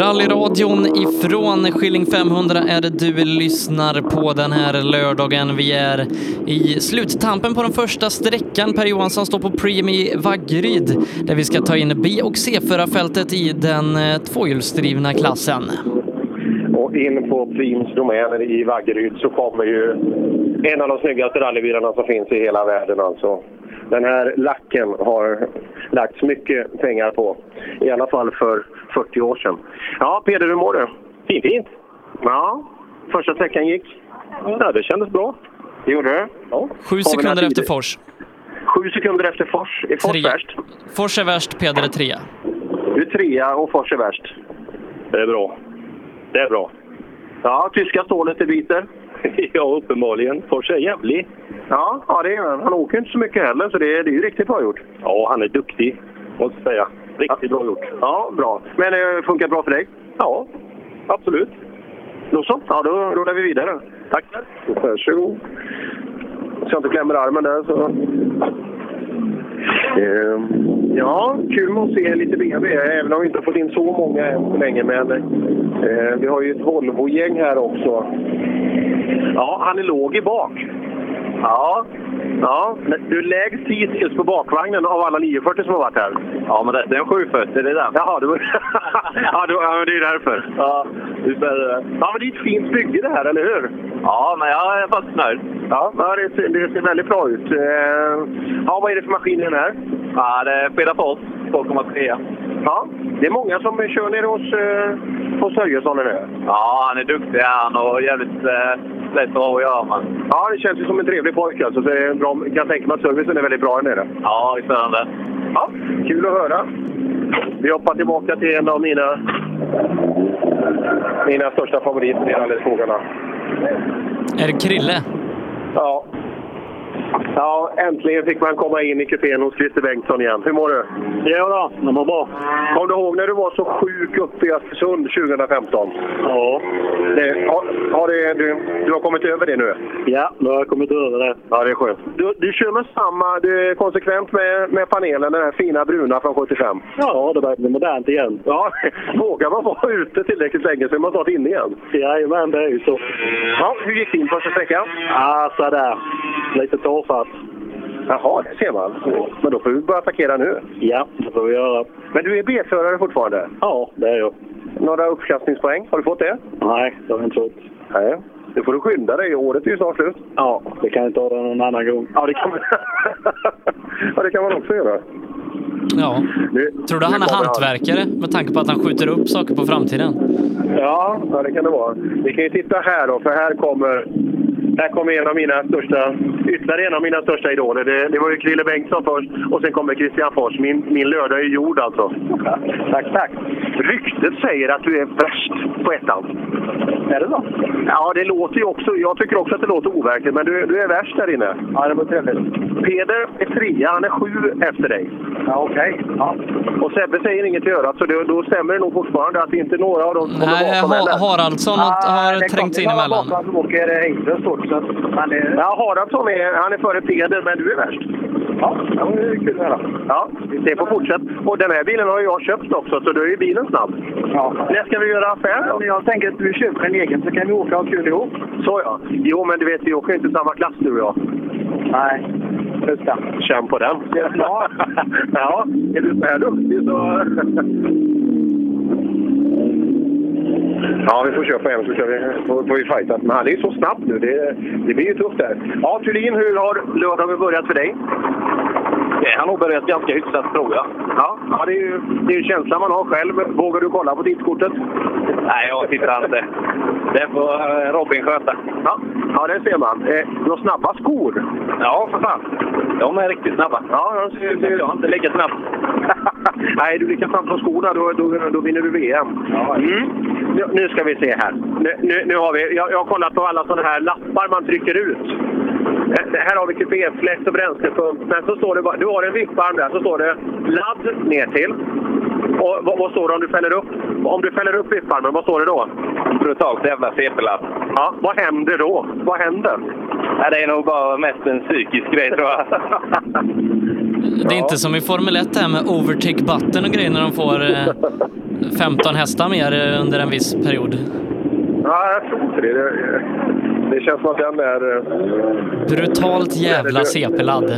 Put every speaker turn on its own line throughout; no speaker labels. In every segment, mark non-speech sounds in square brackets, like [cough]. Rallyradion ifrån Skilling 500 är det du lyssnar på den här lördagen. Vi är i sluttampen på den första sträckan. Per Johansson står på Preem i Vaggeryd där vi ska ta in B och C-förarfältet i den eh, tvåhjulsdrivna klassen.
Och in på Prims domäner i Vaggeryd så kommer ju en av de snyggaste rallybilarna som finns i hela världen alltså. Den här lacken har lagts mycket pengar på. I alla fall för 40 år sedan. Ja, Peder, hur mår du? Fint, fint. Ja, första sträckan gick. Ja, det kändes bra. Det gjorde det? Ja.
Sju
Har vi några
sekunder efter
tider?
Fors.
Sju sekunder efter Fors. Är Fors
Tre.
värst?
Fors är värst, Peder är trea.
Du är trea och Fors är värst.
Det är bra. Det är bra.
Ja, tyska stålet är biter.
[laughs] ja, uppenbarligen. Fors är jävlig.
Ja, ja det är han. Han åker inte så mycket heller, så det, det är ju riktigt bra gjort.
Ja, han är duktig, måste jag säga. Riktigt bra gjort.
Ja, bra. Men det funkar bra för dig?
Ja, absolut.
Då så. Ja, då rullar vi vidare.
Tack.
Varsågod. Så jag inte klämmer armen där så... Ehm, ja, kul att se lite BMW, även om vi inte har fått in så många än så länge. Men eh, vi har ju ett Volvo-gäng här också. Ja, han är låg i bak. Ja, ja. Men du är lägst hittills på bakvagnen av alla 940 som har varit här.
Ja, men det, det är en 740, det är den.
Jaha, det var... [laughs] ja, det var... ja, men det är därför.
Ja, du
Ja, men det är ett fint bygge det här, eller hur?
Ja, men jag är fast nöjd.
Ja, ja, det ser, det ser väldigt bra ut. Eh, Ja, vad är det för maskin i den här?
Ja, det är Fredafors 2,3.
Ja, det är många som kör nere hos, eh, hos Höjesson nu.
Ja, han är duktig han och jävligt eh, lätt bra att göra man.
Ja, det känns ju som en trevlig pojk alltså. Så det är en bra, jag kan tänka mig att servicen är väldigt bra här nere.
Ja, visst är han det.
Ja, kul att höra. Vi hoppar tillbaka till en av mina, mina största favoriter i rallyskogarna.
Är det Krille?
Ja. Ja, äntligen fick man komma in i kupén hos Christer Bengtsson igen. Hur mår du?
Ja, då, det mår bra.
Kommer du ihåg när du var så sjuk uppe i Östersund 2015?
Ja.
Det, har, har det, du, du har kommit över det nu?
ja, då har jag kommit över det.
Ja, det är skönt. Du, du kör med samma, du är konsekvent med, med panelen, den här fina bruna från 75.
Ja, det börjar bli modernt igen.
Ja, [laughs] vågar man vara ute tillräckligt länge så är man snart inne igen.
Jajamän, det är ju så.
Ja, hur gick din första sträcka?
Ah, sådär. Lite tafatt.
Jaha, det ser man. Men då får vi börja attackera nu.
Ja, det får vi göra.
Men du är B-förare fortfarande.
Ja, det är jag.
Några uppklassningspoäng, har du fått det?
Nej, det har jag inte fått.
Nej. Det får du skynda dig, året är ju snart slut.
Ja, det kan jag ta det någon annan gång.
Ja, det kan man, [laughs] ja, det kan man också göra.
Ja.
Nu,
Tror du
nu
han är
kommer
hantverkare med tanke på att han skjuter upp saker på framtiden?
Ja, ja, det kan det vara. Vi kan ju titta här då, för här kommer, här kommer en av mina största, ytterligare en av mina största idoler. Det, det var ju Krille Bengtsson först och sen kommer Christian Fors. Min, min lördag är gjord alltså. Tack, tack. Ryktet säger att du är värst på ettan. Är det så? Ja, det låter ju också. Jag tycker också att det låter overkligt, men du, du är värst där inne. Ja, det var trevligt. Peder är trea, han är sju efter dig. Ja, okej. Ja. Och Sebbe säger inget i örat, så det, då stämmer det nog fortfarande att inte några av dem som kommer
Nej,
bakom heller.
ha Haraldsson har, har trängt sig in emellan.
Han åker Engströms också. Han är... Ja, Haraldsson är, han är före Peder, men du är värst. Ja, det är kul att höra. Ja, det får fortsätta. Och den här bilen har ju jag köpt också, så då är ju bilen snabb. Ja. När ska vi göra affär? då?
Jag tänker att du köper en egen så kan vi åka och ha kul ihop.
Så ja. Jo, men du vet, vi åker ju inte samma klass du och jag.
Nej, just det.
Känn på den. Ja, [laughs] ja är du så här duktig så... Ja, vi får köpa en så ska vi, får, får vi fighta. Men han är ju så snabb nu. Det, det blir ju tufft där. Ja, Thulin, hur har lördagen börjat för dig?
Han har börjat ganska hyfsat, tror jag.
Ja, ja det, är ju, det är ju känslan man har själv. Vågar du kolla på tidskortet?
Nej, jag tittar inte. Det får eh, Robin sköta.
Ja, ja det ser man. Eh, du har snabba skor.
Ja, för fan. De är riktigt snabba.
Ja, de ser, ser,
Jag är inte lika snabb.
[laughs] Nej, du lyckas fram på skorna, då, då, då vinner du VM. Mm. Nu, nu ska vi se här. Nu, nu, nu har vi, jag, jag har kollat på alla sådana här lappar man trycker ut. Eh, Här har vi kupéfläkt och bränslepump. Men så står det, bara- du har en vipparm där, så står det ladd ner till. Och vad, vad står det om du fäller upp? Om du fäller upp vipparmen, vad står det då?
Brutalt jävla CP-lapp.
Ja, vad händer då? Vad händer?
Ja, det är nog bara mest en psykisk grej, tror jag.
[laughs]
Det är inte som i Formel 1 det här med overtake button och grejer när de får eh, 15 hästar mer eh, under en viss period.
[laughs] Ja, jag tror inte det. det. Det känns som att den är... eh,
Brutalt jävla CP-ladd.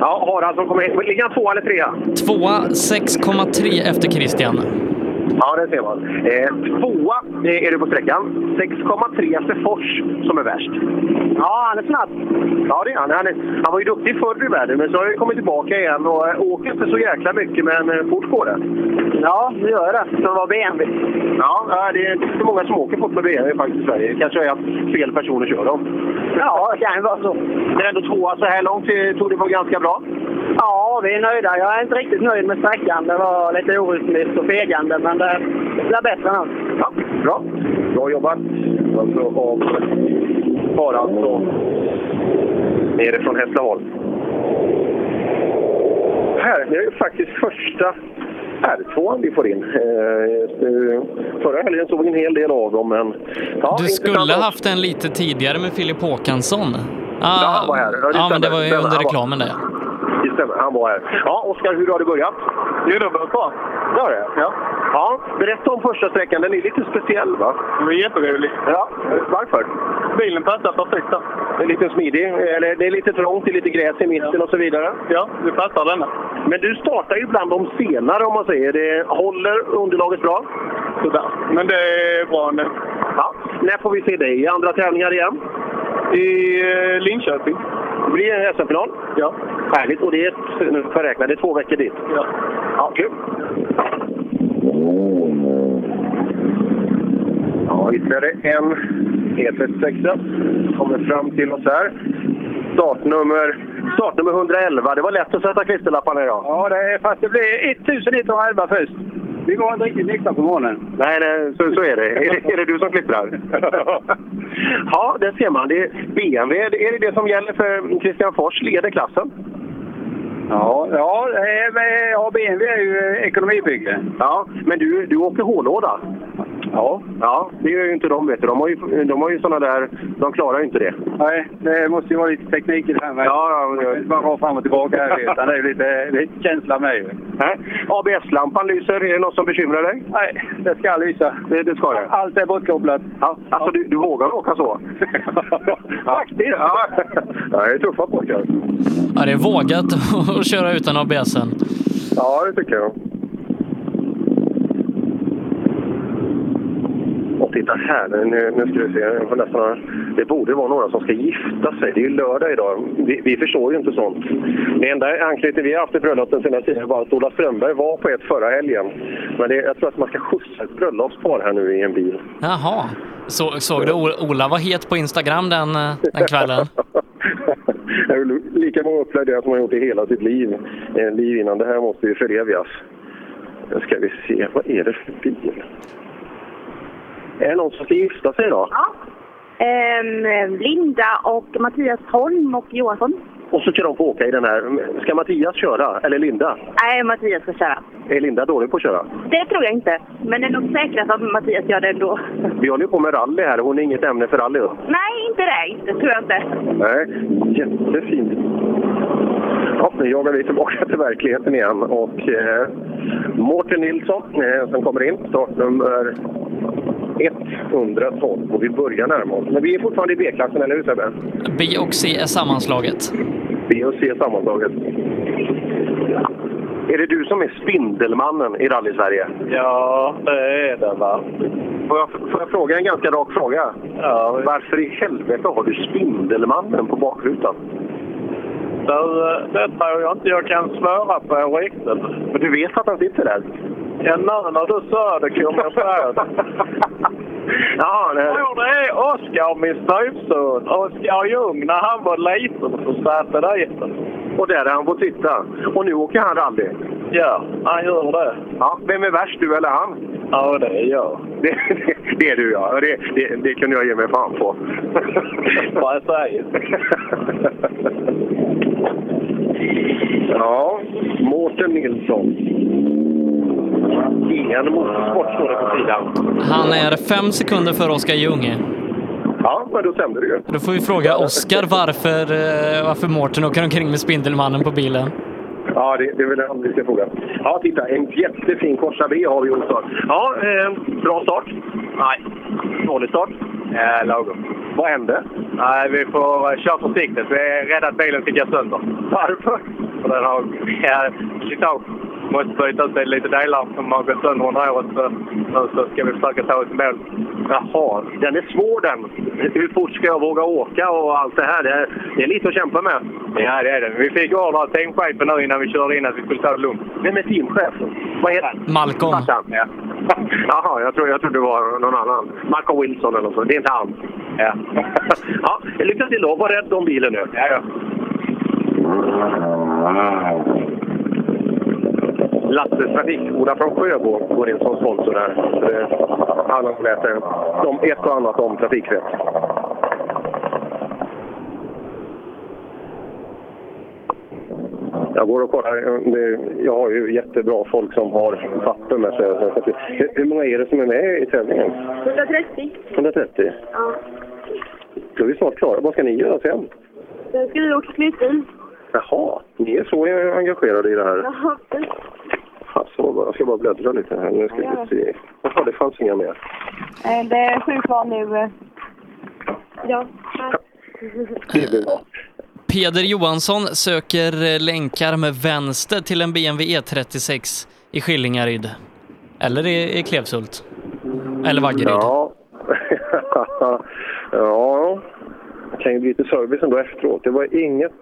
ja, Harald som kommer hit. Ligger han tvåa eller trea?
Tvåa 6,3 efter Christian.
Ja, det ser man. Eh, tvåa eh, är du på sträckan. 6,3 efter Fors som är värst. Ja, han är snabb. Ja, det är han. Han, är, han var ju duktig förr i världen, men så har han ju kommit tillbaka igen och eh, åker inte så jäkla mycket, men eh, fort går det. Ja, det gör det. Som var BMW. Ja, ja, det är inte så många som åker fort med BMW faktiskt i Sverige. Det kanske är att fel personer kör dem. Ja, det kan vara så. Men ändå tvåa så här långt eh, tog det på ganska bra.
Ja, vi är nöjda. Jag är inte riktigt nöjd med sträckan. Det var lite orytmiskt och fegande, men det blir bättre nu.
Ja, bra. Bra jobbat. Alltså av Harald från nere från Hässleholm. Här, det är ju faktiskt första R2 vi får in. Eh, förra helgen såg vi en hel del av dem, men... Ja,
Du
intressant
skulle
också.
haft en lite tidigare med Filip Håkansson. Ah,
Ja, han var här. Ja, det
ja men det
stämmer.
var ju
Stämmer,
under
han var-
reklamen där.
Det stämmer, han var här. Ja, Oskar, hur har det börjat? Det är dubbelt bra. Ja, det? Ja. ja. Berätta om första sträckan. Den är lite speciell, va? Den är jätterolig. Ja. Varför? Bilen passar perfekt. Den är lite smidig. Eller det är lite trångt, det är lite gräs i mitten och så vidare. Ja, det passar denna. Men du startar ju bland de senare, om man säger. Det håller underlaget bra? Sådär. Men det är bra nu. Ja. När får vi se dig i andra tävlingar igen? I eh, Linköping. Det blir en SM-final. Ja. Härligt. Och det är, ett- nu får jag räkna, det är två veckor dit. Ja. Ja, kul. Ja, ytterligare en E36 kommer fram till oss här. Startnummer, startnummer 111. Det var lätt att sätta klisterlapparna idag.
Ja, det är, fast det blir 1111 först. Vi var inte riktigt nyktra på morgonen.
Nej, nej så, så är det. Är, det. är det du som
[laughs]
klistrar? ja, det ser man. Det är BMW, är det det som gäller för Christian Fors leder klassen?
Ja, ja, det är- men, ja BMW är ju eh, ekonomibygge.
Ja, men du, du åker hållåda.
Ja.
Ja, det gör ju inte de. Vet du. De har ju, de har ju såna där... De klarar ju inte det.
Nej, det måste ju vara lite teknik i det här med.
Ja,
Det är
ja,
inte bara rakt fram och tillbaka här, utan det är ju lite, lite känsla med. ju.
ja. ABS-lampan lyser. Är det något som bekymrar dig?
Nej, det ska lysa.
Det, det ska det.
Allt är bortkopplat.
Ja, alltså, du, du vågar åka
[laughs]
så? Faktiskt! Ja. Ja, det är tuffa pojkar.
Ja, det är vågat [laughs] att köra utan ABSen.
Ja, det tycker jag. Och titta här, nu, nu ska vi se. Jag får nästan, det borde vara några som ska gifta sig. Det är ju lördag idag. Vi, vi förstår ju inte sånt. Det enda anknytning vi har haft till bröllop den senaste tiden var att Ola Strömberg var på ett förra helgen. Men det, jag tror att man ska skjutsa ett bröllopspar här nu i en bil.
Jaha. Så, såg du O- Ola var het på Instagram den, eh, den
[laughs]
kvällen?
det är väl lika många uppläggningar som man gjort i hela sitt liv. Eh, liv innan. Det här måste ju förevigas. Nu ska vi se. Vad är det för bil? Är det någon som ska gifta sig idag?
Ja. Ehm, Linda och Mattias Holm och Johansson.
Och så ska de få åka i den här. Ska Mattias köra? Eller Linda?
Nej, Mattias ska köra.
Är Linda dålig på att köra?
Det tror jag inte, men det är nog säkrast att Mattias gör det ändå.
Vi håller ju på med rally här. Hon är inget ämne för rally. Då.
Nej, inte det. Inte, tror jag inte.
Nej, jättefint. Ja, nu jagar vi tillbaka till verkligheten igen. Och eh, Mårten Nilsson eh, som kommer in, startnummer 112. Och vi börjar närma oss. Men vi är fortfarande i B-klassen, eller hur Sebbe?
B och C är sammanslaget.
B och C sammantaget. Är det du som är Spindelmannen i Rally-Sverige?
Ja, det är det va.
Får jag, får jag fråga en ganska rak fråga?
Ja,
Varför i helvete har du Spindelmannen på bakrutan?
det, det tror jag inte jag kan svara på riktigt.
Men du vet att han sitter där?
Ja, nu när du sa det kom jag på det.
[laughs] ja, nej.
Jo, det är Oskar, min styvson. Oskar Ljung, när han var liten så satte dit den.
Och där har han fått sitta. Och nu åker han rally.
Ja, han gör det.
Ja, vem är värst, du eller han?
Ja, det är jag.
Det, det, det är du ja. Och Det, det, det kunde jag ge mig fan på.
Vad jag säger.
[laughs] ja, Mårten Nilsson. GN Motorsport står det på sidan.
Han är fem sekunder före Oskar Ljung.
Ja, men då stämde det ju.
Då får vi fråga Oskar varför, eh, varför Mårten åker omkring med Spindelmannen på bilen.
Ja, det, det är väl en annan fråga. Ja, titta, en jättefin Corsa B har vi i Olstorp. Ja, eh, bra start.
Nej.
Dålig start.
Eh, lagom.
Vad hände?
Nej, vi får eh, köra försiktigt. Vi är rädda att bilen ska gå sönder.
Varför?
För den har ja, slitage. Måste byta ut lite delar som har gått sönder under året. Så nu så ska vi försöka ta oss i mål.
Jaha, den är svår den. Hur fort ska jag våga åka och allt det här? Det är, det är lite att kämpa med.
Ja, det är det. Vi fick order av teamchefen nu innan vi körde in att vi skulle ta det lugnt.
Vem är teamchefen? Vad heter han?
Malcolm.
Farsan?
[laughs]
Ja.
Jaha, jag tror, jag tror det var någon annan. Malcolm Wilson eller något sånt. Det är inte han.
Ja.
ja, lycka till då. Var rädd om bilen nu.
Ja, ja.
Lattes Trafik-Ola från Sjöbo går in som sponsor här. Så det, han har lärt sig om ett och annat om trafikvett. Jag går och kollar. Det, jag har ju jättebra folk som har papper med sig. Hur, hur många är det som är med i tävlingen?
130.
130?
Ja.
Då är vi snart klara. Vad ska ni göra sen?
Sen ska vi åka slutbil.
Jaha, ni är så engagerade i det här.
Ja, precis.
Alltså, jag ska bara bläddra lite här. Nu ska vi se. Jaha, det fanns inga mer.
Eh, Det är sju kvar nu. eh. Ja.
Det är bra.
Peder Johansson söker eh, länkar med vänster till en BMW E36 i Skillingaryd. Eller i, i Klevshult. Eller Vaggeryd.
[laughs] Ja. ja. Det kan ju bli lite service ändå efteråt. Det var inget.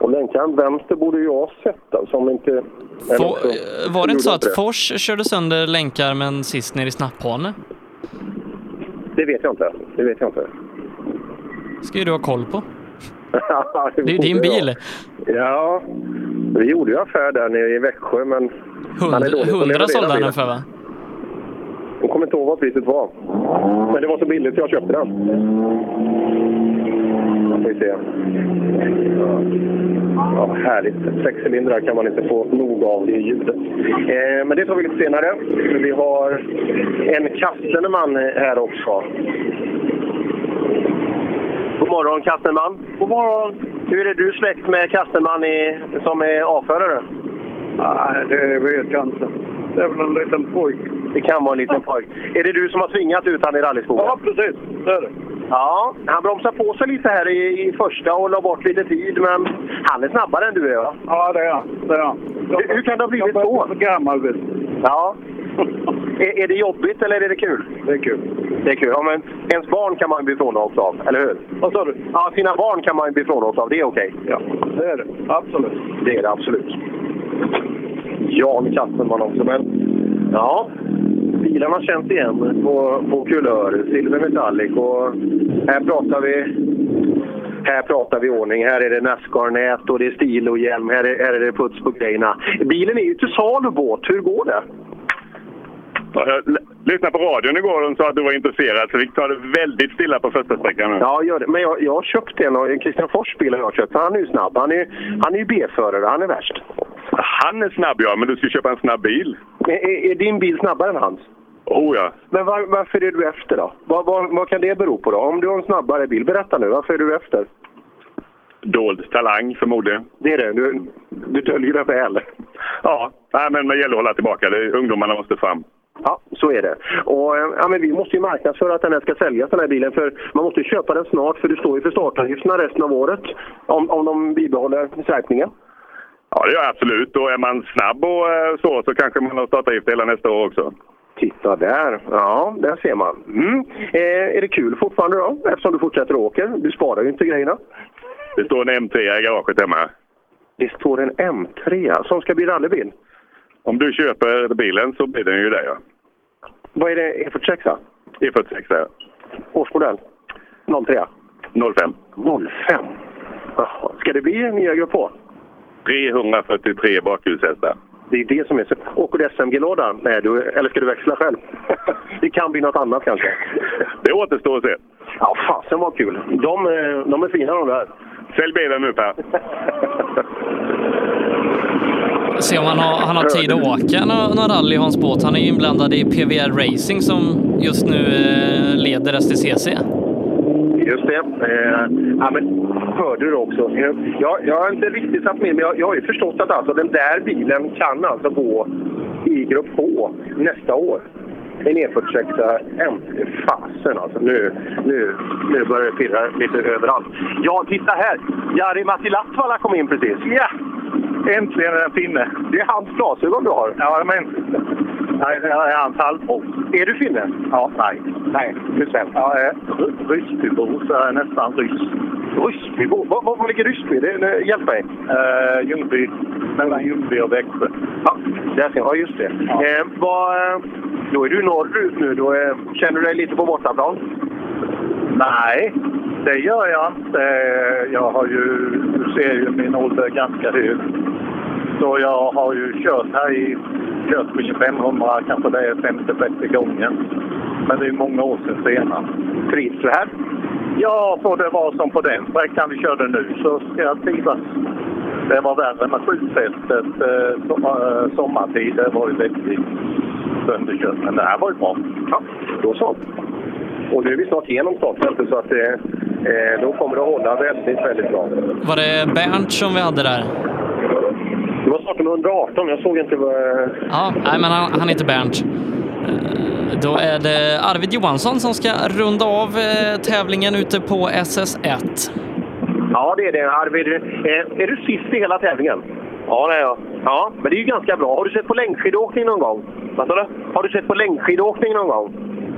Och länkaren vänster borde ju jag ha sett alltså, om inte... eller
Få-
också-
eh, var det inte så
gjorde
att Fors körde sönder länkar men sist ner i Snapphane?
Det vet jag inte. Det vet jag inte. [laughs]
ska ju du ha koll på. Det
det
är ju din
borde jag.
bil.
Ja. Vi gjorde ju affär där nere i Växjö, men... Han är dålig på
Hund,
att leverera
hundra sålde han
bilar.
den för va?
Jag kommer inte ihåg vad priset var. Men det var så billigt så jag köpte den. Ska vi se. Ja, härligt. Sex cylindrar kan man inte få nog av i ljudet. Eh, men det tar vi lite senare. Vi har en Kastenman här också. God morgon Kastenman. God morgon. Hur är du släkt med Kastenman i, som är avförare?
Nej, det vet jag inte. Det är väl en liten pojk.
Det kan vara en liten pojk. Är det du som har tvingat ut han i rallyskogen?
Ja, precis. Det är det.
Ja, han bromsade på sig lite här i, i första och la bort lite tid, men han är snabbare än du är. va?
Ja, det är han. Det är han.
Hur, hur kan det ha blivit
Jag börjar
så?
bli för gammal, vet du.
Ja. Är, är det jobbigt eller är det kul?
Det är kul.
Det är kul. Ja, men ens barn kan man ju bli frånåkt av, eller hur?
Vad sa du?
Ja, sina barn kan man ju bli frånåkt av. Det är okej.
Ja, det är det. Absolut.
Det är det absolut. Jan Kasselman också, men... Ja, bilarna känns igen på, på kulör. Silver metallic och här pratar vi... Här pratar vi ordning. Här är det Nascar-nät och det är stil och hjälm. Här är, här är det puts på grejerna. Bilen är ju till salu båt. Hur går det?
Ja, Jag l- lyssnade på radion igår och de sa att du var intresserad så vi tar det väldigt stilla på första sträckan nu.
Ja, gör det. Men jag, jag har köpt en. av- en Christian Fors bil har jag köpt. Han är ju snabb. Han är ju han är ju B-förare. Han är värst.
Han är snabb ja, men du ska köpa en snabb bil.
Är, är, är din bil snabbare än hans?
Oh ja.
Men var, varför är du efter då? Vad, vad, vad kan det bero på då? Om du har en snabbare bil, berätta nu. Varför är du efter?
Dold talang förmodligen.
Det är det. Du, du döljer det väl.
Ja, Nej, men det gäller att hålla tillbaka. Det, ungdomarna måste fram.
Ja, så är det. Och, eh, ja, men vi måste ju marknadsföra att den här ska säljas, den här bilen. För man måste ju köpa den snart, för du står ju för startavgifterna resten av året. Om, om de bibehåller skärpningen.
Ja, det gör jag absolut. Och är man snabb och eh, så, så kanske man har startavgift hela nästa år också.
Titta där. Ja, där ser man. Mm. Eh, är det kul fortfarande då? Eftersom du fortsätter att åka. Du sparar ju inte grejerna.
Det står en M3 i garaget hemma.
Det står en M3 som ska bli rallybil.
Om du köper bilen så blir den ju det ja.
Vad är det? E46?
E46 ja.
Årsmodell? 03?
05.
05. Jaha. Ska det bli en nya grupp H?
343 bakhjulshästar.
Det är det som är så. Åker du SMG-låda? Nej, du, eller ska du växla själv? [laughs] det kan bli något annat kanske.
Det återstår att se.
Ja, fasen var kul. De, eh, de är fina de där.
Sälj bilen nu Per.
Se om han har, han har tid att åka nå- någon rally i Hans Båt. Han är ju inblandad i PVR Racing som just nu eh, leder STCC.
Just det. Eh, ja, men hörde du också. Jag, jag har inte riktigt satt med men jag, jag har ju förstått att alltså, den där bilen kan alltså gå i Grupp H nästa år. En E46 äntligen. Fasen alltså, nu, nu, nu börjar det pirra lite överallt. Ja, titta här! Jari Matti Latvala kom in precis. Ja! Äntligen en finne. Det är hans glasögon du har. Ja, men... Nej, det är hans halvbror. Är du finne? Ja, nej. Nej, du är svensk. Ja, Ryssbybo, så jag är nästan ryss. Ryssbybo? Var, var, var ligger Ryssby? Det, det, hjälp mig. Uh, Ljungby. Mellan Ljungby och Växjö. Ja, där ser jag. Ja, just det. Eh, vad, eh, då är du norrut nu. Då eh, känner du dig lite på bortaplan?
Nej, det gör jag inte. Jag har ju, du ser ju min ålder ganska hög. Så jag har ju kört här i Köping 500, kanske det är 50-60 gången. Men det är ju många år sedan senast.
Trivs du här?
Ja, får det vara som på den sträckan vi körde nu så ska jag trivas. Det var värre med skjutfältet eh, som, eh, sommartid. Det var ju väldigt sönderkört. Men det här var ju bra.
Ja, då så. Och nu är vi snart igenom startfältet så att eh, eh, då kommer det att hålla väldigt, väldigt bra.
Var det Bernt som vi hade där?
Det var startnummer 118, jag såg inte vad...
Ja, nej men han, han heter Bernt. Eh, Då är det Arvid Johansson som ska runda av eh, tävlingen ute på SS1.
Ja, det är det. Arvid, eh, är du sist i hela tävlingen? Ja, det är jag. Ja, men det är ju ganska bra. Har du sett på längdskidåkning någon gång? Vad sa du? Har du sett på längdskidåkning någon gång?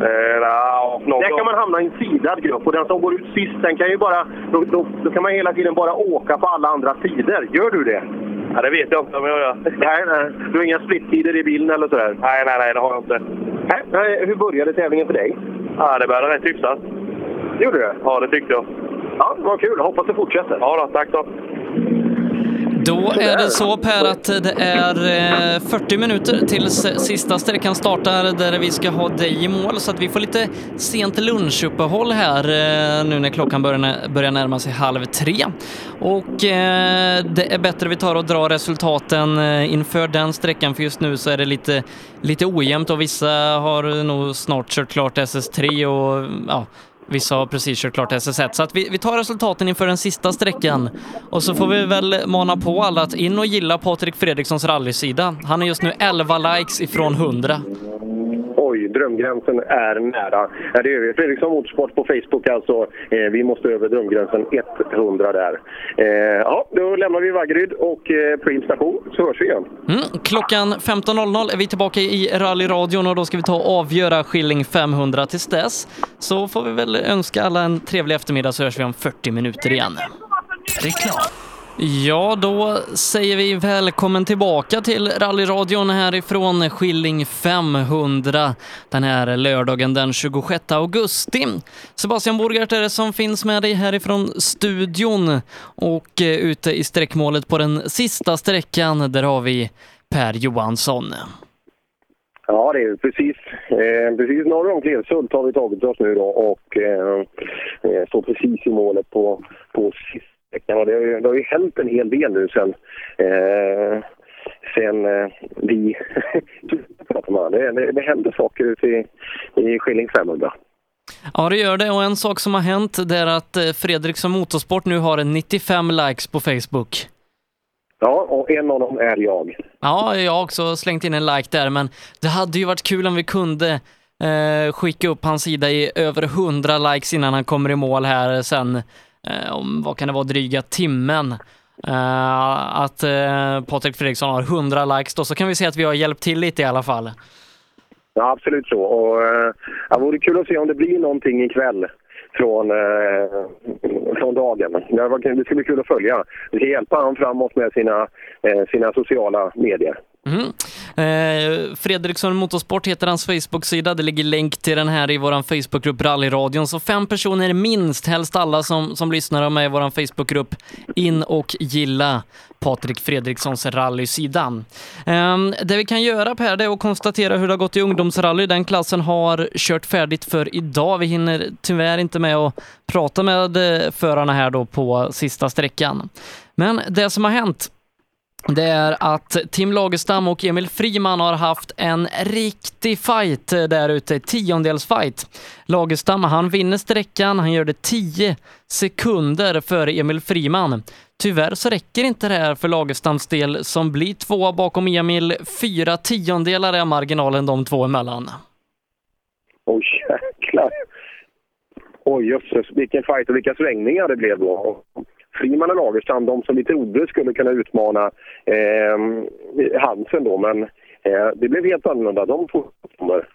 Eh, någon Där kan man hamna i en sidad grupp och den som går ut sist, den kan ju bara... Då, då, då kan man hela tiden bara åka på alla andra sidor. Gör du det? Ja, det vet jag inte om jag gör. Nej, nej. Du har inga splittider i bilen eller sådär? Nej, nej, nej, det har jag inte. hur började tävlingen för dig? Ja, det började rätt hyfsat. Gjorde det? Ja, det tyckte jag. Ja, vad kul. Hoppas det fortsätter. Ja, då, tack då.
Då är det så Per att det är eh, 40 minuter tills sista sträckan startar där vi ska ha dig i mål så att vi får lite sent lunchuppehåll här eh, nu när klockan börjar, nä- börjar närma sig halv tre. Och eh, det är bättre vi tar och drar resultaten eh, inför den sträckan för just nu så är det lite, lite ojämnt och vissa har nog snart kört klart SS3 och ja, Vissa har precis kört klart SS1, så att vi, vi tar resultaten inför den sista sträckan. Och så får vi väl mana på alla att in och gilla Patrik Fredrikssons rallysida. Han är just nu 11 likes ifrån 100.
Oj, drömgränsen är nära. Ja, det är vi. Fredriksson Motorsport på Facebook alltså. Eh, vi måste över drömgränsen 100 där. Eh, ja, då lämnar vi Vaggeryd och eh, Preems station, så hörs vi igen.
Mm. Klockan 15.00 är vi tillbaka i rallyradion och då ska vi ta och avgöra Skilling 500 tills dess. Så får vi väl önska alla en trevlig eftermiddag så hörs vi om 40 minuter igen.
Reklam.
Ja, då säger vi välkommen tillbaka till rallyradion härifrån Skilling 500 den här lördagen den 26 augusti. Sebastian Borgart är det som finns med dig härifrån studion och eh, ute i sträckmålet på den sista sträckan, där har vi Per Johansson.
Ja, det är precis, eh, precis norr om Klevsult har vi tagit oss nu då och eh, eh, står precis i målet på, på sista veckan. Och det, har ju- det har ju hänt en hel del nu sen, eh, sen eh, vi [laughs] pratade med varandra. det, det, det hände saker ute i, i Skilling 500.
Ja, det gör det. Och en sak som har hänt det är att eh, Fredrik som Motorsport nu har 95 likes på Facebook.
Ja, och en av dem är jag.
Ja, jag har också slängt in en like där, men det hade ju varit kul om vi kunde eh, skicka upp hans sida i över 100 likes innan han kommer i mål här sen, eh, om vad kan det vara, dryga timmen. Eh, att eh, Patrik Fredriksson har 100 likes då, så kan vi se att vi har hjälpt till lite i alla fall.
Ja, absolut så. Och, eh, det vore kul att se om det blir någonting ikväll från, eh, från dagen. Det, var, det ska bli kul att följa. Vi ska hjälpa honom framåt med sina, eh, sina sociala medier.
Mm. Eh, Fredriksson Motorsport heter hans Facebook-sida. Det ligger länk till den här i vår Facebookgrupp Rallyradion. Så fem personer minst, helst alla som, som lyssnar och är med i vår Facebookgrupp, in och gilla Patrik Fredrikssons rallysida. Eh, det vi kan göra Per, det är att konstatera hur det har gått i ungdomsrally. Den klassen har kört färdigt för idag. Vi hinner tyvärr inte med att prata med eh, förarna här då på sista sträckan. Men det som har hänt det är att Tim Lagerstam och Emil Friman har haft en riktig fight eh, där ute, tiondelsfight. Lagerstam, han vinner sträckan, han gör det 10 sekunder före Emil Friman. Tyvärr så räcker inte det här för Lagerstams del som blir tvåa bakom Emil. Fyra tiondelar är marginalen de två emellan.
Oj, jäklar. Oj, jösses. Vilken fight och vilka svängningar det blev då. Friman och Lagerstam, de som vi trodde skulle kunna utmana eh, Hansen då, men eh, det blev helt annorlunda. De två kommer.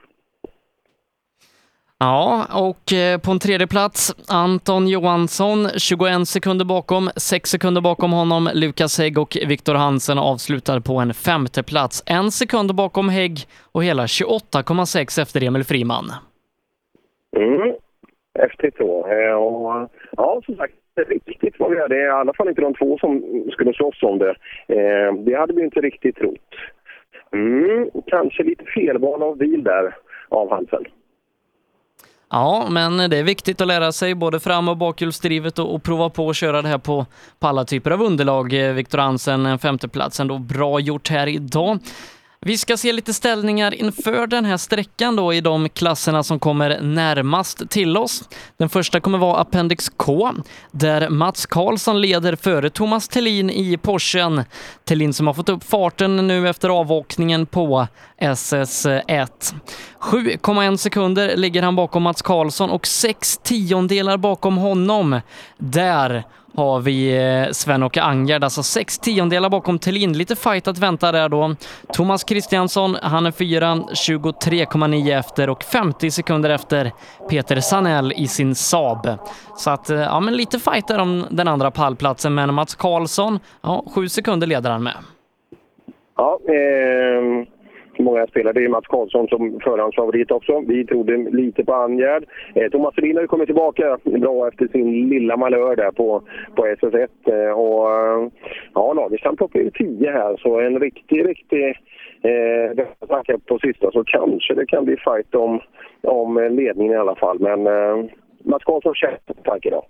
Ja, och eh, på en tredje plats Anton Johansson, 21 sekunder bakom, 6 sekunder bakom honom. Lukas Hägg och Viktor Hansen avslutar på en femte plats. En sekund bakom Hägg och hela 28,6 efter Emil Friman.
Mm. Häftigt så. Eh, och, ja, som sagt, det är riktigt vad vi är. Det är i alla fall inte de två som skulle slåss om det. Eh, det hade vi inte riktigt trott. Mm, kanske lite felval av bil där av Hansen.
Ja, men det är viktigt att lära sig både fram och bakhjulsdrivet och, och prova på att köra det här på, på alla typer av underlag. Eh, Viktor Hansen, en femteplats ändå bra gjort här idag. Vi ska se lite ställningar inför den här sträckan då i de klasserna som kommer närmast till oss. Den första kommer vara Appendix K där Mats Karlsson leder före Thomas Tellin i Porschen. Tellin som har fått upp farten nu efter avåkningen på SS1. 7,1 sekunder ligger han bakom Mats Karlsson och 6 tiondelar bakom honom. Där har vi eh, Sven-Åke Angerd, alltså sex tiondelar bakom Thelin. Lite fight att vänta där då. Thomas Kristiansson, han är fyra, 23,9 efter och 50 sekunder efter Peter Sanell i sin Saab. Så att, eh, ja men lite fight där om den andra pallplatsen, men Mats Karlsson, ja, sju sekunder leder han med.
Ja, eh, många spelare. Det är Mats Karlsson som förhandsfavorit också. Vi trodde lite på Angerd. Eh, Thomas Selin har ju kommit tillbaka bra efter sin lilla malör där på, på SS1. Eh, och, eh, ja, Lagerstam plockar ju 10 här, så en riktig, riktig eh, attack på sista så kanske det kan bli fight om, om ledningen i alla fall. Men eh, Mats Karlsson känns stark idag.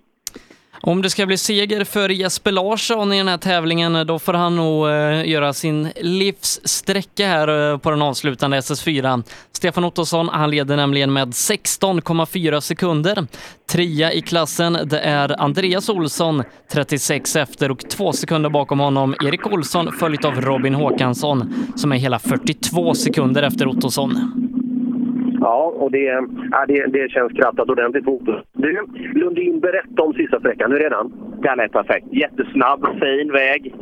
Om det ska bli seger för Jesper Larsson i den här tävlingen, då får han nog eh, göra sin livssträcka här eh, på den avslutande SS4. Stefan Ottosson, han leder nämligen med 16,4 sekunder. Trea i klassen, det är Andreas Olsson, 36 efter och två sekunder bakom honom. Erik Olsson följt av Robin Håkansson som är hela 42 sekunder efter Ottosson.
Ja, och det, ja, det, det känns krattat ordentligt på Otus. Du, Lundin, berätta om sista sträckan. Hur är den?
Den är perfekt. Jättesnabb, fin väg.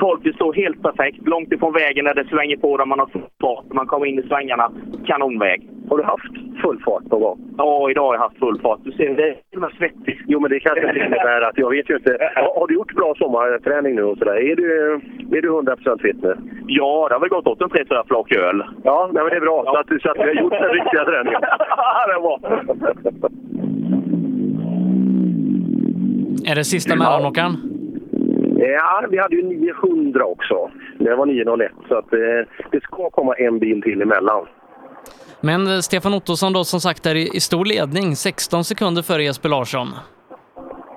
Folk står helt perfekt. Långt ifrån vägen när det svänger på där man har full fart. Man kommer in i svängarna. Kanonväg.
Har du haft full fart någon gång?
Ja, idag har jag haft full fart. Du ser, det är till och med svettigt.
Jo, men det kanske inte innebär att... Jag vet ju
[laughs]
inte. Eh, Har, har du gjort bra sommarträning nu och sådär? Är du, är du 100 fit nu?
Ja, det har väl gått åt en tre, fyra flak öl.
Ja, nej, men det är bra. Så, att, så att vi har gjort den riktiga träningen.
[laughs] Ja, det var.
Är det sista mellanåkaren?
Ja, vi hade ju 900 också. Det var 901, så att, eh, det ska komma en bil till emellan.
Men eh, Stefan Ottosson då som sagt är i i stor ledning, 16 sekunder före Jesper Larsson.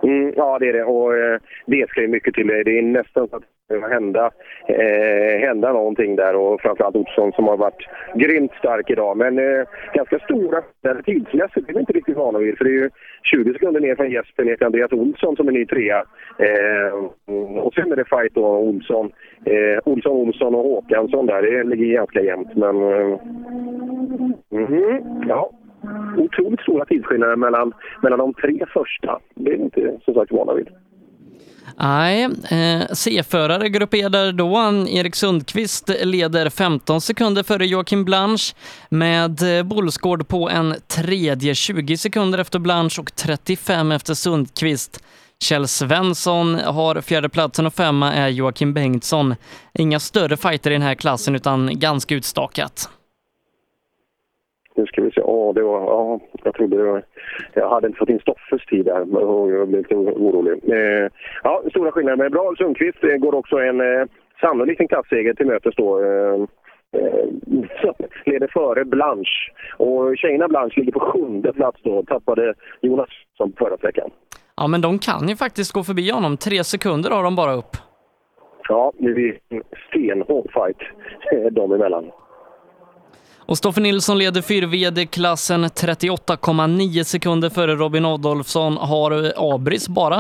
Mm, ja, det är det. Och eh, det ska ju mycket till. Det är nästan så att det behöver hända, eh, hända någonting där. Och framförallt Olsson som har varit grymt stark idag. Men eh, ganska stora skillnader tidsmässigt. Det är vi inte riktigt vana vid. För det är ju 20 sekunder ner från Jesper ner till Andreas Olsson som är ny trea. Eh, och sen är det fight då Olsson, eh, Olsson, Olsson och Håkansson där. Det ligger ganska jämnt. Men... Eh, mhm, ja. Otroligt stora tidsskillnader mellan, mellan de tre första. Det är vi inte som sagt vana vid.
Nej, eh, C-förare grupp E där då. Erik Sundqvist leder 15 sekunder före Joakim Blanche med eh, Bolsgård på en tredje, 20 sekunder efter Blanche och 35 efter Sundqvist. Kjell Svensson har fjärdeplatsen och femma är Joakim Bengtsson. Inga större fighter i den här klassen utan ganska utstakat.
Nu ska vi se. Åh, det var, ja, jag trodde det var, Jag hade inte fått in Stoffes tid där och jag blev lite orolig. Eh, ja, stora skillnader. Men bra, Sundqvist eh, går också en eh, sannolikt en klassseger till mötes då. Eh, eh, [laughs] så leder före Blanche. Och tjejerna Blanche ligger på sjunde plats då. Tappade Jonas som förra veckan.
Ja, men de kan ju faktiskt gå förbi honom. Tre sekunder har de bara upp.
Ja, det blir en stenhård fight eh, dem emellan.
Och Stoffe Nilsson leder 4VD-klassen 38,9 sekunder före Robin Adolfsson. Har eh, Abris bara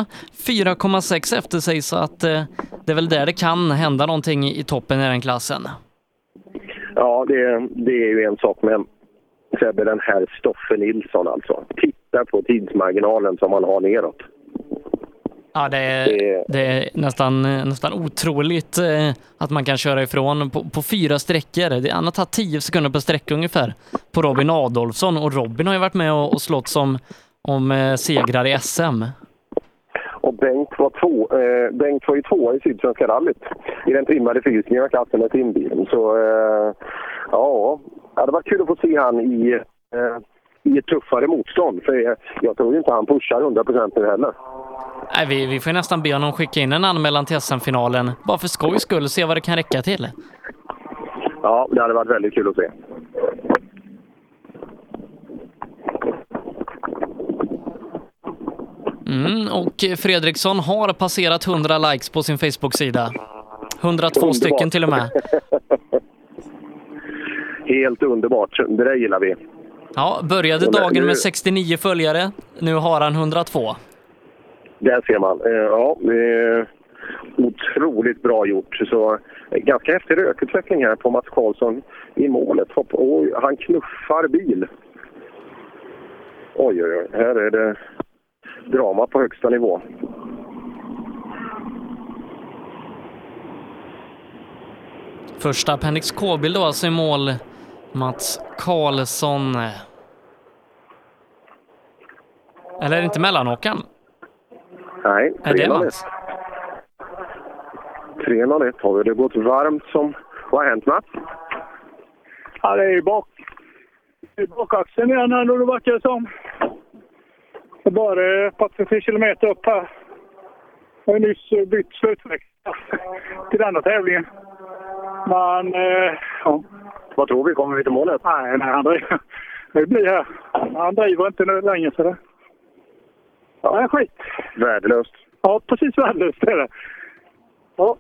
4,6 efter sig så att eh, det är väl där det kan hända någonting i i toppen i den klassen.
Ja, det, det är ju en sak med Sebbe, den här Stoffe Nilsson alltså. Titta på tidsmarginalen som han har neråt.
Ja, det är,
Det-
det är nästan, eh, nästan otroligt eh, att man kan köra ifrån på, på fyra sträckor. Det- Han har tagit 10 sekunder per sträcka ungefär på Robin Adolfsson och Robin har ju varit med och, och slått som om eh, segrar i SM.
Och Bengt var, två, eh, Bengt var ju tvåa i Sydsvenska rallyt i den trimmade fyrhjulsdrivna klassen med trimbilen. Så eh, ja, det hade varit kul att få se han i, eh, i ett tuffare motstånd. För jag, jag tror ju inte han pushar 100 nu heller.
Nej, vi, vi får ju nästan be honom skicka in en anmälan till SM-finalen bara för skojs skull och se vad det kan räcka till.
Ja, det hade varit väldigt kul att se.
Mm, och Fredriksson har passerat 100 likes på sin Facebook-sida. 102 stycken till och med.
Helt underbart. Det där gillar vi.
Ja, började dagen med 69 följare. Nu har han 102.
Där ser man. Eh, Ja, eh, otroligt bra gjort. Så, eh, ganska häftig rökutveckling här på Mats Karlsson i målet. Hopp, och han knuffar bil. Oj, oj, oj. Här är det drama på högsta nivå.
Första Appendix K-bild då, alltså i mål. Mats Karlsson. Eller är det inte mellanåkaren?
Nej,
Är det
3-0-1.
Mats?
3-0-1 har vi. Det har gått varmt som... Vad har hänt, Mats?
Ja, det är ju bak, det är bakaxeln igen här då, det verkar det som. Det är bara ett par, tre, fyra kilometer upp här. Jag har ju nyss eh, bytt slutväxel till denna tävlingen. Men, eh, ja.
Vad tror vi? Kommer vi till målet?
Nej, nej, han driver. Det blir här. Han driver inte nu längre så det... Ja. Nej, skit.
Värdelöst.
Ja, precis värdelöst är det. Ja,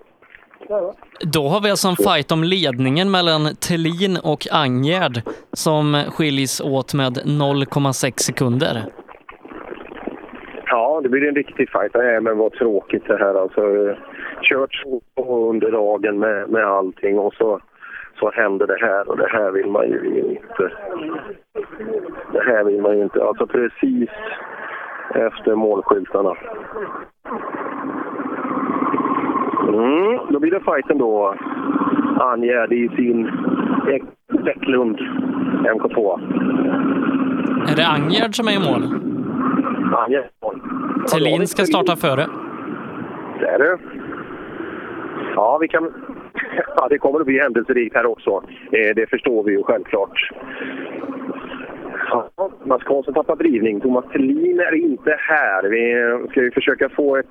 där va.
Då har vi alltså en fight om ledningen mellan Thelin och Angerd som skiljs åt med 0,6 sekunder.
Ja, det blir en riktig fight. Nej, men vad tråkigt det här. Alltså, eh, kört så på under dagen med, med allting och så, så händer det här och det här vill man ju inte. Det här vill man ju inte. Alltså precis efter målskyltarna. Mm, då blir det fighten då. Angerd i sin Bäcklund MK2.
Är det Angerd som är i mål?
Angerd.
Thelin ska starta före.
Det är det. Ja, vi kan... [laughs] Ja, det kommer att bli händelserikt här också. Eh, det förstår vi ju självklart. Ja, Mats Karlsson tappar drivning. Thomas Thelin är inte här. Vi eh, ska ju försöka få ett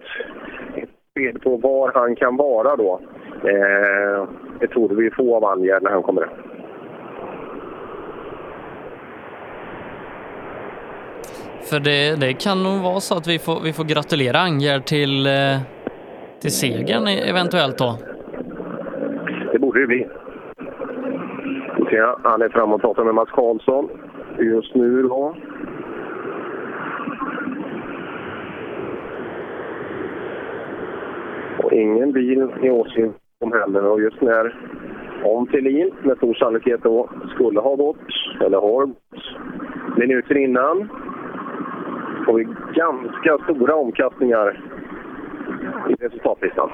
ett besked på var han kan vara då. Eh, det trodde vi få av Angerd när han kommer.
För det, det kan nog vara så att vi får, vi får gratulera Angerd till, eh, till segern e- eventuellt då.
Det borde det bli. Vi ser, han är framme och pratar med Mats Karlsson just nu då. Och ingen bil i åsyn om heller. Och just när om Thelin med stor sannolikhet då skulle ha gått, eller har gått, minuter innan får vi ganska stora omkastningar i resultatlistan.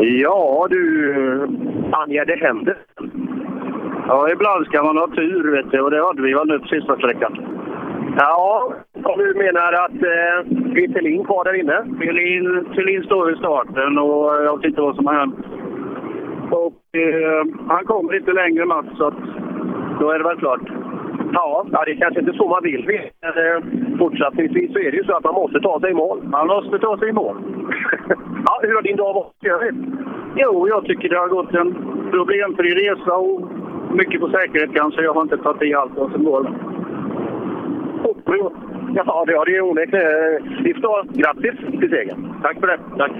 Ja du, Anja, det händer.
Ja, ibland ska man ha tur vet du. Och det hade vi ju nu på sista sträckan.
Ja, om du menar att eh, Vittelin kvar där inne?
Thelin Thelin står i starten och jag vet inte vad som har hänt. Och eh, han kommer inte längre Mats, så att då är det väl klart.
Ja, ja, det är kanske inte så man vill. Men, eh, fortsättningsvis så är det ju så att man måste ta sig i mål. [laughs]
Man måste ta sig i mål.
ja, hur har din dag varit i övrigt?
Jo, jag tycker det har gått en problemfri resa och mycket på säkerhet kanske. Jag har inte tagit i allt vad som går.
Ja, det har det ju onekligen. Vi förstår. Grattis till segern. Tack för det. Tack.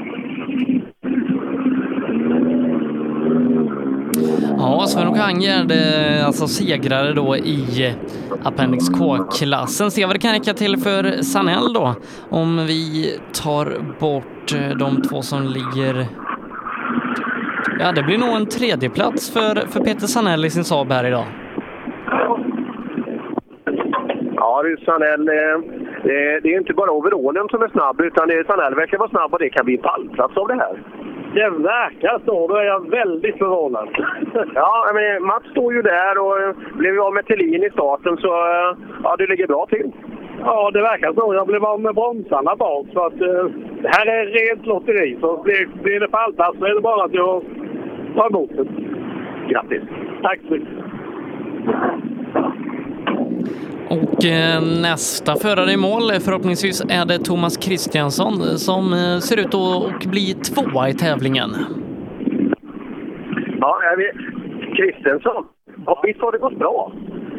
Ja, Sven-Åke Anger, eh, alltså segrare då i eh, Appendix K-klassen. Se vad det kan räcka till för Sanell då, om vi tar bort eh, de två som ligger... Ja, det blir nog en tredjeplats för, för Peter Sanell i sin Saab här idag.
Ja du Sanell, eh, eh, det är inte bara overallen som är snabb utan det- Sanell verkar vara snabb och det kan bli en pallplats av det här.
Det verkar så. Då är jag väldigt förvånad.
[laughs] Ja, men eh, Mats står ju där och eh, blev ju av med Thelin i starten så eh, ja, du ligger bra till.
Ja, det verkar så. Jag blev av med bromsarna bak. Så att, eh, det här är rent lotteri. Så blir, blir det pallplats så är det bara att jag tar emot det.
Grattis!
Tack så mycket.
Och eh, nästa förare i mål eh, förhoppningsvis är det Thomas Kristiansson eh, som eh, ser ut att att bli tvåa i tävlingen.
Ja, är vi... Kristensson, ja, visst har det gått bra?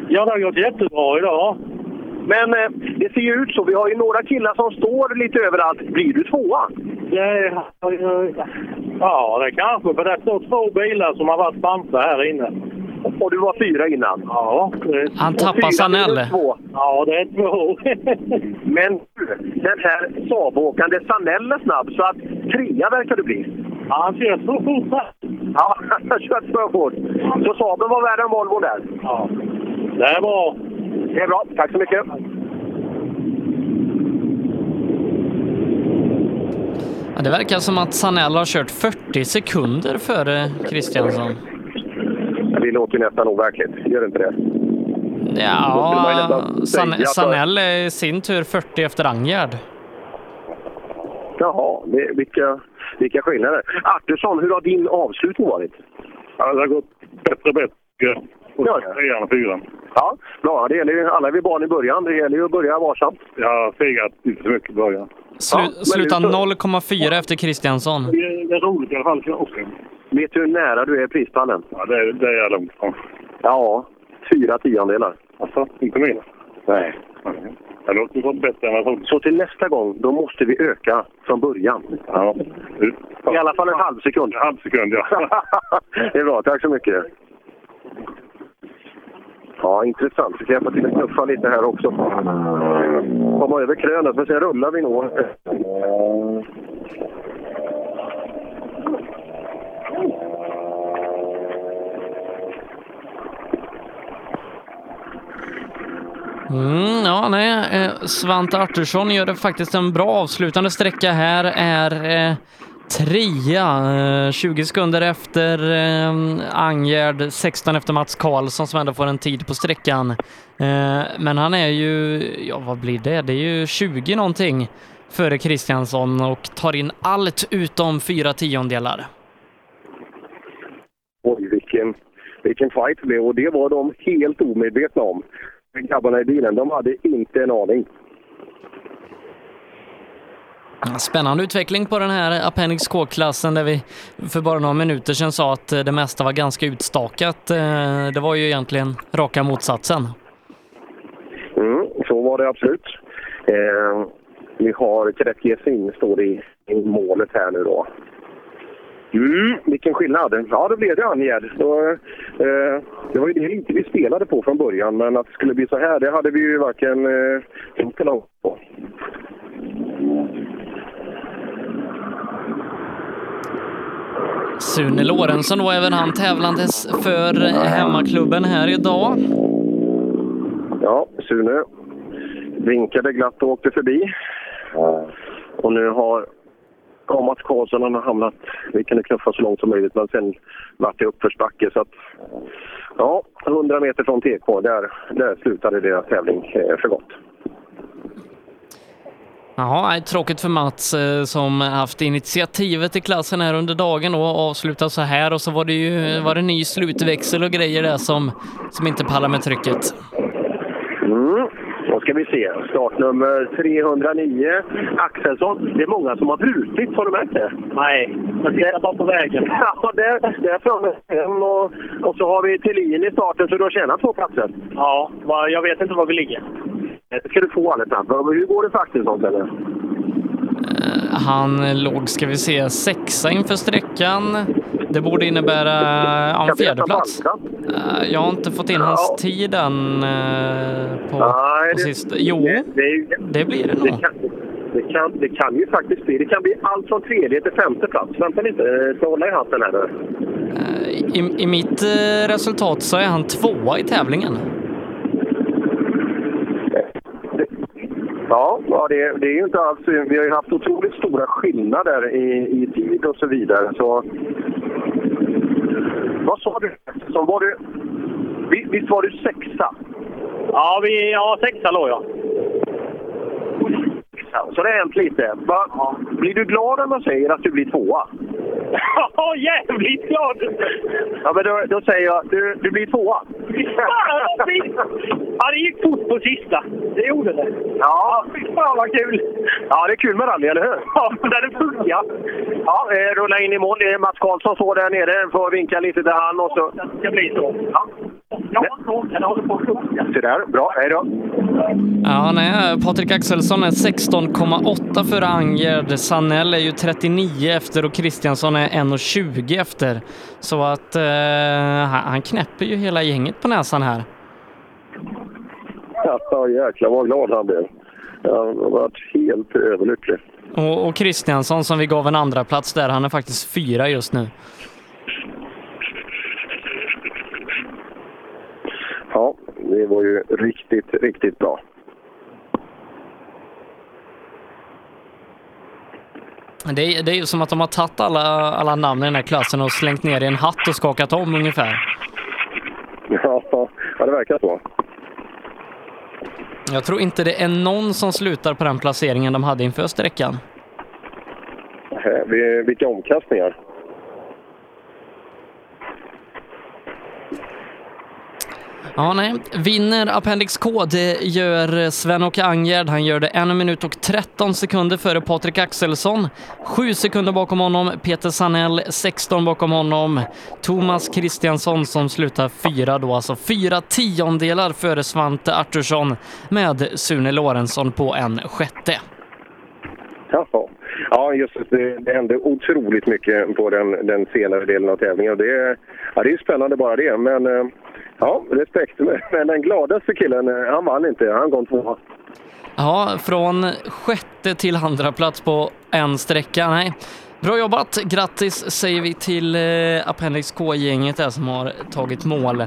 Ja, det har gått jättebra idag.
Men eh, det ser ju ut så. Vi har ju några killar som står lite överallt. Blir du tvåa?
Det, ja, det kanske. För det står två bilar som har varit framför här inne.
Och du var fyra innan.
Ja, det,
Han tappar
Fyra
Sanell.
minus två.
ja, det är två. [laughs]
Men du, den här Saab-åkande Sanell är snabb så att trea verkar du bli.
Han kör så fort här.
Ja, [laughs] han har kört för fort. Så Saaben var värre än Volvo där.
Ja, det är bra.
Det är bra. Tack så mycket.
Ja, det verkar som att Sanell har kört 40 sekunder före Kristiansson.
Det låter ju nästan overkligt. Gör inte det? skulle man ju
Ja,
nästan
San-
säga så.
Sanell är i sin tur 40 efter Angerd.
Jaha, det, vilka, vilka skillnader. Artursson, hur har din avslutning varit?
Ja, det har gått bättre och bättre. Och
Ja, ja.
trean och fyran.
Ja, bra. Det gäller ju, alla är vi barn i början. Det gäller ju att börja varsamt.
Jag har fegat inte så mycket i början.
Slu-
Ja, men
slutar
det är så.
0,4 efter Kristiansson.
Det är, det är roligt i alla fall. Också.
Vet du hur nära du är prispallen?
Ja, det, är, det är jag långt ifrån.
Ja, fyra tiondelar.
Alltså, inte mer?
Nej.
Det låter ju bättre än vad jag trodde.
Så till nästa gång, då måste vi öka från början.
Ja.
I alla fall en halv sekund.
En halv sekund, ja.
[laughs] det är bra, tack så mycket. Ja, intressant. Vi ska hjälpa till att knuffa lite här också. Komma över krönet, men sen rullar vi nog.
Mm, ja, nej. eh, Svante Artursson gör det faktiskt en bra avslutande sträcka här. Är eh, trea, eh, 20 sekunder efter eh, Angerd, 16 efter Mats Karlsson som ändå får en tid på sträckan. Eh, men han är ju, ja vad blir det? Det är ju 20 någonting före Kristiansson och tar in allt utom fyra tiondelar.
Oj, vilken, vilken fight det blev. Och det var de helt omedvetna om. Grabbarna i bilen, de hade inte en aning.
Spännande utveckling på den här Appendix K-klassen där vi för bara några minuter sedan sa att eh, det mesta var ganska utstakat. Eh, Det var ju egentligen raka motsatsen.
Mm, så var det absolut. Eh, vi har Kadett Gesin står i, i målet här nu då. Mm, vilken skillnad! Ja, då blev det Angerd. Då, eh, det var ju det inte vi spelade på från början, men att det skulle bli så här, det hade vi ju varken eh, tänkt eller hoppats på.
Sune Lorentzon då, även han tävlandes för hemmaklubben här idag.
Ja, Sune vinkade glatt och åkte förbi. Och nu har ja, Mats Karlsson han har hamnat... Vi kunde knuffa så långt som möjligt, men sen vart det uppförsbacke. Så att, ja, 100 meter från TK, där, där slutade deras tävling eh, för gott.
Jaha, nej, tråkigt för Mats eh, som haft initiativet i klassen här under dagen då och avslutar så här och så var det ju var det ny slutväxel och grejer där som, som inte pallar med trycket.
Mm. Då ska vi se. Startnummer 309, Axelsson. Det är många som har brutit, har du märkt det?
Nej, jag tittar bara på vägen.
[laughs] Ja, där, där framme hem och, och så har vi Thelin i starten så du har tjänat två platser.
Ja, va- jag vet inte var vi ligger.
Det ska du få alldeles snabbt. Hur går det för Axelsson, Pelle?
Han eh, låg, ska vi se, sexa inför sträckan. Det borde innebära ja, en
Kan vi äta
fjärdeplats.
balkan?
Eh, Jag har inte fått in hans
Ja.
tid än eh, på,
Nej,
på
det-
sist. Jo,
Det, det, är ju-
det blir det nog.
det, kan, det, kan, det kan ju faktiskt bli. Det kan bli allt från tredje till femte plats. Vänta lite, jag ska hålla i hatten här nu.
Eh, I, I mitt eh, resultat så är han tvåa i tävlingen.
Ja, ja det, det är ju inte alls... Vi har ju haft otroligt stora skillnader i, i tid och så vidare. Så... Vad sa du? Så var du vi- visst var du sexa?
Ja, vi, ja sexa låg jag.
Så det har hänt lite. Va? Blir du glad när man säger att du blir tvåa?
[laughs] Ja, jävligt glad!
Ja, men då, då säger jag du, du blir tvåa.
Fan vad fint! Ja, det gick fort på sista. Det gjorde det.
Ja, fy fan vad kul! Ja, det är kul med rally, eller hur? Ja, när det funkar. Ja, eh, rulla in i mål. Det är Mats Karlsson står där nere. Får vinka lite till han och så...
Det ska bli så. Ja. Ja, så. Den håller på att sjunka.
Se där, bra. Hej då.
Ja, nej, Patrik Axelsson är 16,8 före Angerd. Sanell är ju 39 efter och Kristiansson är 1,20 efter. Så att eh, han han knäpper ju hela gänget på näsan här.
Ja, jäklar vad glad han blev. Han har varit helt överlycklig.
Och, och Kristiansson som vi gav en andra plats där, han är faktiskt fyra just nu.
Ja, det var ju riktigt, riktigt bra.
Det är, det är ju som att de har tagit alla, alla namn i den här klassen och slängt ner i en hatt och skakat om ungefär.
Ja, det verkar så.
Jag tror inte det är någon som slutar på den placeringen de hade inför sträckan.
Vi- Vilka omkastningar.
Ja, nej. Vinner Appendix K, det gör Sven-Åke Angerd. Han gör det 1 minut och 13 sekunder före Patrik Axelsson. 7 sekunder bakom honom, Peter Sanell 16 bakom honom. Thomas Kristiansson som slutar fyra då, alltså fyra tiondelar före Svante Artursson med Sune Lorentzon på en sjätte.
Jaha. Ja, just det. det. Det hände otroligt mycket på den, den senare delen av tävlingen. Och det, ja, det är ju spännande bara det. Men eh, ja, respekt. [laughs] Men den gladaste killen, eh, han vann inte. Han kom tvåa.
Ja, från sjätte till andra plats på en sträcka. Nej. Bra jobbat! Grattis säger vi till eh, Appendix K-gänget där som har tagit mål.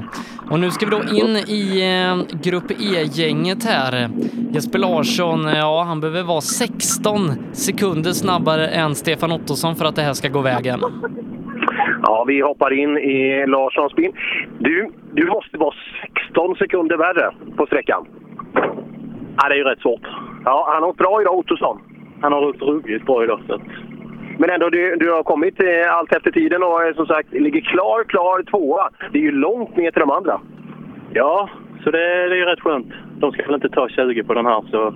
Och nu ska vi då in i eh, Grupp E-gänget här. Jesper Larsson, eh, ja han behöver vara 16 sekunder snabbare än Stefan Ottosson för att det här ska gå vägen.
Ja, vi hoppar in i Larssons bil. Du, du måste vara 16 sekunder värre på sträckan.
Ja, det är ju rätt svårt.
Ja, han har åkt bra idag, Ottosson.
Han har åkt ruggigt bra idag. Så. att-
Men ändå, du, du har kommit eh, allt efter tiden och eh, som sagt ligger klar, klar tvåa. Det är ju långt ner till de andra.
Ja, så det, det är ju rätt skönt. De ska väl inte ta 20 på den här, så...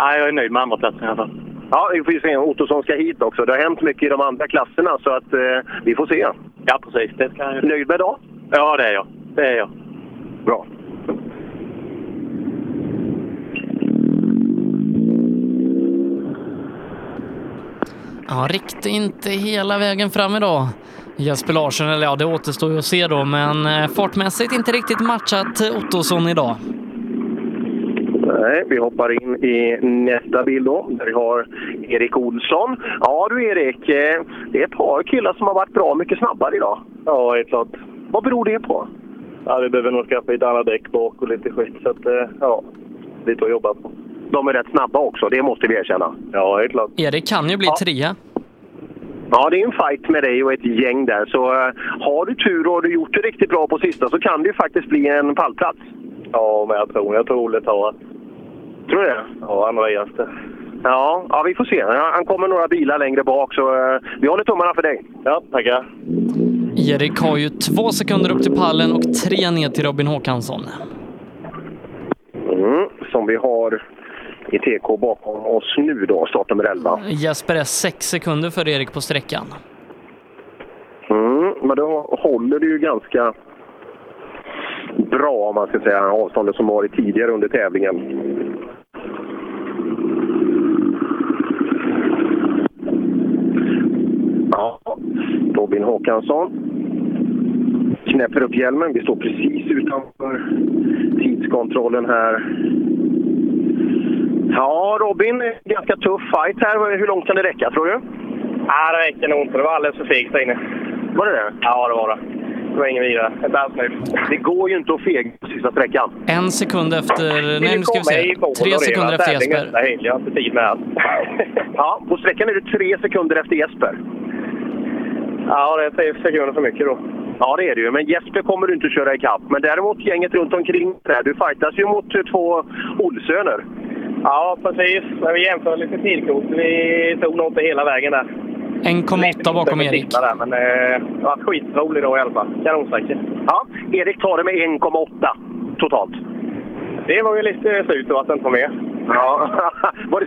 Nej, jag är nöjd med andra platsen i alla fall.
Ja, vi får ju se. Ottosson ska hit också. Det har hänt mycket i de andra klasserna, så att eh, vi får se.
Ja, precis. Det ska jag...
Nöjd med idag?
Ja, det är jag. Det är jag.
Bra.
Ja, riktigt inte hela vägen fram idag. Jesper Larsson, eller ja det återstår ju att se då, men eh, fartmässigt inte riktigt matchat eh, Ottosson idag.
Nej, vi hoppar in i nästa bild då, där vi har Erik Olsson. Ja du Erik, eh, det är ett par killar som har varit bra mycket snabbare idag.
Ja, helt klart.
Vad beror det på?
Ja, vi behöver nog skaffa lite andra däck bak och lite skit. Så att, eh, ja, lite att jobba på.
De är rätt snabba också, det måste vi erkänna.
Ja, helt klart.
Erik kan ju bli trea.
Ja, det är en fight med dig och ett gäng där. Så eh, har du tur och har du gjort det riktigt bra på sista så kan det ju faktiskt bli en pallplats.
Ja, men jag tror, jag tror Olle tar att
Tror du det?
ja, han reas det.
Ja, ja, vi får se. Han han kommer några bilar längre bak så eh, vi håller tummarna för dig.
Ja, tackar.
Erik har ju två sekunder upp till pallen och tre ner till Robin Håkansson.
Mm. som vi har i TK bakom oss nu då, startnummer 11.
Jesper är sex sekunder före Erik på sträckan.
Mm, men då håller det ju ganska bra, om man ska säga, avståndet som varit tidigare under tävlingen. Ja, Robin Håkansson knäpper upp hjälmen. Vi står precis utanför tidskontrollen här. Ja, Robin, ganska tuff fight här. Hur långt kan det räcka, tror du?
Nej, det räcker nog inte. Det var alldeles för fegt där inne.
Var det det?
Ja, det var det. Det var ingen vidare. Inte alls nöjd.
Det går ju inte att fega på sista sträckan.
En sekund efter... Nej, nu ska vi se. Tre sekunder efter Jesper.
Nej, jag har inte tid med allt.
[laughs] Ja, på sträckan är du tre sekunder efter Jesper.
Ja, det är tre sekunder för mycket då.
Ja, det är det ju. Men Jesper kommer du inte köra ikapp. Men däremot gänget runt omkring där. Du fightas ju mot eh, två Olsöner.
Ja, precis. Men vi jämför lite tidkort. Vi tog nog inte hela vägen där.
1,8 bakom Erik.
Där, men eh, det var skitrolig då i alla fall. Kanonsträcka.
Ja, Erik tar det med 1,8 totalt.
Det var ju lite surt då att den inte var med.
Ja, [laughs] Var det...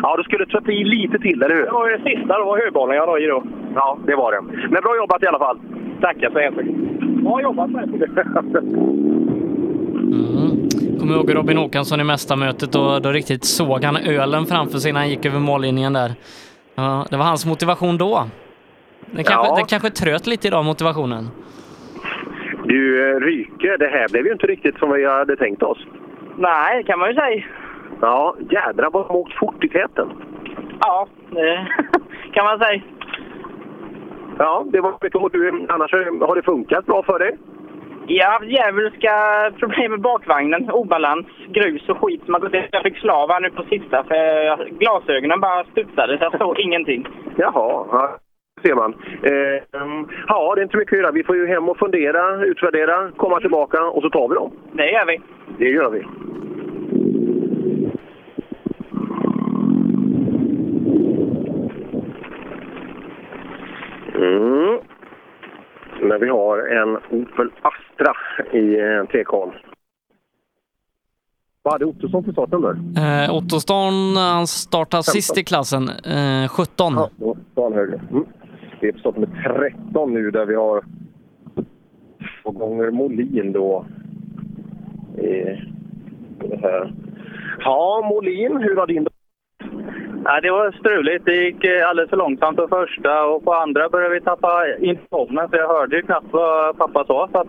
[laughs] ja du skulle tvätta i lite till, eller hur?
Det var ju det sista då, högbollen jag la i då.
Ja, det var det. Men bra jobbat i alla fall.
Tackar så hemskt mycket. Bra jobbat
Mm. Kommer ihåg Robin Åkansson i mästarmötet och då riktigt såg han ölen framför sig när han gick över mållinjen där. Ja, det var hans motivation då. Den kanske,
Ja.
den kanske tröt lite idag, motivationen.
[laughs] Du, eh, Ryke, det här blev ju inte riktigt som vi hade tänkt oss.
Nej, det kan man ju säga.
Ja, jädrar vad de har åkt fort i täten.
Ja, det kan man säga.
Ja, det var mycket hårt. Du, Annars eh, har det funkat bra för dig.
Jag har haft djävulska problem med bakvagnen. Obalans, grus och skit som har gått in. Jag fick slav här nu på sista för jag- glasögonen bara studsade så jag såg ingenting.
Jaha, ja, ser man. Eh, mm, ja, det är inte mycket att göra. Vi får ju hem och fundera, utvärdera, komma tillbaka och så tar vi dem.
Det gör vi.
Det gör vi. Mm. Men vi har en Opel Astra i eh, TK'n. Vad hade Ottosson för startnummer?
Eh, Ottosson, han startade sist i klassen, eh, 17.
Ja, då tar han högre. Mm. Vi är på startnummer 13 nu där vi har två gånger Molin då. I i det här. Ja, Molin, hur har din
Nej, det var struligt. Det gick eh, alldeles för långsamt på första och på andra började vi tappa informationen så jag hörde ju knappt vad pappa sa. Så att,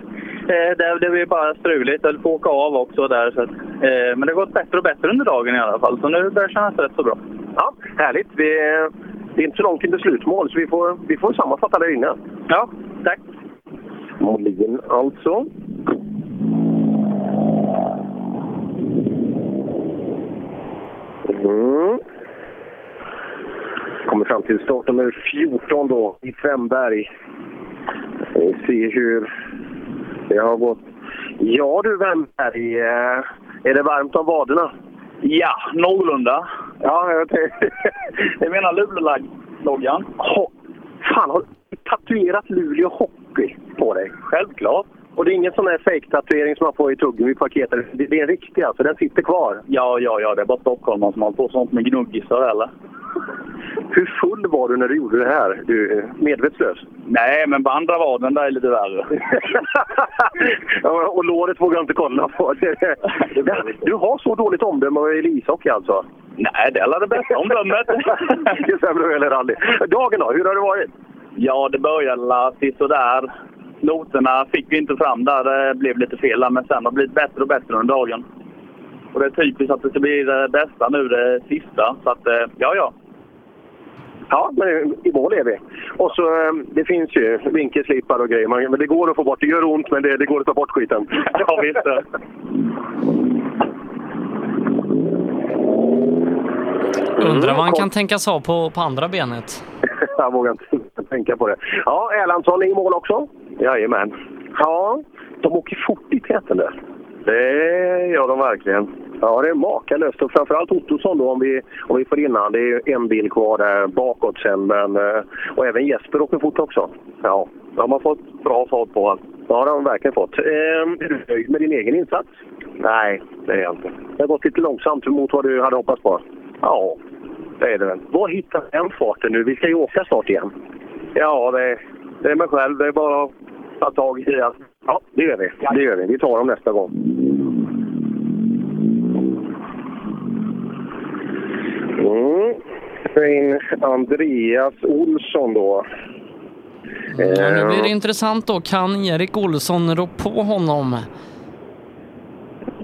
eh, det det blev bara struligt. Jag höll på att åka av också där. Så att, eh, men det har gått bättre och bättre under dagen i alla fall. Så nu börjar det kännas rätt så bra.
Ja, härligt. Vi, det är inte så långt till slutmål, så vi får, vi får sammanfatta där inne.
Ja, tack.
Molin alltså. Mm. Kommer fram till startnummer 14 då, i Femberg. Vi ser hur det har gått. Ja du Wemberg, eh, är det varmt om vaderna?
Ja, någorlunda.
Ja, jag tänkte... [laughs]
Jag menar Luleå-loggan.
Ho- Fan, har du tatuerat Luleå Hockey på dig?
Självklart.
Och det är ingen sån där fake-tatuering som man får i tuggen vid paketet. Det, det är en riktig alltså, den sitter kvar.
Ja, ja, ja. Det är bara stockholmare som håller på sånt med gnuggisar eller?
Hur full var du när du gjorde det här? Du, eh, medvetslös?
Nej, men på andra vaden där är lite värre.
[laughs] Ja, och låret vågar jag inte kolla på. Du har så dåligt omdöme i ishockey alltså?
Nej, det är alla det bästa omdömet.
Det stämmer väl eller aldrig. Dagen då, hur har det varit?
Ja, det började la sådär. Noterna fick vi inte fram där. Det blev lite fel där, men sen har det blivit bättre och bättre under dagen. Och det är typiskt att det ska bli det bästa nu, det sista. Så att, eh, ja, ja.
Ja, men i mål är vi. Och så, eh, det finns ju vinkelslipar och grejer. Man, men det går att få bort. Det gör ont, men det, det går att ta bort skiten.
Ja, visst.
Mm.
Undrar vad han
kom-
kan tänkas ha på, på andra benet.
[laughs] Jag vågar inte tänka på det. Ja, Erlandsson är i mål också. Jajamän. Ja, de åker fort i täten där. Det gör de verkligen. Ja, det är makalöst. Och framförallt Ottosson då, om vi, om vi får innan. Det är ju en bil kvar där bakåt sen. Men, eh, och även Jesper åker fort också. Ja, de har fått bra fart på honom. Ja, det har de verkligen fått. Ehm, är du nöjd med din egen insats? Nej, det är jag inte. Det har gått lite långsamt mot vad du hade hoppats på? Ja, det är det väl. Var hittar den farten nu? Vi ska ju åka snart igen. Ja, det, det är mig själv. Det är bara att ta tag i det. Ja, det gör vi. Det gör vi. Vi tar dem nästa gång. Mm. För in Andreas Olsson då.
Ja, nu blir det
Eh,
intressant då. Kan Erik Olsson rå på honom?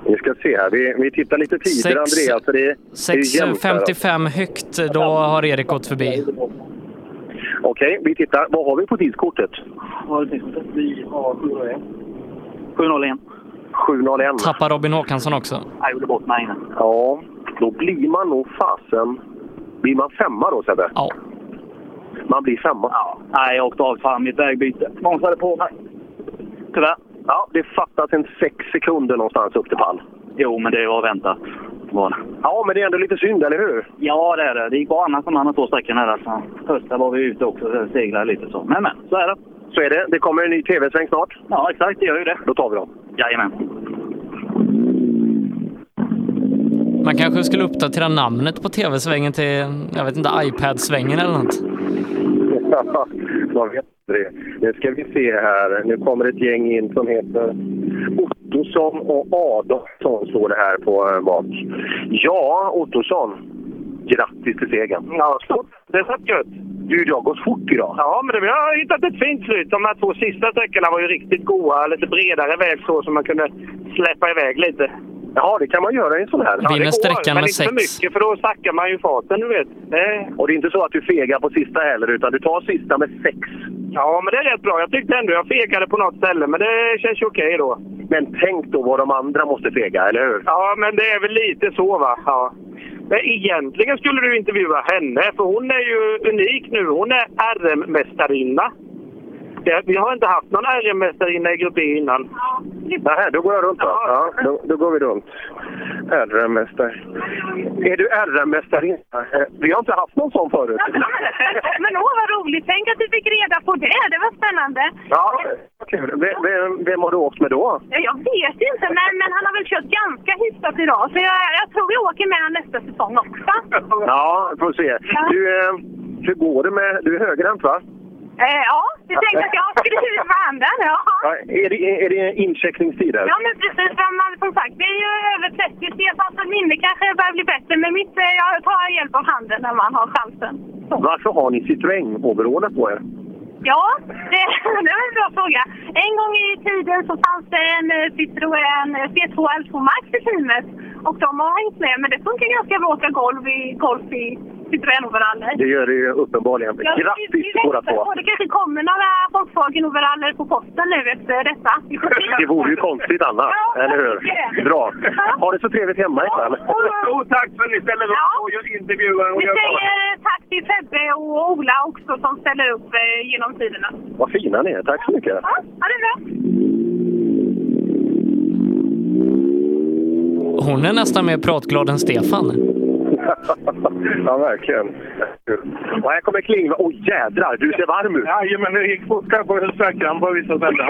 Vi ska se här. Vi, vi tittar lite tider,
Sex-
Andreas. För det, är- det är ju jämnt här.
6.55 högt, då har Erik gått förbi.
Okej, vi tittar. Vad har vi på tidskortet?
Vad har du tänkt på? Vi har 701. 701.
7.01.
Tappar Robin Håkansson också.
Jag gjorde bort mig innan.
Ja, då blir man nog fasen... Blir man femma då, Sebbe?
Ja.
Man blir femma.
Ja, nej, jag åkte av fan mitt vägbyte. Måns hade på mig. Tyvärr.
Ja, det fattas en sex sekunder någonstans upp till pall.
Jo, men det var väntat. Var det.
Ja, men det är ändå lite synd, eller hur?
Ja, det är det. Det gick bara annars de andra två sträckorna. där, Alltså. Första var vi ute också, så det seglade lite så. Men, men, så är det.
Så är det. Det kommer en ny tv-sväng snart.
Ja, exakt. Det gör ju det.
Då tar vi dem.
Jajamän.
Man kanske skulle uppdatera namnet på tv-svängen till, jag vet inte, iPad-svängen eller något.
Ja, [laughs] man vet det. Nu ska vi se här. Nu kommer ett gäng in som heter Ottosson och Adolfsson, står det här på eh, bak. Ja, Ottosson. Grattis till segern.
Ja, stort. Det satt gött.
Du, det har gått fort idag.
Ja, men det, vi har hittat ett fint slut. De här två sista sträckorna var ju riktigt goa. Lite bredare väg så, så man kunde släppa iväg lite.
Ja, det kan man göra i en sån här.
Ja, det
Vinner
går,
sträckan
men
med
inte för
sex.
mycket, för då sackar man ju farten, du vet. Eh,
Och det är inte så att du fegar på sista heller, utan du tar sista med sex.
ja, men det är rätt bra. Jag tyckte ändå jag fegade på något ställe, men det känns ju okej då.
Men tänk då vad de andra måste fega, eller hur?
Ja, men det är väl lite så, va? Ja. Men egentligen skulle du intervjua henne, för hon är ju unik nu. Hon är RM-mästarinna. Det- Vi har inte haft någon RM-mästarinna i Grupp E innan.
Nähä, då går jag runt då. Ja,
Ja.
då, då går vi runt. RM-mästare. Är du RM-mästarinna? Eh, Vi har inte haft någon sån [laughs] förut.
Men åh vad roligt! Tänk att du fick reda på det! Det var spännande!
Ja, vad kul. Vem, vem, vem har du åkt med då?
Ja, Jag vet inte, men, men han har väl kört ganska hyfsat idag. Så jag, jag tror vi åker med honom nästa säsong också.
[laughs] Ja, får se. Du, eh, hur går det med... Du är högerhänt, va?
Eh, ja, det tänkte att jag skulle skriva på handen. Ja.
Ja, är, det, är det incheckningstider?
ja, men precis. men Man, som sagt, det är ju över 30. Stefans minne kanske börjar bli bättre, men mitt, eh, jag tar hjälp av handen när man har chansen. Så.
Varför har ni Citroën-overallet på er?
Ja, det, [laughs] det var en bra fråga. En gång i tiden så fanns det en eh, Citroën C2 L2 Max i teamet och de har hängt med, men det funkar ganska bra att åka golf i, golf i Citroën-overaller.
Det gör det ju uppenbarligen.
Ja,
Grattis
vi- vi
båda
väntar
två!
på- Det kanske kommer några Volkswagen-overaller på posten nu efter detta. Vi får se.
Det vore ju konstigt annars,
Ja,
eller hur?
det är det.
Bra. Ha det så trevligt hemma ikväll.
Stort tack för att ni ställer
Ja.
upp och gör intervjuer. och
Vi
gör
säger tack till Sebbe och Ola också som ställer upp eh, genom tiderna.
Vad fina ni är. Tack så
Mm.
mycket.
Ja, ja det är bra.
Hon är nästan mer pratglad än Stefan.
ja, verkligen. Och här kommer Klingvall. Åh jädrar, du ser varm ut!
Jajamän, det gick fort här på sträckan på vissa ställen.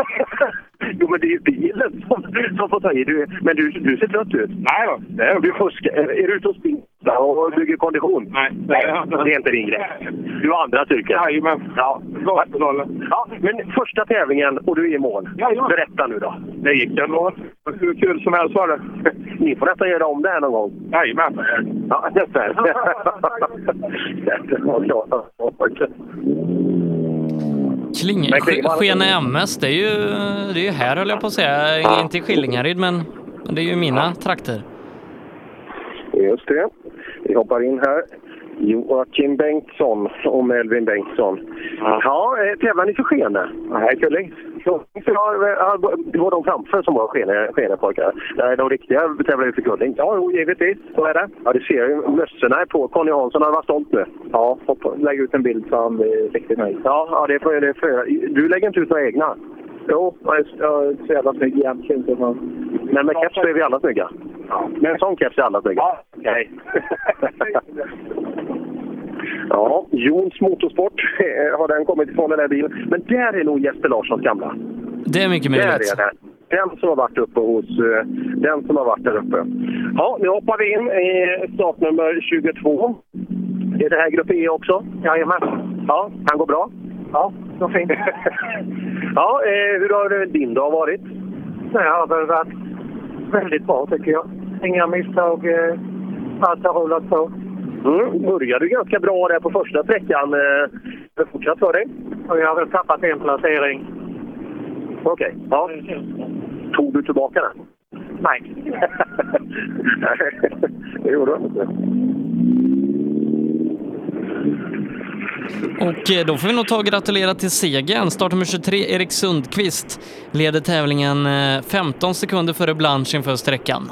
jo, men det är ju bilen som, som får ta i. Du, men du, du ser trött ut.
Nej då.
Det är- Du fuskar. Är du ute och spintar och bygger kondition?
Nej.
Det är inte din grej. Du har andra styrkor.
Jajamän.
Ja.
Glasfinalen.
ja, men första tävlingen och du är i mål.
Jajamän.
Berätta nu då.
Det gick ju ändå. Hur kul som helst var det.
[laughs] Ni får nästan göra om det här någon gång.
Jajamän.
Ja,
[laughs]
[laughs] nästan. Det var klart.
Kling...
Men Klingvall-
Skene MS, det är, ju, det är ju här höll jag på att säga. Inte i Skillingaryd, men men det är ju mina trakter.
Just det. Vi hoppar in här. Joakim Bengtsson och Melvin Bengtsson. Ja, eh, tävlar ni för Skene? Nej, Kulling. Ja, ja, Det var de framför som var Skene- Skene-pojkar. Nej, de riktiga tävlar ju för Kulling. Ja, jo, givetvis. Så är det. Ja, du ser ju. Mössorna är på. Conny Hansson hade varit stolt nu. Ja, lägg ut en bild så han blir riktigt nöjd. Ja, ja det får det får jag. Du lägger inte ut några egna? Jo, jag är så jävla snygg egentligen. Men med keps är vi alla snygga. Med en sån keps är alla snygga. Ja,
okej.
Ja, Jons Motorsport eh, har den kommit ifrån den här bilen. Men där är nog Jesper Larssons gamla.
Det är mycket möjligt.
Där är den. Den som har varit uppe hos... eh, Den som har varit där uppe. Ja, nu hoppar vi in i startnummer 22. Är det här grupp E också? Jajamän. Ja, han går bra? Ja, vad fint. [laughs] ja, eh, hur har din dag varit?
Det har väl varit väldigt bra tycker jag. Inga misstag. eh, Allt har rullat på.
Mm, började ju ganska bra där på första sträckan. Eh, Har det fortsatt för dig?
Och jag har väl tappat en placering.
Okej. Ja. Tog du tillbaka den?
Nej.
[laughs] Nej, det gjorde han inte.
Och eh, då får vi nog ta och gratulera till segern. Startnummer 23, Erik Sundqvist, leder tävlingen eh, 15 sekunder före Blanche inför sträckan.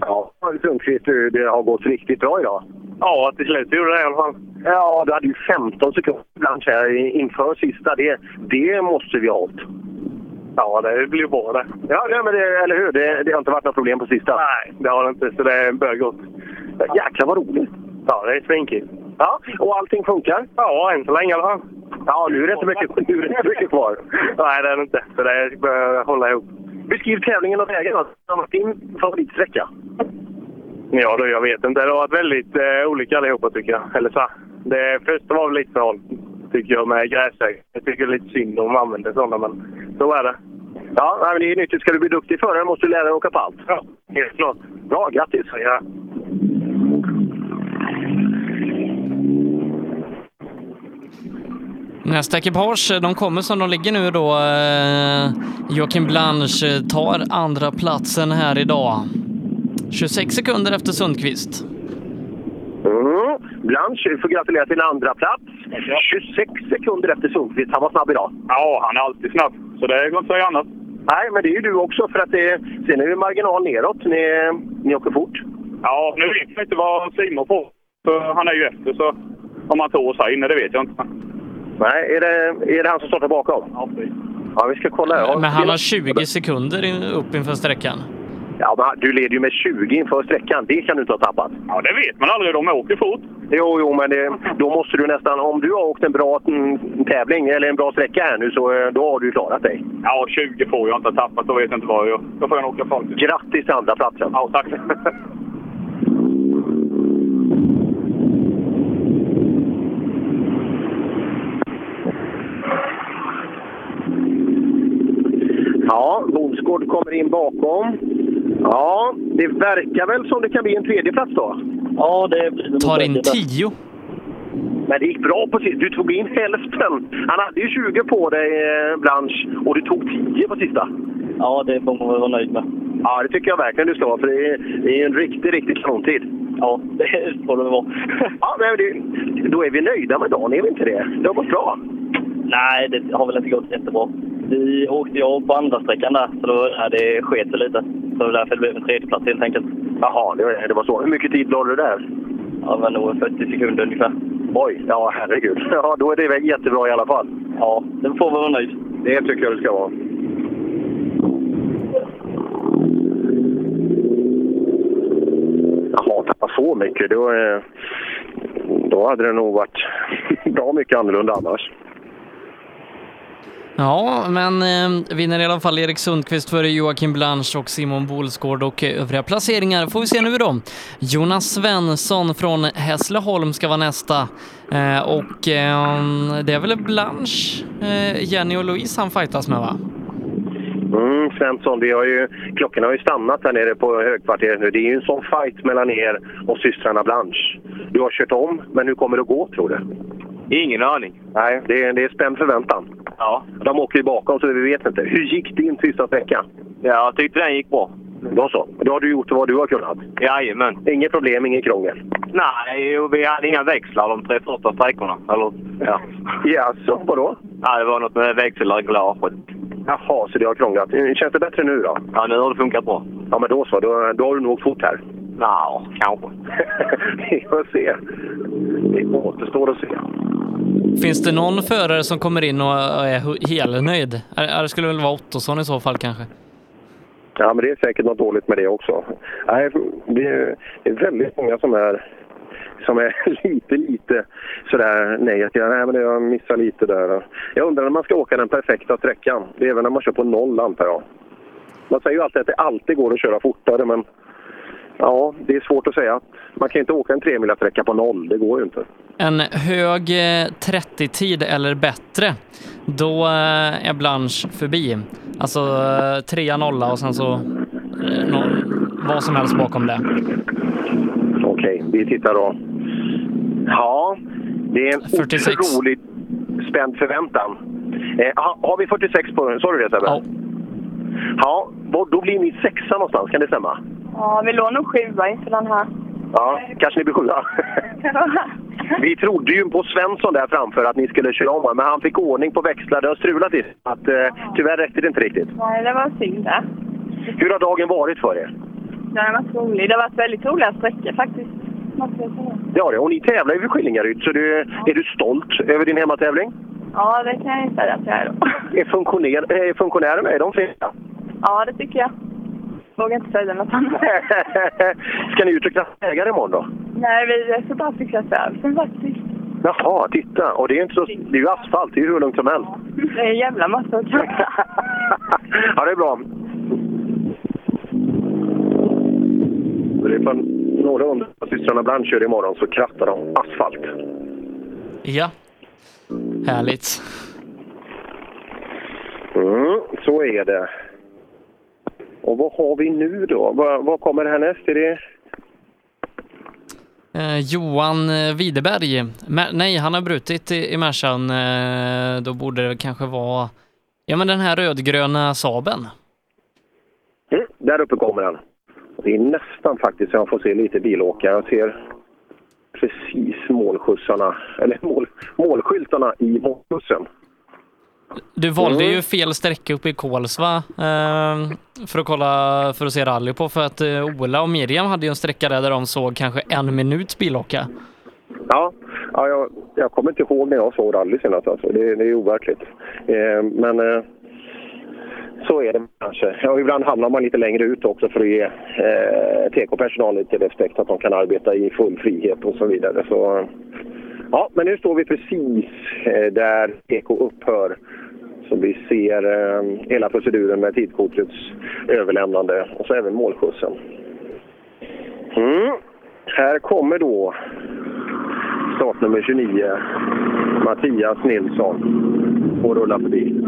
Ja, Sundqvist, du, Eh, det har gått riktigt bra idag.
Ja, till slut gjorde det i alla fall.
Ja, du hade ju 15 sekunder ibland så här i- inför sista. Det, det måste vi ha hållit.
Ja, det blir bra det.
Ja, nej, men det, eller hur? Det, det har inte varit några problem på sista.
Nej, det har det inte, så det bör gå.
Jäklar vad roligt!
Ja, det är svinkigt.
Ja, och allting funkar?
Ja, än så länge i alla fall.
Ja, nu är det inte mycket, nu är det inte mycket kvar.
Nej, det är det inte, så det bör hålla ihop.
Beskriv tävlingen och vägen. då. Vad var Din favoritsträcka?
Ja, du, jag vet inte. Det har varit väldigt eh, olika allihopa, tycker jag. Eller så. här. Det första var väl lite för hårt, tycker jag, med gräsägg. Jag tycker det är lite synd om man använder sådana, men så är det.
Ja, nej, men det är nyttigt. Ska du bli duktig förare måste du lära dig åka på allt.
Ja, helt klart.
Bra, grattis!
Ja.
Nästa ekipage, eh, de kommer som de ligger nu då. Eh, Joakim Blanche eh, tar andra platsen här idag. 26 sekunder efter Sundqvist.
Mm. Blanche, får gratulera till en andra plats. 26 sekunder efter Sundqvist. Han var snabb idag.
ja, han är alltid snabb, så det går inte att säga annat.
Nej, men det är ju du också. För att det, sen är det marginal neråt. Ni, ni åker fort.
Ja, nu vet jag inte vad Simon får, för han är ju efter, så om han tog sig in, det vet jag inte.
Nej, är det, är det han som startar bakom?
Ja, precis.
Ja, vi ska kolla. Ja,
Men han har 20 sekunder in- upp inför sträckan.
Ja, men du leder ju med 20 inför sträckan. Det kan du inte ha tappat.
ja, det vet man aldrig. De åker fort.
Jo, jo, men det, då måste du nästan... Om du har åkt en bra mm, tävling eller en bra sträcka här nu, så eh, då har du klarat dig.
Ja, 20 får jag inte tappa, då vet jag inte vad jag gör. Då får jag nog åka folk.
Grattis till andra platsen.
Ja, tack.
Ja, Bonsgård kommer in bakom. Ja, det verkar väl som det kan bli en tredje plats då.
Ja, det blir det.
Tar in 10.
Men det gick bra på sist. Du tog in hälften. Han hade ju 20 på dig, eh, Blanche, och du tog 10 på sista.
Ja, det får man väl vara nöjd med.
Ja, det tycker jag verkligen du ska vara, för det är, det är en riktig, riktig kanontid.
Ja, [laughs] det får det väl vara.
[laughs] Ja, men det, då är vi nöjda med dagen, är vi inte det? Det har gått bra.
Nej, det har väl inte gått jättebra. Vi åkte jag på andra sträckan där, så då, ja, det sket sig lite. Så det var därför det blev en tredjeplats helt enkelt.
Jaha, det, det var så. Hur mycket tid lade du där?
Ja, men nog 40 sekunder ungefär.
Oj, ja herregud. [laughs] Ja, då är det väl jättebra i alla fall.
Ja, det får vi vara nöjd.
Det tycker jag det ska vara. Jaha, tappa så mycket. Då, eh, då hade det nog varit [laughs] bra mycket annorlunda annars.
Ja, men eh, vinner i alla fall Erik Sundqvist före Joakim Blanche och Simon Bolsgård och eh, övriga placeringar får vi se nu då. Jonas Svensson från Hässleholm ska vara nästa eh, och eh, det är väl Blanche, eh, Jenny och Louise han fightas med va?
Mm, Svensson, vi har ju, klockan har ju stannat här nere på högkvarteret nu. Det är ju en sån fight mellan er och systrarna Blanche. Du har kört om, men hur kommer det att gå tror du?
Ingen aning.
Nej, det är, det är spänd förväntan.
Ja.
De åker ju bakom så vi vet inte. Hur gick din sista vecka?
Jag tyckte den gick bra.
Då så. Då har du gjort vad du har kunnat.
Jajamän.
Inget problem, inget krångel.
Nej, och vi hade inga växlar de tre första sträckorna. Eller, ja.
Jaså, vadå?
ja, det var något med växelreglaget.
Jaha, så det har krånglat. Eh, Känns det bättre nu då?
Ja, nu har det funkat bra.
Ja, men då så. Då, då har du nog fort här. [laughs]
Nja, kanske.
Vi får se. Det återstår att se.
Finns det någon förare som kommer in och är hu- helnöjd? Eh, Det skulle väl vara Ottosson i så fall kanske?
Ja, men det är säkert något dåligt med det också. Nej, det är det är väldigt många som är, som är [laughs] lite, lite sådär negativa. Nej, men jag missar lite där. Jag undrar när man ska åka den perfekta sträckan. Det är väl när man kör på noll, antar jag. Man säger ju alltid att det alltid går att köra fortare, men ja, det är svårt att säga. Man kan ju inte åka en tremilasträcka på noll. Det går ju inte.
En hög eh, 30-tid eller bättre, då eh, är Blanche förbi. Alltså eh, trea, nolla och sen så eh, nå- vad som helst bakom det.
Okej, vi tittar då. Ja, det är en
46.
otroligt spänd förväntan. Eh, ha, har vi 46 på Sa du det Sebbe?
Ja.
Ja, då- då blir ni sexa någonstans, kan det stämma?
Ja, vi låg nog sjua inför den [laughs] här.
Ja, kanske ni blir sjua. Vi trodde ju på Svensson där framför att ni skulle köra om honom, men han fick ordning på växlar. Det har strulat i att eh, Tyvärr räckte det inte riktigt.
Nej, det var synd det.
Hur har dagen varit för er?
Det har varit roligt. Det har varit väldigt roliga sträckor faktiskt. måste jag säga.
Det har det. Och ni tävlar ju vid Skillingaryd, så du, är du stolt över din hemmatävling?
Ja, det kan jag säga att jag är då. [laughs]
Är funktionär, eh, funktionärerna, är de fina?
Ja, det tycker jag. Vågar inte säga något [laughs] annat.
Ska ni ut och klassa ägare imorgon då?
Nej, vi är så bra fick jag över faktiskt.
Jaha, titta. Och det är, inte så, det är ju asfalt, det är ju hur lugnt som helst. [laughs]
Det är en jävla massa att göra.
Ja, det är bra. Det är fan några hundra systrarna Blanche kör imorgon så krattar de asfalt.
Ja. Härligt.
Mm, så är det. Och vad har vi nu då? Vad, vad kommer härnäst? Är det...
Eh, Johan eh, Widerberg. Mä- nej, han har brutit i, i Mercan. Eh, då borde det kanske vara ja, men den här rödgröna Saben.
Mm, där uppe kommer han. Det är nästan faktiskt så jag får se lite bilåkare. Jag ser precis målskjutsarna, eller mål, målskyltarna i målskjutsen.
Du valde
Mm.
ju fel sträcka uppe i Kolsva eh, för att kolla för att se rally på för att eh, Ola och Miriam hade ju en sträcka där, där de såg kanske en minuts bilåka.
Ja, ja jag, jag kommer inte ihåg när jag såg rally senast. Alltså. Det, det är overkligt. Eh, men eh, så är det kanske. Ja, ibland hamnar man lite längre ut också för att ge eh, TK-personalen lite respekt att de kan arbeta i full frihet och så vidare. Så, eh, ja, men nu står vi precis eh, där TK upphör. Så vi ser eh, hela proceduren med tidkortets överlämnande och så även målskjutsen. Mm. Här kommer då startnummer 29, Mattias Nilsson, och rulla förbi. [laughs]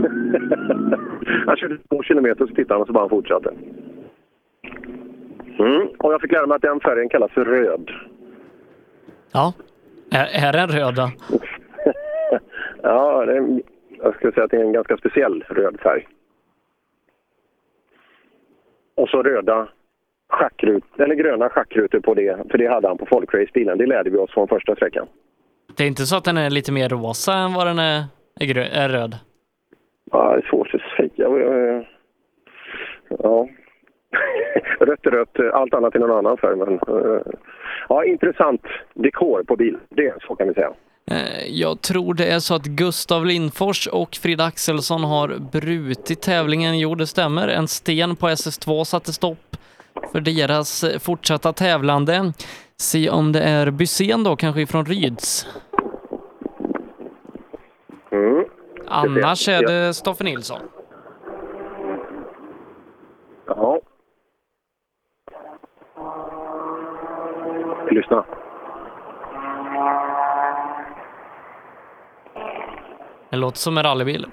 han körde två kilometer så tittade han och så bara han fortsatte. Mm. Och jag fick lära mig att den färgen kallas för röd.
Ja, är, är den röda?
[laughs] ja, det är, en- jag skulle säga att det är en ganska speciell röd färg. Och så röda schackrut, eller gröna schackrutor på det, för det hade han på folkracebilen. Det lärde vi oss från första sträckan.
Det är inte så att den är lite mer rosa än vad den är, är, grö- är röd?
Ja, det är svårt att säga. Eh, Ja. [laughs] Rött är rött, allt annat är någon annan färg. Men, eh, ja, intressant dekor på bil, det så kan vi säga.
Eh, Jag tror det är så att Gustav Lindfors och Frida Axelsson har brutit tävlingen. Jo, det stämmer. En sten på SS2 satte stopp för deras eh, fortsatta tävlande. Se om det är Bysén då, kanske ifrån Ryds.
Mm.
Annars är
Ja.
det Stoffe Nilsson.
Ja. Lyssna. [laughs]
Det låter som en rallybil.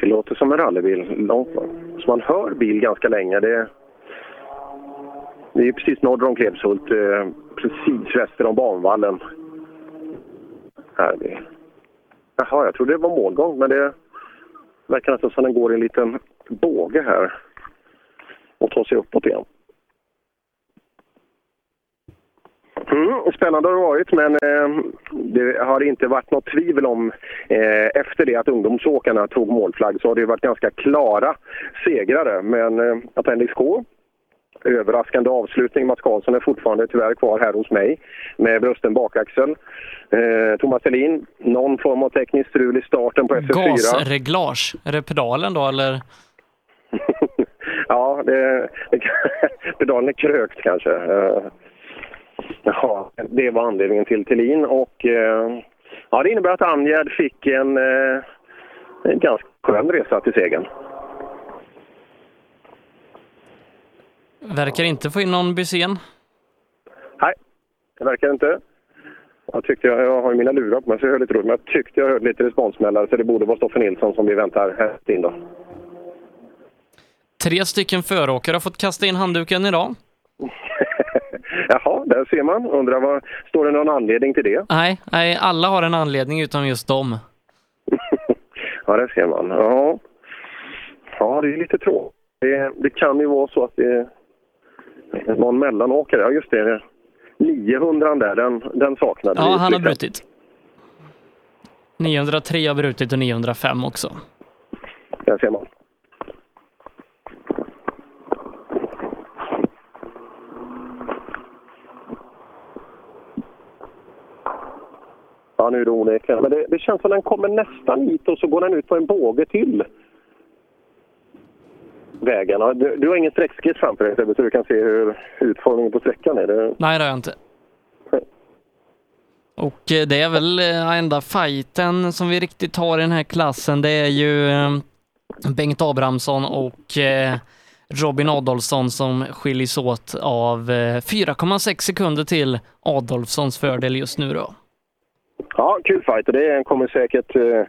det låter som en rallybil långt bort. Så man hör bil ganska länge. Det, det är ju precis norr om Klebshult, eh, precis väster om banvallen. Här det. Jaha, jag trodde det var målgång, men det verkar nästan som den går i en liten båge här och tar sig uppåt igen. Mm, spännande har det varit, men eh, det har inte varit något tvivel om eh, efter det att ungdomsåkarna tog målflagg så har det varit ganska klara segrare. Men eh, Appendix K, överraskande avslutning. Mats Karlsson är fortfarande tyvärr kvar här hos mig med brusten bakaxel. Eh, Thomas Selin, någon form av tekniskt strul i starten på SS4.
Gasreglage, är det pedalen då eller?
ja, det, det, kan- [laughs] pedalen är krökt kanske. Eh, Ja, det var anledningen till Thelin och eh, ja, det innebär att Amgerd fick en, eh, en ganska skön resa till segern.
Verkar inte få in någon Bysén.
Nej, det verkar inte. Jag, tyckte jag, jag har ju mina lurar på mig så jag hör lite roligt, men jag tyckte jag hörde lite responssmällar så det borde vara Stoffe Nilsson som vi väntar härnäst in då.
Tre stycken föråkare har fått kasta in handduken idag.
Jaha, där ser man. Undrar vad, står det någon anledning till det?
Nej, nej, alla har en anledning utom just dem.
Ja, där ser man. Ja, ja det är lite tråkigt. Det, det kan ju vara så att det det var en mellanåkare. Ja, just det. 900 där, den, den saknade
Ja,
vi.
han har brutit. 903 har brutit och 905 också.
Där ser man. Ja, nu är det onekligen. Men det, det känns som den kommer nästan hit och så går den ut på en båge till. Vägen. Ja, Du, du har ingen sträckskiss framför dig Sebbe, så du kan se hur utformningen på sträckan är. Det,
Nej, det har jag inte. Och eh, det är väl eh, enda fighten som vi riktigt har i den här klassen. Det är ju eh, Bengt Abrahamsson och eh, Robin Adolfsson som skiljs åt av eh, 4,6 sekunder till Adolfssons fördel just nu då.
Ja, kul fight. Och Det kommer säkert eh,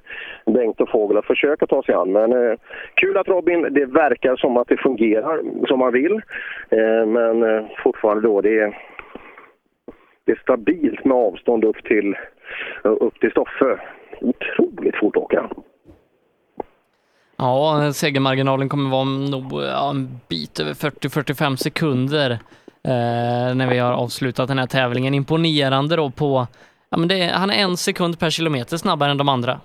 Bengt och Fågel att försöka ta sig an. Men eh, kul att Robin, det verkar som att det fungerar som man vill. Eh, men eh, fortfarande då, det är, det är stabilt med avstånd upp till, upp till Stoffe. Otroligt fort åker han.
Ja, segermarginalen kommer vara nog ja, en bit över 40-45 sekunder eh, när vi har avslutat den här tävlingen. Imponerande då på, ja, men det är, han är en sekund per kilometer snabbare än de andra.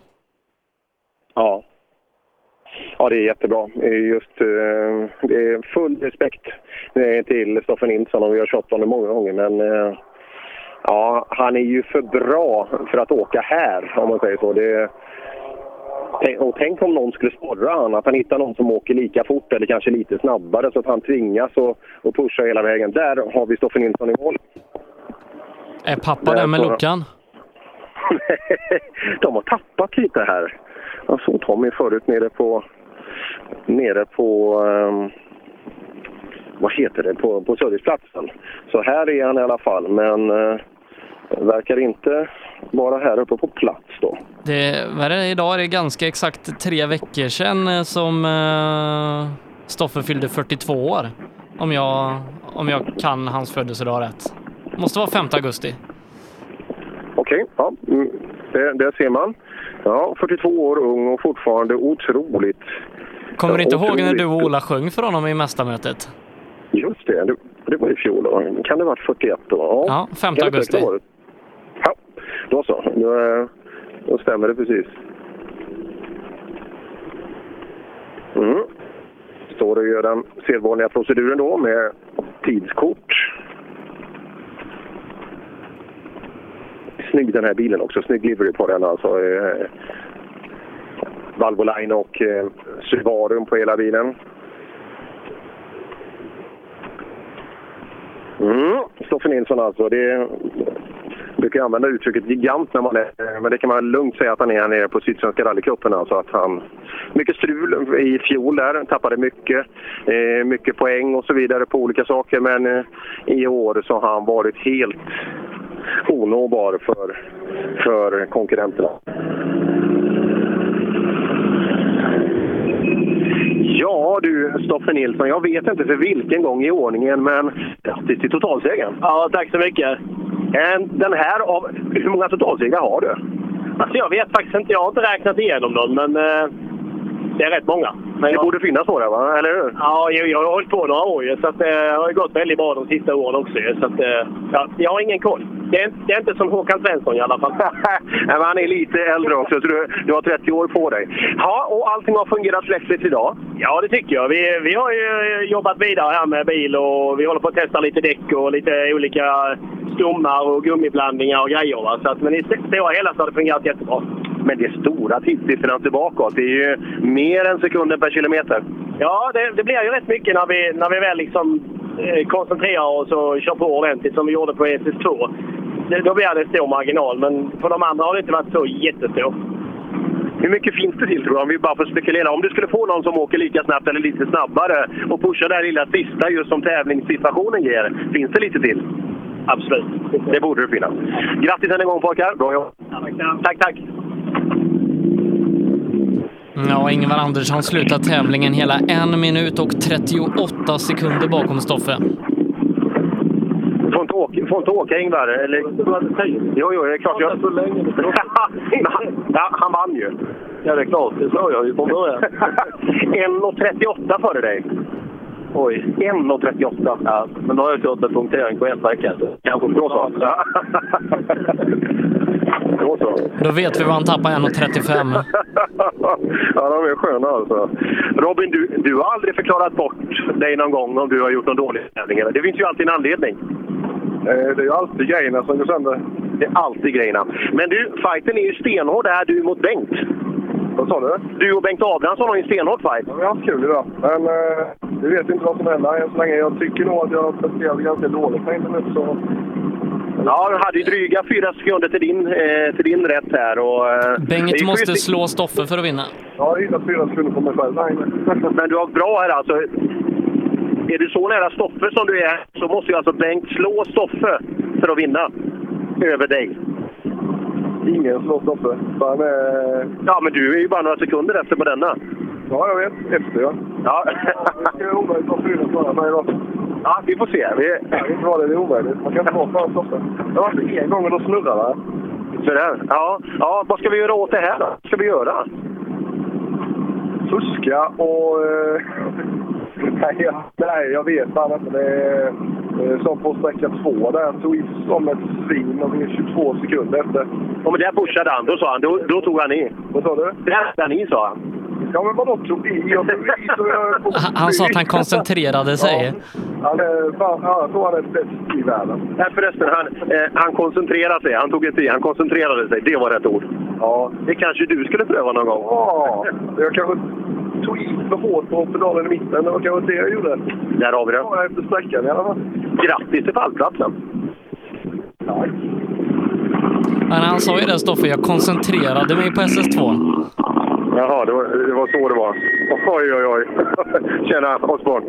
Ja. Ja, det är jättebra. Eh, Just, eh, det är full respekt eh, till Stoffe Nilsson och vi har tjatat om det många gånger. Men eh, ja, han är ju för bra för att åka här, om man säger så. Det, Tänk- och tänk om någon skulle sporra han, att han hittar någon som åker lika fort eller kanske lite snabbare så att han tvingas att att pusha hela vägen. Där har vi Stoffe Nilsson i mål.
Är pappa
Där
där med
står han.
luckan?
De har tappat lite här. Jag såg Tommy förut nere på... Nere på... ehm, vad heter det? På, på Söderplatsen. Så här är han i alla fall, men eh, verkar inte vara här uppe på plats då.
Det, vad är det, idag är det ganska exakt tre veckor sedan eh, som eh, Stoffe fyllde 42 år. Om jag, om jag kan hans födelsedag rätt. Måste vara 5 augusti.
Okej, ja, mm, det, det ser man. Ja, 42 år ung och fortfarande otroligt...
Kommer du inte ihåg när du och
otroligt-
Ola sjöng för honom i mästarmötet?
Just det, det, det var i fjol. Då. Kan det ha varit 41 då?
Ja, 5
Kan det
augusti.
säkert ha varit. Ja, då så. Då, eh, då stämmer det precis. Mm. Står och gör den sedvanliga proceduren då med tidskort. Snygg den här bilen också. Snygg livery på den alltså. Eh, Valvoline och eh, Subaru på hela bilen. Mm. Stoffe Nilsson alltså. Det är- brukar använda uttrycket gigant när man är, men det kan man lugnt säga att han är här nere på Sydsvenska rallycupen. Alltså att han, mycket strul i fjol där, tappade mycket, eh, mycket poäng och så vidare på olika saker. Men eh, i år så har han varit helt onåbar för, för konkurrenterna. Ja du, Stoffe Nilsson, jag vet inte för vilken gång i ordningen, men grattis till totalsegern.
Ja, tack så mycket.
En- Eh, Den här av... Hur många totalsegrar har du?
Alltså jag vet faktiskt inte. Jag har inte räknat igenom dem, men eh, det är rätt många. Men
Det
jag,
borde finnas några, va? eller hur?
ja, jag, jag har hållit på några år ju, så att, eh, det har ju gått väldigt bra de sista åren också. ju, Så att, eh, ja, jag har ingen koll. Det är, det är inte som Håkan Svensson i alla fall.
[laughs] Nej, men han är lite äldre också, så du, du har 30 år på dig. Ja, och allting har fungerat släckligt idag.
Ja, det tycker jag. Vi, vi har ju jobbat vidare här med bil och vi håller på att testa lite däck och lite olika stommar och gummiblandningar och grejer. Va? Så att, men i det stora hela så har det fungerat jättebra.
Men det är stora tidsdifferenser bakåt. Det är ju mer än sekunden per kilometer.
Ja, det, det blir ju rätt mycket när vi, när vi väl liksom eh, koncentrerar oss och kör på ordentligt som vi gjorde
E
på SS2. Det, då blir det stor marginal, men för de andra har det inte varit så jättestor.
Hur mycket finns det till tror du? Om vi bara får spekulera. Om du skulle få någon som åker lika snabbt eller lite snabbare och pusha det här lilla sista just som tävlingssituationen ger. Finns det lite till?
Absolut.
Det borde det finnas. Grattis än en gång pojkar. Bra jobbat.
Tack, tack.
Ja, Ingvar Andersson slutar tävlingen hela en minut och 38 sekunder bakom Stoffe.
Du får inte åka, får inte åka Ingvar. Eller... Jo, jo, det är klart. Jag... ja, [laughs] han vann ju.
Ja, det är klart. Det sa jag ju
[laughs]
från början.
1.38 före dig.
Oj.
1.38.
Ja, men då har jag kört med punktering på en sträcka. så Kanske
Då så. Ja. [laughs] Då så.
Då vet vi vad han tappar 1.35.
[laughs] ja, de är sköna alltså. Robin, du, du har aldrig förklarat bort dig någon gång om du har gjort någon dålig tävling. eller? Det finns ju alltid en anledning.
Eh, Det är ju alltid grejerna som går sönder.
Det är alltid grejerna. Men du, fighten är ju stenhård här, du mot Bengt.
Vad sa du?
Du och Bengt Abrahamsson har ju en stenhård fight.
Ja, Vi har haft kul idag, men eh, vi vet inte vad som händer än så länge. Jag tycker nog att jag har presterat ganska dåligt på internet, så...
Ja, du hade ju dryga fyra sekunder till din, eh, till din rätt här. Och, eh, det
Bengt
gick
måste
ju-
slå Stoffe för att vinna.
Jag har hittat fyra sekunder på mig själv här inne.
[laughs] Men du har bra här alltså. Är du så nära Stoffe som du är så måste ju alltså Bengt slå Stoffe för att vinna över dig.
Ingen slår Stoffe. Så han är...
Ja, men du är ju bara några sekunder efter på denna.
Ja, jag vet. Efter, ja.
Ja,
[laughs] Det ska ju omöjligt att ha fyra snarare mig idag.
ja vi får se. Vi...
Det kan inte vara det, det är omöjligt. Man kan inte vara före Stoffe. Jag var inte en gång och då snurrade han.
Sådär. Ja. ja, vad ska vi göra åt det här då? Vad ska vi göra?
Fuska och... Eh... Nej, jag, [laughs] nej, jag vet fan inte. Det är, det är som på sträcka två där. Han tog i som ett svin och vi är 22 sekunder efter.
Om där pushade han, då sa han. Då, då tog han i.
Vad sa du?
Där tog han i, sa han.
Ja, men vadå tog i? Jag tog i så jag...
Han- Han sa att han koncentrerade sig.
Ja, han är fan, ja, jag tror han är bäst i världen.
Nej, förresten, han, eh, han koncentrerade sig. Han tog inte i, han koncentrerade sig. Det var rätt ord.
Ja.
Det kanske du skulle pröva någon gång?
ja. Jag kanske tog i för hårt på pedalen i mitten. Det var kanske det jag gjorde.
Där har vi det.
Ja, efter sträckan i alla fall.
Grattis till pallplatsen!
Tack.
Men han sa ju det Stoffe, jag koncentrerade mig på SS2.
Jaha, det var, det var så det var. Oj, oj, [laughs] oj. Tjena, Osborn.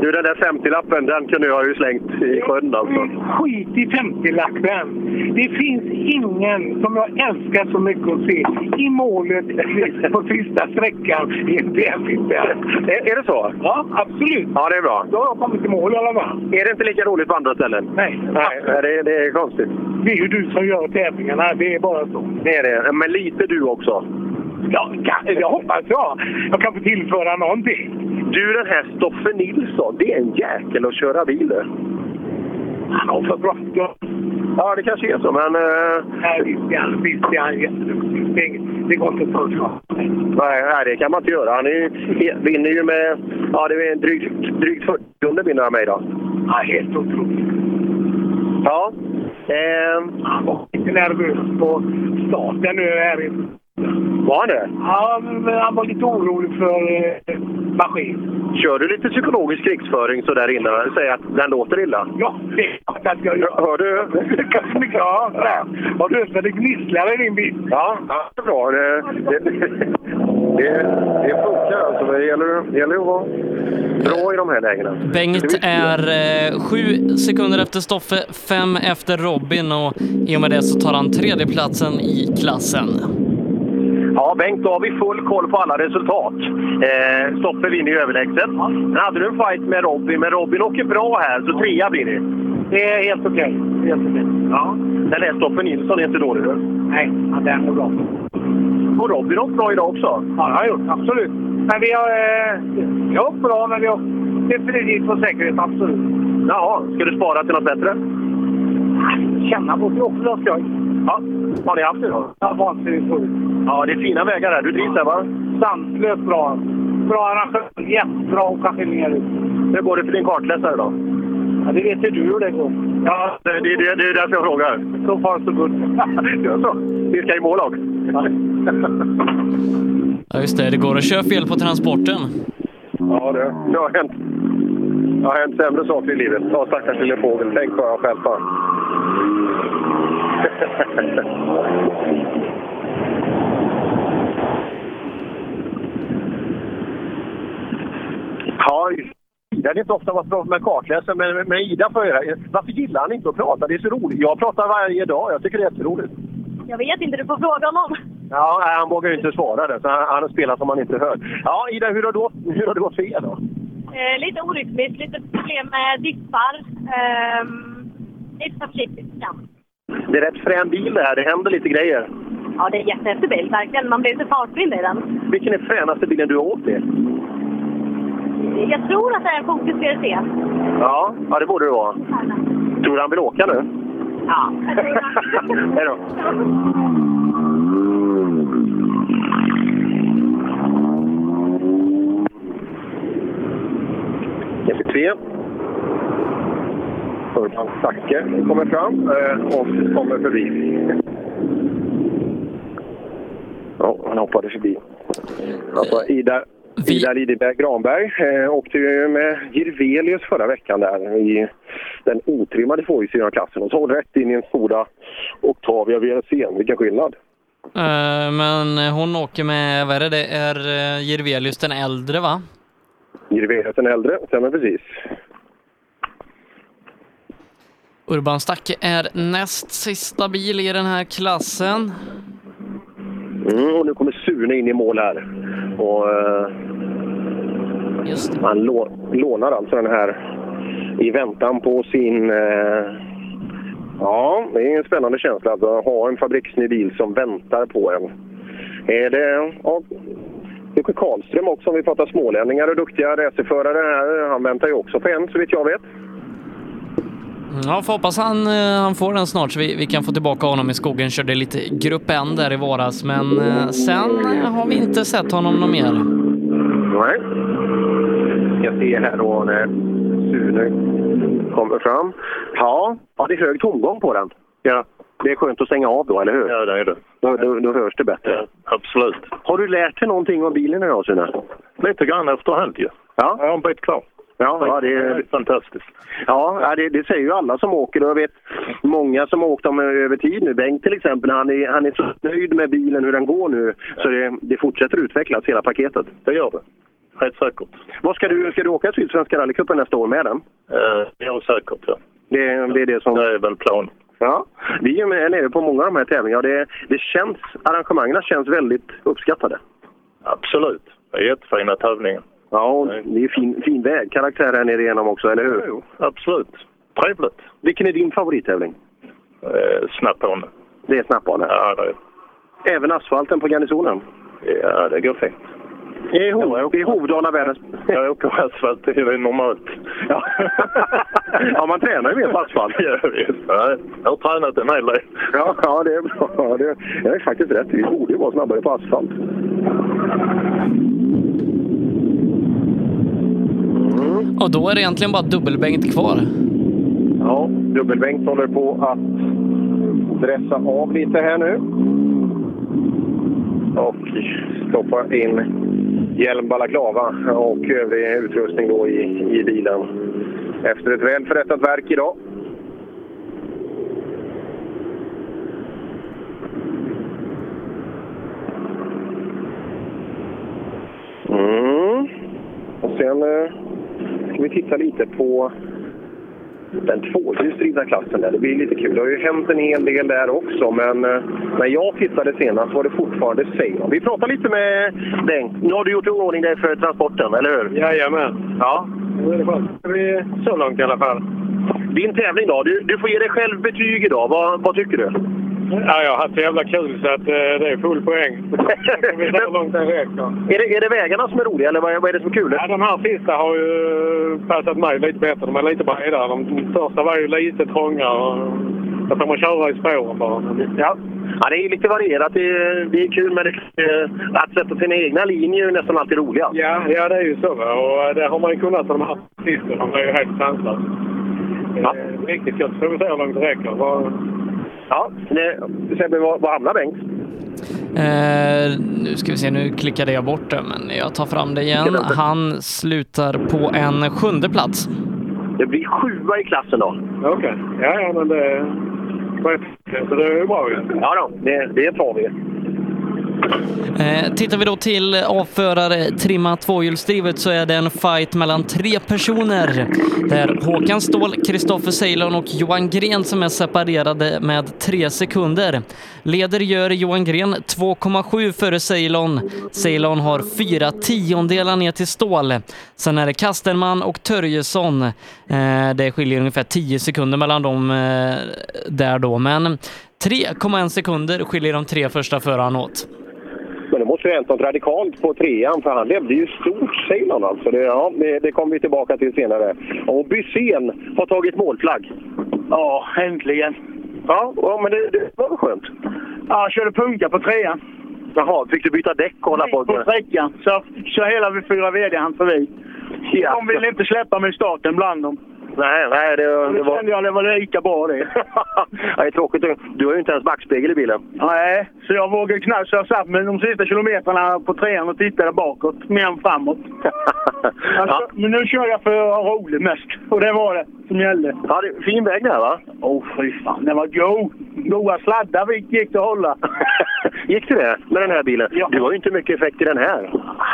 Du, den där 50-lappen, den kunde jag ju slängt i sjön alltså.
Skit i 50-lappen. Det finns ingen som jag älskar så mycket att se i målet på sista sträckan i en tävlingsbil.
Är, är det så?
Ja, absolut.
Ja, det är bra.
Då har jag kommit i mål i alla fall.
Är det inte lika roligt på andra ställen?
Nej.
Nej, det, det är konstigt.
Det är ju du som gör tävlingarna. Det är bara så.
Det är det. Men lite du också.
Ja, kan, jag hoppas jag. Jag kan få tillföra någonting.
Du, den här Stoffe Nilsson, det är en jäkel att köra bil det.
Han har för bråttom.
Ja, det kanske är så, men... eh,
Nej, Visst är han, visst är han jätteduktig. Det- Det går inte att förklara.
nej, nej, det kan man inte göra. Han är, ju- vinner ju med... Ja, det är en drygt, drygt 40 sekunder vinner han med idag.
Ja, helt otroligt.
Ja. Ehm,
Han var lite nervös på starten nu här i
var han det?
Ja, men han var lite orolig för eh, maskin.
Kör du lite psykologisk krigsföring så där innan? Säg att den låter illa.
Ja, det är klart att jag gör.
Hör du?
Det kan mycket jag höra. Har du hört att det gnisslar i din bil?
Ja, det är bra. Det, det, det, det funkar alltså. Det gäller, det gäller att vara bra i de här lägena.
Bengt
Det är viktigt.
är eh, sju sekunder efter Stoffe, fem efter Robin och i och med det så tar han tredjeplatsen i klassen.
Ja, Bengt, då har vi full koll på alla resultat. Eh, Stoffe vinner ju överlägset. Sen hade du en fight med Robin, men Robin åker bra här, så trea blir det.
Det är helt okej. Helt okej.
Ja. Den där Stoffe Nilsson är inte dålig. du.
Nej, ja, den är bra.
Och Robin har åkt bra idag också.
Ja, det har jag gjort. Absolut. Men vi har... Eh, vi har åkt bra, men vi har definitivt på säkerhet. Absolut.
Jaha, ska du spara till något bättre?
Känna på sig också, ska jag.
Ja. Har ni haft det då?
Ja, vansinnigt roligt.
Ja, det är fina vägar här. Du drivs här, va?
Sanslöst bra. Bra arrangemang. Jättebra att åka ner.
Hur går det för din kartläsare då?
Ja, det vet ju du hur det går. Ja,
Det, det, det, det är därför jag frågar.
så far
[laughs]
så good.
Gör så. Vi ska i mål också.
Ja, just det. Det går att köra fel på transporten.
Ja, det, det har hänt. Det har hänt sämre saker i livet. Ja, stackars lille fågel. Tänk vad jag stjälper.
[laughs] Ja, jag vet inte ofta vad som med kartläsare, men, men Ida får göra Varför gillar han inte att prata? Det är så roligt. Jag pratar varje dag. Jag tycker det är jätteroligt.
Jag vet inte, du får fråga honom.
Ja, nej, han vågar ju inte svara det, så han, han spelar som han inte hör. Ja, Ida, hur har du, åt- hur har du gått fel då?
Eh, lite orytmiskt, lite problem med dippar. Ehm, lite för försiktigt fram.
Det är rätt frän bil det här. Det händer lite grejer.
Ja, det är en jättehäftig bil verkligen. Man blir lite fartblind i den.
Vilken är fränaste bilen du har åkt i?
Jag tror att det är en Focus VRC.
Ja, ja det borde det vara. Tror du han vill åka nu?
[laughs] Ja.
Hej då. GP3. Urban Zacke kommer fram eh, och kommer förbi. Ja, han hoppade förbi. Alltså, Ida, Ida Lideberg Granberg eh, åkte ju med Jirvelius förra veckan där i den otrimmade tvåhjulsdrivna-klassen och så rätt in i en Skoda Octavia VRC. Vilken skillnad!
Eh, Men hon åker med, vad är det, det är eh, Jirvelius den äldre va?
Jirvelius den äldre, stämmer precis.
Urban Stacke är näst sista bil i den här klassen.
Mm, och nu kommer Sune in i mål här. Och, eh, Han lå, lånar alltså den här i väntan på sin... Eh, ja, det är en spännande känsla att ha en fabriksny bil som väntar på en. Är det... Ja, Jocke Karlström också, om vi pratar smålänningar och duktiga racerförare här. Han väntar ju också på en, så vitt jag vet.
Mm, Ja, får hoppas han, eh, han får den snart så vi, vi kan få tillbaka honom i skogen. Körde lite grupp N där i våras, men eh, sen eh, har vi inte sett honom någon mer.
Nej. Jag ser här då när Sune kommer fram. Ja, ja det är hög tomgång på den. Ja. Det är skönt att stänga av då, eller hur? Ja, det är det. Då, då, då hörs det bättre. absolut. Har du lärt dig någonting om bilen idag, Sune? Lite grann efterhand ju. Ja. Jag har en bit kvar. Ja, ja, det är fantastiskt. Ja, ja, det, det säger ju alla som åker. Jag vet många som har åkt dem över tid nu. Bengt till exempel, han är, han är så nöjd med bilen, hur den går nu. Så det, det fortsätter utvecklas, hela paketet. Det gör det. Helt säkert. Vad ska du, ska du åka till Svenska rallycupen nästa år med den?
Eh, ja, säkert ja.
Det, det är det som...
Det är väl planen.
Ja, vi är ju med- nere på många av de här tävlingarna. Det, det känns, arrangemangen känns väldigt uppskattade.
Absolut. Det är jättefina tävlingar.
Ja, och det är ju fin, fin vägkaraktär här nere igenom också, eller hur? Jo,
absolut. Trevligt.
Vilken är din favorittävling?
Eh, Snapphane.
Det är snappbana?
Ja, det är
Även asfalten på Garnisonen?
Ja, det går fint.
I, Hov, i Hovdala världens...
Jag åker asfalt, det är normalt.
[laughs] Ja. [laughs] ja, man tränar ju mer på asfalt.
Ja, visst. Nej, Jag har tränat en hel del.
Ja, ja, det är bra. Ja, Det, jag är faktiskt rätt. Vi borde ju vara snabbare på asfalt.
Och då är det egentligen bara dubbelbänkt kvar.
Ja, Dubbelbengt håller på att dressa av lite här nu. Och stoppa in hjälm, balaklava och övrig utrustning då i, i bilen. Efter ett väl förrättat verk idag. Mm. Och sen eh, ska vi titta lite på den tvåhjulsdrivna klassen där. Det blir lite kul. Det har ju hänt en hel del där också, men eh, när jag tittade senast var det fortfarande same. Vi pratar lite med Bengt. Nu har du gjort i ordning dig för transporten, eller hur?
Jajamän.
Ja.
Det blir så långt i alla fall.
Din tävling då? Du, du får ge dig själv betyg idag. Vad, vad [laughs] tycker du?
Ja, jag har haft så jävla kul så att, eh, det är full poäng. Vi får se hur långt det räcker.
Är det, är det vägarna som är roliga, eller vad, är- vad är det som är kul?
Ja, de här sista har ju eh, passat mig lite bättre. De är lite bredare. De första var ju lite trångare. Jag får man köra i spåren bara.
Ja. Ja, det är ju lite varierat. Det är, det är kul, men det, eh, att sätta sina egna linjer är nästan alltid roligast.
Ja, ja det är ju så. va. Och det har man ju kunnat de här sista. De är ju helt sanslösa. Ja. Riktigt gött. Får vi se hur långt det räcker. Vad-
Ja. Det, Sebbe, var, var hamnar Bengt?
Eh, nu ska vi se, nu klickade jag bort det, men jag tar fram det igen. Han slutar på en sjunde plats.
Det blir sjua i klassen då.
Okej. Ja, ja, men det... Så det är ju bra ju.
Ja då, det, det tar vi.
Eh, tittar vi då till avförare trimma tvåhjulsdrivet så är det en fight mellan tre personer. Där Håkan Ståhl, Kristoffer Ceylon och Johan Gren som är separerade med tre sekunder. Leder gör Johan Gren 2,7 före Ceylon. Ceylon har fyra tiondelar ner till Ståhl. Sen är det Kastenman och Törjesson. Eh, det skiljer ungefär 10 sekunder mellan dem eh, där då, men 3,1 sekunder skiljer de tre första förarna åt.
Men det måste ju ha hänt något radikalt på trean, för han levde ju stort, säger någon alltså. Det, ja, det, det kommer vi tillbaka till senare. Och Bysén har tagit målflagg.
Ja, äntligen.
Ja, ja men det, det var väl skönt?
Ja, jag körde punka på trean.
Jaha, fick du byta däck och hålla på?
På sträckan. Så, så hela vi fyra vd han förbi.
Ja.
De ville inte släppa mig i starten bland dem.
Nej, nej, det, det
Då
var...
kände jag det var lika bra det.
[laughs] Ja, det är tråkigt. Du har ju inte ens backspegel i bilen.
Nej, så jag vågade knappt. Så jag satt med de sista kilometrarna på trean och tittade bakåt, mer än
[laughs]
framåt. Alltså, Men nu kör jag för att ha roligt mest. Och det var det som gällde.
Ja, det är fin väg det här va? [laughs]
Åh oh, fy fan, den var go! Goa sladdar vi gick det att
[laughs]
hålla.
Gick det det med den här bilen?
Ja.
Du har ju inte mycket effekt i den här.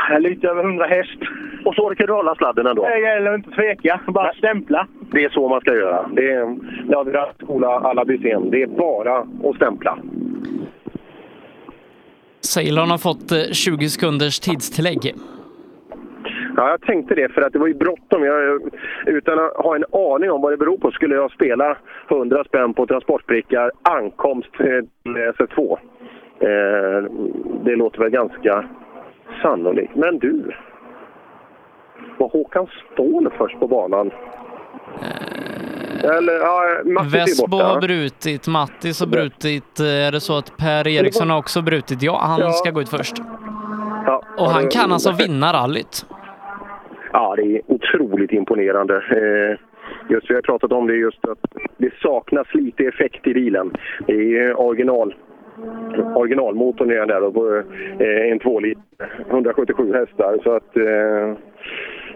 Jag är lite över 100 häst.
Och så orkar du hålla sladden ändå.
Det gäller att inte tveka, bara stämpla.
Det är så man ska göra. Det, är, det har vi lärt skola alla Bysén. Det är bara att stämpla.
Ceylon har fått eh, 20 sekunders tidstillägg.
Ja, jag tänkte det, för att det var ju bråttom. Jag, utan att ha en aning om vad det beror på skulle jag spela 100 spänn på transportprickar ankomst eh, till SF2. Eh, det låter väl ganska sannolikt. Men du, var Håkan Ståhl först på banan?
Eh,
Eller, ja, Mattis är
Vesbo
borta.
har brutit, Mattis har brutit. eh, Är det så att Per Eriksson har också brutit? Ja,
Ja.
han ska gå ut först.
Ja,
Och han
det-
kan alltså vinna rallyt.
Ja, det är otroligt imponerande. Eh, Just, vi har pratat om det just att det saknas lite effekt i bilen. Det är ju original, originalmotorn är där och eh, en 2 liter, 177 hästar. Så att, eh,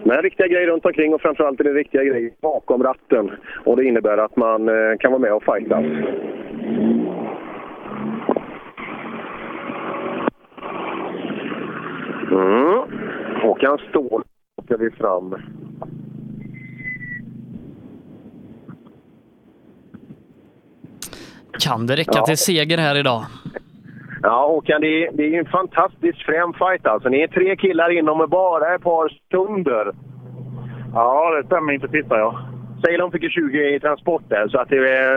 men riktiga grejer runt omkring och framförallt är det riktiga grejer bakom ratten. Och det innebär att man eh, kan vara med och fightas. Mm. Håkan Ståhl ska vi fram.
Kan det räcka
Ja.
till seger här idag?
Ja, Håkan, det är, det är ju en fantastisk framfight alltså. Ni är tre killar inom bara ett par stunder.
Ja, det stämmer inte tittar jag.
Ceylon fick ju 20 i transport där, så att det, eh,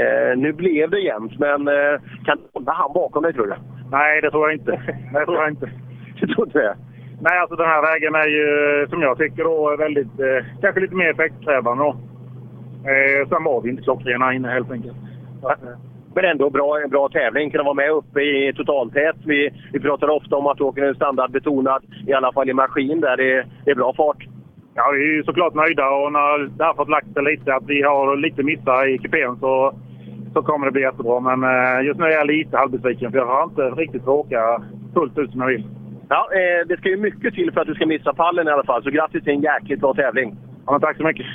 eh, nu blev det jämnt. Men eh, kan du hålla han bakom dig, tror du? [laughs]
Nej, det tror jag inte. Det tror jag inte.
Du tror inte det?
Nej, alltså den här vägen är ju, som jag tycker, då, väldigt, eh, kanske lite mer effektkrävande. då. Eh, sen var vi inte klockrena inne helt enkelt.
Men ändå bra, en bra tävling. Kunna vara med uppe i totaltät. Vi, vi pratar ofta om att åka en standardbetonad, i alla fall i maskin, där det, det är bra fart.
Ja, vi är ju såklart nöjda och när det här fått lagt sig lite, att vi har lite missar i kupén så, så kommer det bli jättebra. Men eh, just nu är jag lite halvbesviken för jag har inte riktigt fått åka fullt ut som jag vill.
Ja, eh, det ska ju mycket till för att du ska missa pallen i alla fall, så grattis till en jäkligt bra tävling.
Ja, men tack så mycket.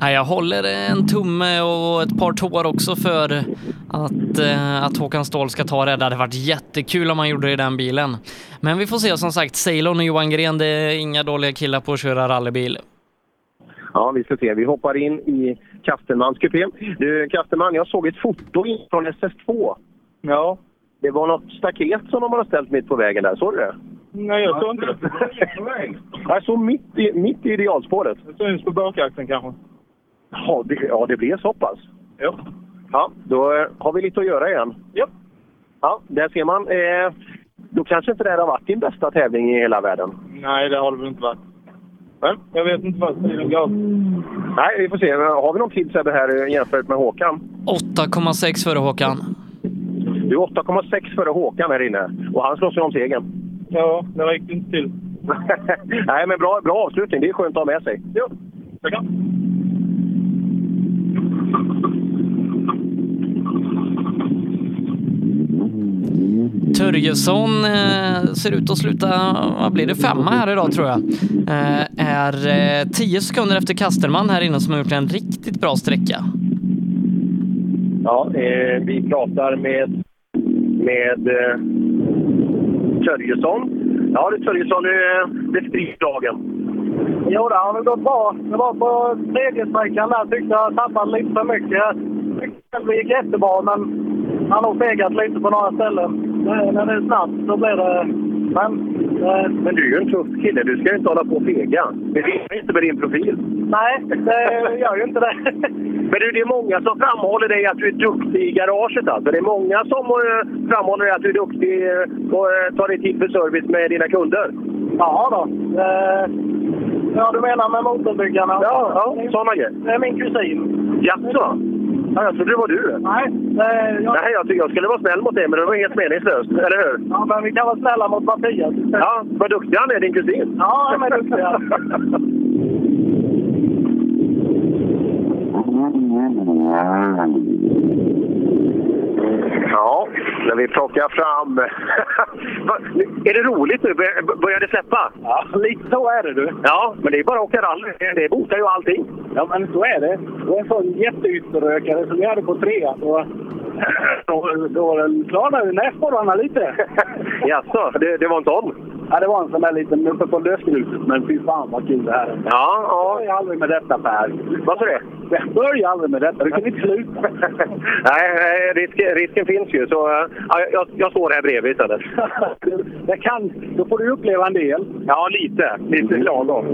Nej, jag håller en tumme och ett par tår också för att, eh, att Håkan Ståhl ska ta det. Det hade varit jättekul om han gjorde det i den bilen. Men vi får se. Som sagt, Ceylon och Johan Gren, det är inga dåliga killar på att köra rallybil.
Ja, vi ska se. Vi hoppar in i Kastenmans kupé. Du, Kastenman, jag såg ett foto in från SS2.
Ja.
Det var något staket som de hade ställt mitt på vägen där. Såg du det?
Nej, jag tror inte
Jag såg mitt i, mitt i idealspåret.
Det syns på bakaxeln kanske.
Ja, det, ja, det blev så pass.
Ja.
Ja, då eh, har vi lite att göra igen.
Ja.
Ja, där ser man. Eh, då kanske inte det här har varit din bästa tävling i hela världen.
Nej, det har det väl inte varit. Men jag vet inte vad tiden gav.
Nej, vi får se. Har vi någon tid Sebbe här eh, jämfört med Håkan?
8,6 före Håkan.
Du är 8,6 före Håkan här inne och han slår sig om segern. [laughs]
Ja, det räckte inte till.
Nej, men bra, bra avslutning. Det är skönt att ha med sig.
Jo, tackar.
Törjesson eh, ser ut att sluta, vad blir det, femma här idag tror jag. Eh, är eh, tio sekunder efter Kasterman här inne som har gjort en riktigt bra sträcka.
Ja, eh, vi pratar med, med eh, Törjesson. Ja, det är Törjesson. Eh, det sprids dagen.
Jo, det har väl gått bra. Det var på tredje sträckan där tyckte jag tappade lite för mycket. Tyckte det gick jättebra, men han har fegat lite på några ställen. Men När det är snabbt så blir det... Men... eh,
Men du är ju en tuff kille. Du ska ju inte hålla på och fega. Det rimmar inte med din profil.
Nej, det gör ju inte det.
Men du, det är många som framhåller dig att du är duktig i garaget. Alltså. Det är många som eh, framhåller dig att du är duktig eh, och eh, tar dig tid för service med dina kunder.
Ja då. Eh, ja, du menar med motorbyggarna?
Ja, ja sådana grejer.
Det är min kusin.
Jaså? Ja, jag trodde det var du.
Nej, eh, jag...
Nej, jag, tyckte jag skulle vara snäll mot dig, men det var helt meningslöst. Eller hur?
Ja, men vi kan vara snälla mot Mattias.
Ja, vad duktig han är, din kusin.
Ja, han är duktig. ja.
[laughs] Ja, när vi plockar fram... [laughs] Va, nu- är det roligt nu? Bör- Börjar det släppa? Ja, lite så är det du. Ja, men det är bara att åka rally. Det botar ju allting. [laughs]
Ja, men så är det. Det var en sån jätteytterrökare som jag hade på trean.
[laughs]
Då, då, då klarnade ju näsborrarna lite.
Jaså, det, det var en sån?
Ja, det var en sån där liten uppe på lösgruset. Men fy fan vad kul det här är.
Ja, ja.
Börja aldrig med detta Per.
Varför [laughs] det?
Börja aldrig med detta. Du kan inte sluta.
Nej, eh, risk, risken finns ju. Så, eh, ja, jag, jag står här bredvid [laughs] istället.
Det kan, då får du uppleva en del.
Ja, lite. Lite lagom.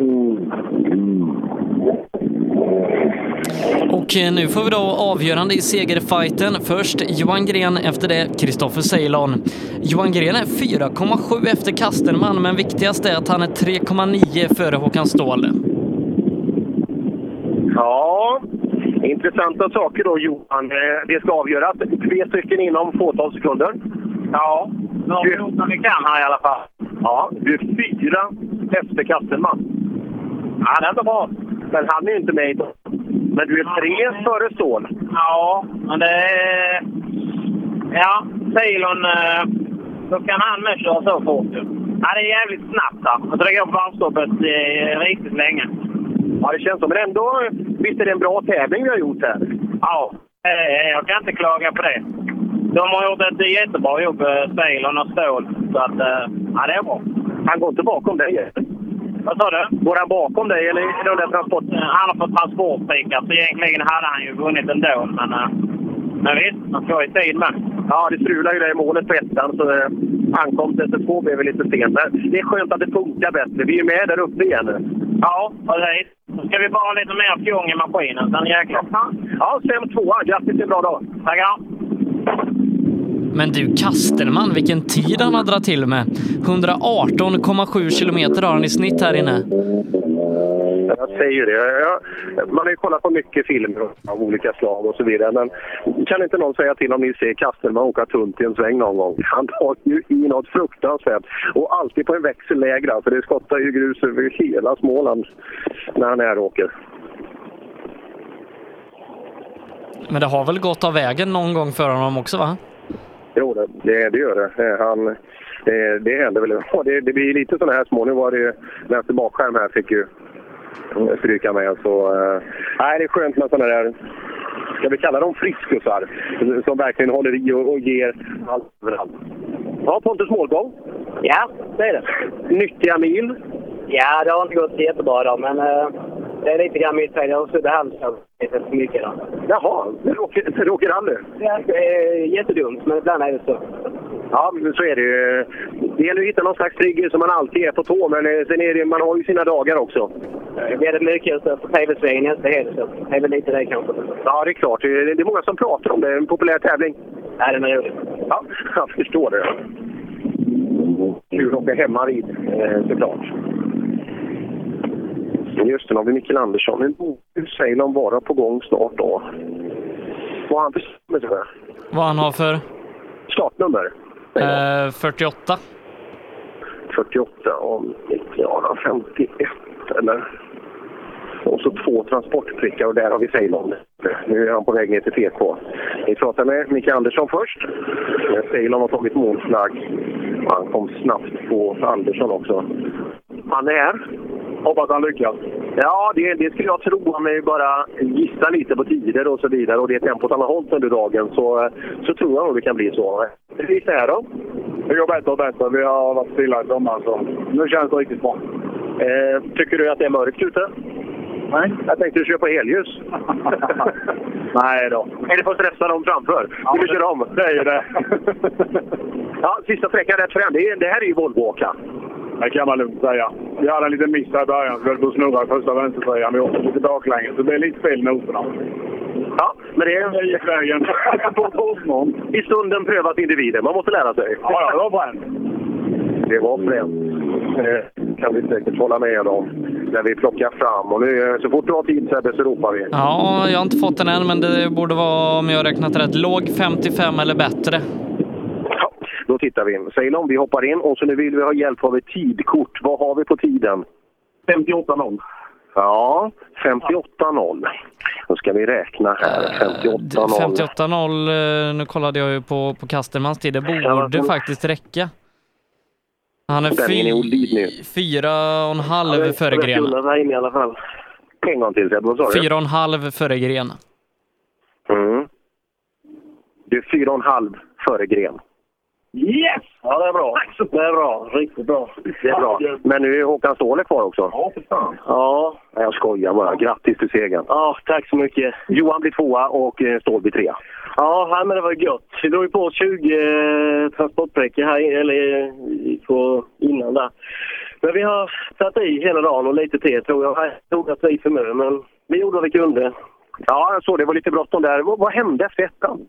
Och eh, nu får vi då avgörande i segerfighten. Först Johan Gren, efter det Kristoffer Ceylon. Johan Gren är 4,7 efter Kasterman, men viktigast är att han är 3,9 före Håkan Ståhl.
Ja, intressanta saker då Johan. Eh, Det ska avgöras. Tre stycken inom fåtal sekunder. Ja, nu har vi gjort vad vi kan här i alla fall. Ja, du är fyra efter Kastelman. Ja, det är inte bra. Men han är ju inte med idag. Men du är tre före Ståhl.
Ja, men det... är- Ja, Ceylon... eh, Då kan han med köra så fort ju. Ja, det är jävligt snabbt här. Jag tror det går på varvstoppet eh, riktigt länge.
Ja, det känns så. Men ändå, visst är det en bra tävling vi har gjort här?
Ja, eh, jag kan inte klaga på det. De har gjort ett jättebra jobb, eh, Ceylon och Ståhl. Så att, eh, ja, det är bra.
Han går inte bakom dig?
Vad sa du? Eh,
Går han bakom dig eller är det den där transport...
Han har fått transportpikar, så egentligen hade han ju vunnit ändå. Men, eh, men visst, han ska i tid med.
Ja, det strular ju där i målet på ettan, så eh, ankomst efter två blev väl lite sent. Men det är skönt att det funkar bättre. Vi är med där uppe igen nu.
Ja, precis. Nu ska vi bara ha lite mer fjong i maskinen, sen jäklar.
Ja, Säm tvåa. Grattis till en bra dag!
Tackar!
Men du Kastelman, vilken tid han har dragit till med. 118,7 kilometer har han i snitt här inne.
Jag säger ju det. Jag, man har ju kollat på mycket filmer av olika slag och så vidare. Men kan inte någon säga till om ni ser Kastelman åka tunt i en sväng någon gång? [laughs] Han tar ju i något fruktansvärt. Och alltid på en växel lägre, för det skottar ju grus över hela Småland när han är och åker.
Men det har väl gått av vägen någon gång för honom också va?
Jo, det, det, det gör det. Eh, Han, det, det händer väl. [laughs] Ja, Det, det blir lite sådana här små. Nu var det ju- vänster bakskärm här fick ju stryka med. Så, eh, nej, det är skönt med sådana där, ska vi kalla dem friskusar, som verkligen håller i och, och ger allt överallt. Ja, Pontus målgång.
Ja, det är det.
Nyttiga mil.
Ja, det har inte gått jättebra då, men eh, det är lite grann mitt fel. Jag har suttit i halsen lite för mycket då.
Jaha, det råkar, det råkar aldrig.
Ja, det är jättedumt, men ibland är det så.
Ja, men så är det ju. Det gäller att hitta någon slags trigger som man alltid är på tå, men eh, sen är det, man har ju sina dagar också.
Det är mycket att stå på tv-svängen nästa helg, så det är väl lite det kanske.
Ja, det är klart. Det är det är många som pratar om det. Det är en populär tävling.
Ja, den är rolig.
Ja, jag förstår det. Kul att åka hemma vid, eh, såklart. Just det, nu har vi Mikael Andersson. En borde Ceylon vara på gång snart då. Vad har han för startnummer?
Vad han har för
Startnummer?
eh, 48.
48 om 90, ja, 51 eller? och så två transportprickar och där har vi Ceylon. Nu är han på väg ner till TK. Vi pratar med Micke Andersson först. Ceylon har tagit målflagg. Han kom snabbt på Andersson också.
Han är här. Hoppas han lyckas. Ja, det, det skulle jag tro. Om vi bara gissar lite på tider och så vidare och det tempot han har hållit under dagen så, eh, så tror jag nog det kan bli så. Hur gick det här då?
Det går bättre och bättre. Vi har varit stilla i sommar så nu känns det riktigt bra.
Eh, tycker du att det är mörkt ute? Nej. Jag tänkte du kör på
[laughs]
helljus. Nej då. Eller får stressa dem framför. Ja, du kör om. Det är ju det. [laughs] ja, sista sträckan rätt fram. Det, är- det här är ju Volvoåka.
Det kan man lugnt säga. Vi hade en liten miss här i början, så vi höll på att snurra i första vänstertröjan. Vi åkte lite baklänges, så det blev lite fel i noterna.
Ja, men det
[laughs]
är vägen. I stunden prövas individen. Man måste lära sig.
Ja, ja, det var bränt.
Det var fränt. Eh, kan vi säkert hålla med om när vi plockar fram. Och nu, eh, så fort du har tid Sebbe så ropar vi.
Ja, jag har inte fått den än, men det borde vara, om jag har räknat rätt, låg 55 eller bättre.
Då tittar vi in. Ceylon, vi hoppar in och så nu vill vi ha hjälp av ett tidkort. Vad har vi på tiden?
58-0.
Ja, 58-0. Då ska vi räkna här. 58-0.
58-0, eh, nu kollade jag ju på, på Kastermans tid, det borde faktiskt räcka. Han är
Ställningen är olidlig.
fy- fyra och en halv före gren.
in i alla fall. En gång till Sebbe, vad sa du?
Fyra och en halv före gren.
Mm. Du är fyra och en halv före gren.
Yes! Ja, det är bra. Det är bra. Riktigt bra.
Det är bra. Men nu är Håkan Ståhle kvar också.
Ja, för fan.
Ja, jag skojar bara. Grattis till segern.
Ja, tack så mycket.
Johan blir tvåa och eh, Ståhl blir trea.
Ja, här, men det var gött. Vi drog ju på oss 20 eh, transportbrickor här eller, eh, på, innan där. Men vi har satt i hela dagen och lite till tror jag. Jag tog att vi för mycket, men vi gjorde vad vi kunde.
Ja, jag såg det. var lite bråttom där. Vad, vad hände efter ettan?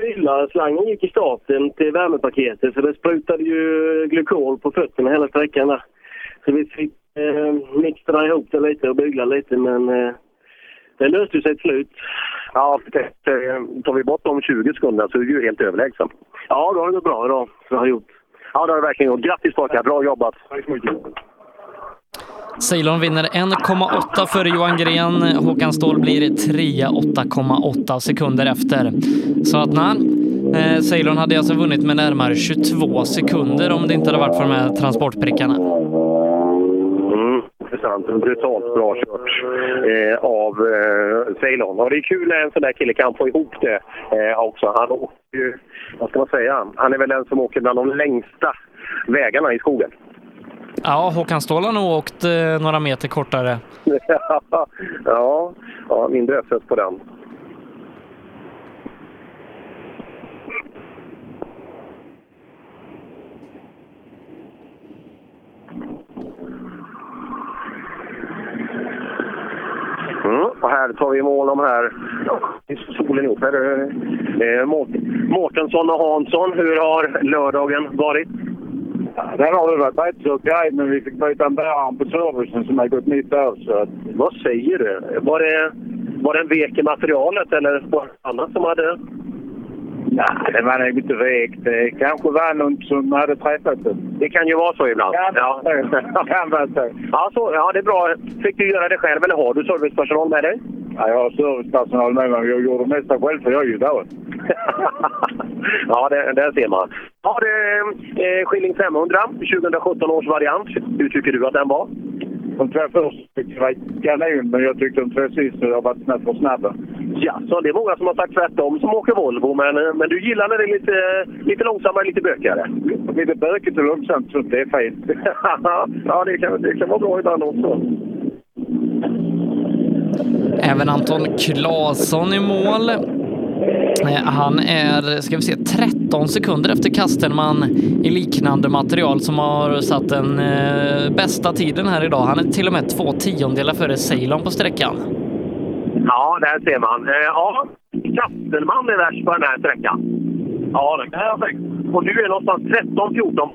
Fyllaslangen gick i starten till värmepaketet så det sprutade ju glykol på fötterna hela sträckan där. Så vi fick eh, mixtra ihop det lite och bygla lite men eh, det löste sig till slut.
Ja, det, eh, tar vi bort de 20 sekunderna så är du ju helt överlägsen.
Ja, då har det gått bra idag. Så har jag gjort.
Ja, det har du verkligen gjort. Grattis pojkar, bra jobbat!
Ceylon vinner 1,8 före Johan Gren. Håkan Ståhl blir trea 8,8 sekunder efter. Så att nej, eh, Ceylon hade alltså vunnit med närmare 22 sekunder om det inte hade varit för de här transportprickarna.
Mm, intressant. Brutalt bra kört eh, av eh, Ceylon. Och det är kul när en sån där kille kan få ihop det eh, också. Han åker ju, vad ska man säga, han är väl den som åker bland de längsta vägarna i skogen.
Ja, Håkan Ståhl har nog åkt eh, några meter kortare.
[laughs] ja, ja, mindre öppet på den. Mm, och här tar vi mål om här. Ja, Solen upp här. Eh, Mårt- Mårtensson och Hansson, hur har lördagen varit?
Den har det varit rätt så okej, men vi fick byta en bärare på servicen som har gått nytt där. Så att...
Vad säger du? Var det, var det en vek i materialet eller var det annat som hade...
Nej, det var nog inte vekt. Det kanske var någon som hade träffat det.
Det kan ju vara så ibland.
Ja, det kan vara så.
[laughs] Ja, så, ja, det är bra. Fick du göra det själv eller har du servicepersonal med dig?
Ja, jag har servicepersonal med mig, men jag gjorde det mesta själv för jag är ju där.
[laughs] Ja, det, där ser man. Ja, det, eh, Skilling 500, 2017 års variant. Hur tycker du att den var?
De två första tyckte jag var kanon, men jag tyckte de två sista har varit snabbt för snabba.
Ja, så det är många som har sagt tvärtom som åker Volvo, men, eh, men du gillar när det är lite, eh, lite långsammare, lite bökigare.
Lite bökigt och långsamt, så det är fint.
[laughs] ja, det kan, det kan vara bra ibland också.
Även Anton Claesson i mål. Eh, Han är, ska vi se, 13 sekunder efter Kastenman i liknande material som har satt den eh, bästa tiden här idag. Han är till och med två tiondelar före Ceylon på sträckan.
Ja, där ser man. Eh, ja, Kastelman är värst på den här sträckan.
Ja, det kan jag säga.
Och du är någonstans 13-14.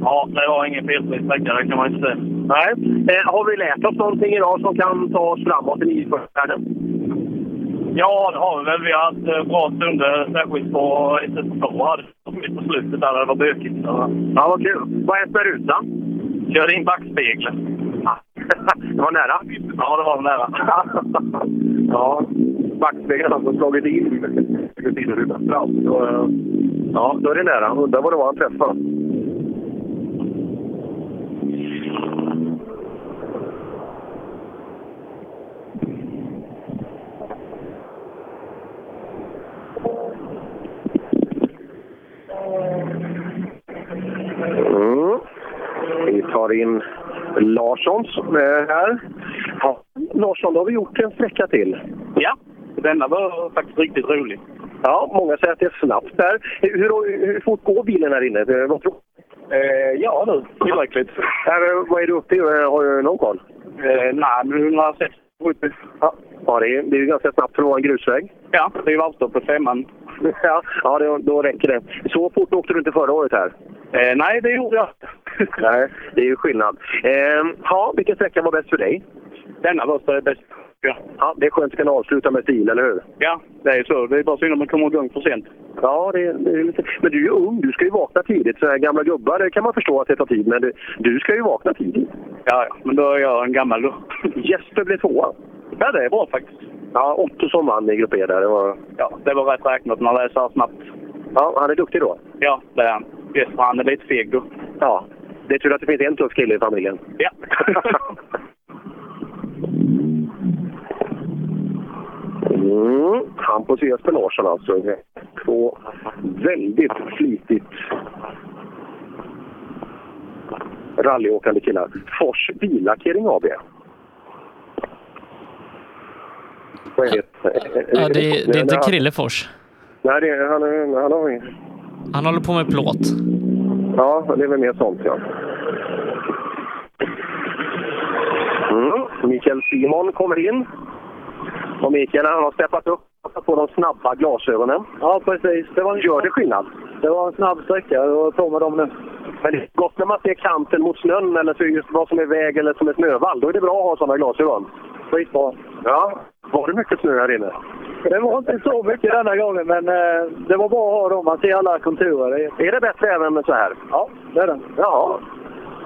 Ja, det var ingen felfri sträcka, det kan man inte säga.
Nej. Eh, har vi lärt oss någonting idag som kan ta oss framåt i bilfärden?
Ja, det har vi väl. Vi har haft eh, bra stunder, särskilt på SS2 hade vi mitt på slutet där det var bökigt. Så.
Ja, vad kul. Vad hände med rutan?
Körde in backspegeln.
[laughs] Det var nära. Ja, det var nära. [laughs] ja, backspegeln har fått slagit in i sidorutan fram. Så, eh, Ja, då är det nära. Undrar vad det var han träffade. Mm. Vi tar in Larssons eh, här. Ja. Larsson, då har vi gjort en sträcka till.
Ja, denna var faktiskt riktigt rolig.
Ja, många säger att det är snabbt där. Hur, hur fort går bilen här inne? Eh, Vad tror Eh, ja, nu tillräckligt. vad är du uppe i? Eh, Har du någon koll?
Eh,
nej, men 160 Ja, ja det, är, det är ju ganska snabbt för att vara en grusväg. Ja, det är ju varvstopp på femman. [laughs] ja, ja det, då räcker det. Så fort åkte du inte förra året här? Eh, nej, det gjorde jag [laughs]
[laughs]
Nej, det är ju skillnad. Eh, ja, vilken sträcka var bäst för dig? Denna var bäst. Ja. ja, det är skönt att kunna avsluta med stil, eller hur?
Ja, det är så. Det är bara synd om man kommer igång för sent.
Ja, det, det är lite... men du är ju ung. Du ska ju vakna tidigt. Så här gamla gubbar det kan man förstå att det tar tid, men du, du ska ju vakna tidigt.
Ja, ja, men då är jag en gammal då.
Jesper blev tvåa.
Ja, det är bra faktiskt.
Ja, Ottosson vann i grupp E där. Det var...
Ja, det var rätt räknat när det är så här snabbt.
Ja, han är duktig då.
Ja, det är han. Jesper, han är lite feg då.
Ja, det är tur att det finns en tuff kille i familjen.
Ja.
Mm. Hampus Jesper Larsson alltså. Två väldigt flitigt rallyåkande killar. Fors Billackering AB. Vad är det?
Ja, det, det är inte Krillefors.
Nej, det är, han, är- han har ingen.
Han håller på med plåt.
Ja, det är väl mer sånt ja. Mm. Mikael Simon kommer in. Och Mikael han har steppat upp och satt på de snabba glasögonen. Ja, precis. Det var Gör det skillnad? Det var en snabb sträcka. Jag var på med dem nu. Men det är gott när man ser kanten mot snön eller så just vad som är väg eller som är snövall. Då är det bra att ha sådana glasögon. Skitbra. Ja. Var det mycket snö här inne?
Det var inte så mycket denna gången, men eh, det var bra att ha dem. Man ser alla konturer.
Eh, Är det bättre även så här? Ja, det är det. Jaha.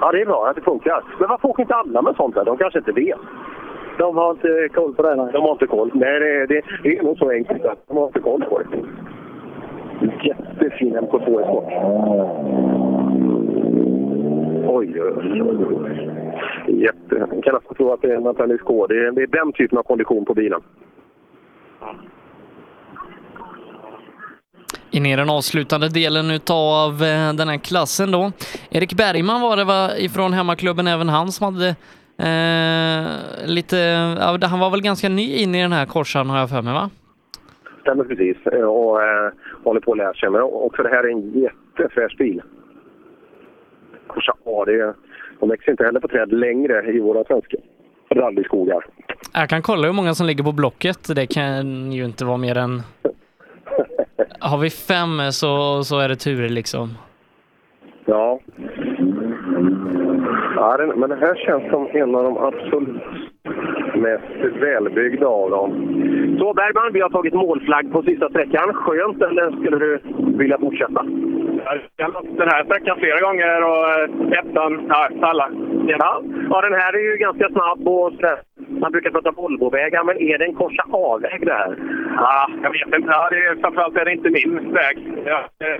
Ja, det är bra att det funkar. Men varför åker inte alla med sånt där? De kanske inte vet. De har inte koll på det, nej. De har inte koll. Nej, det, det, det är nog så enkelt. att De har inte koll på det. Jättefin MK2 Sport. Oj, oj, oj, oj. Jätte... Jag kan nästan tro att det är en Antennis K. Det är, det är den typen av kondition på bilen.
In i den avslutande delen utav eh, den här klassen då. Erik Bergman var det va, ifrån hemmaklubben, även han som hade eh, lite, ja, han var väl ganska ny in i den här korsan har jag för mig va?
Stämmer precis. Eh, Och eh, håller på att lära sig. Men också det här är en jättefräsch bil. Corsa A, det är, de växer inte heller på träd längre i våra svenska rallyskogar.
Jag kan kolla hur många som ligger på blocket, det kan ju inte vara mer än... Har vi fem så, så är det tur liksom.
Ja. ja den, men det här känns som en av de absolut mest välbyggda av dem. Så Bergman, vi har tagit målflagg på sista sträckan. Skönt, eller skulle du vilja fortsätta?
[laughs] Jag har haft den här sträckan flera gånger och eh, ettan, ja, alla.
Ja. ja, den här är ju ganska snabb och sådär. Man brukar prata Volvo-vägar, men är det en korsa A-väg det här?
Ja, jag vet inte. Ja, det är, framförallt är det inte min väg. Ja, eh,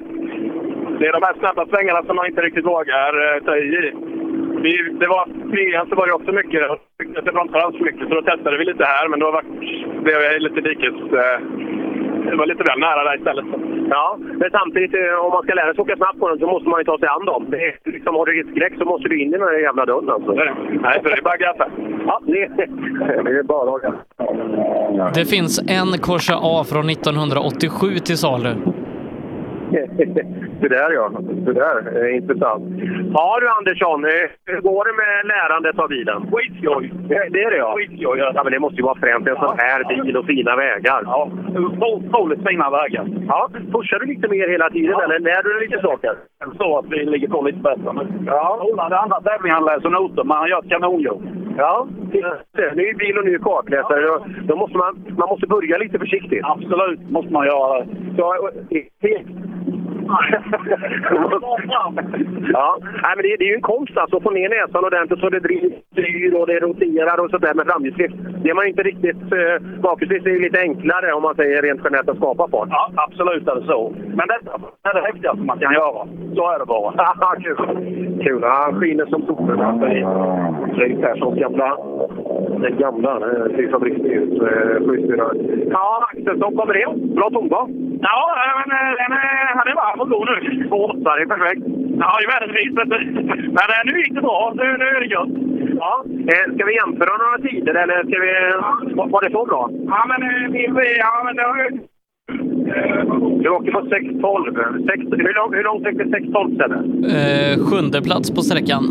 det är de här snabba svängarna som man inte riktigt vågar eh, ta i. Vi, det var trean så var det också mycket. Jag tyckte att det bromsade alls för mycket så då testade vi lite här men då var, blev jag lite dikes... Eh, det var lite väl nära där istället.
Ja, men samtidigt eh, om man ska lära sig åka snabbt på den så måste man ju ta sig an dem. Det är, liksom, har du riskskräck så måste du in i den här jävla dörren alltså.
Nej, så det är bara att gaffa.
Ja, det, [laughs] det är bara att
Det finns en Corsa A från 1987 till salu.
[laughs] Det där ja, det där är intressant. Ja du Andersson, eh, hur går det med lärandet av bilen? Skitskoj! Det är det ja? Skitskoj, ja. men det måste ju vara främt en sån här bil och fina vägar. Ja, otroligt fina vägar. Ja, pushar du lite mer hela tiden eller när du är lite saker?
Så att vi ligger på lite bättre. Men, ja, Ola, det andra tävlingen han läser noter, men han gör ett kanonjobb.
Ja, det är ny bil och ny kartläsare. Då- Då måste man, man måste börja lite försiktigt. Absolut, måste man göra. Så, eh, Ja, Nej, men det, det är ju en konst alltså, att få ner näsan ordentligt så det drivs styr och det roterar och sådär med framhjulsdrift. Det är man ju inte riktigt... Eh, bakhjulsdrift är ju lite enklare om man säger rent generellt att skapa fart.
Ja, absolut är det så. Men detta är det häftigaste man kan göra. Så är
[laughs]
det bara.
Kul! Kul! Ja, Han skiner som solen. Alltså, i Fredrik Perssons gamla... Den gamla eh, flygfabriksljus. eh, Ja, Axelsson kommer in. Bra tomgång.
Ja, men eh, den eh, han är varm och god nu. Åsa, det är perfekt. Ja, ju världens vet du. Men eh, nu gick det bra. Nu, nu är det gött.
Ja. Eh, ska vi jämföra några tider eller ska vi... Var, var det så bra?
Ja, men eh, vi... vi- Ja, men det har ju...
Du åker på 6.12. Sex- Hur lång- hur långt åkte 6.12 Sebbe?
Eh, sjunde plats på sträckan.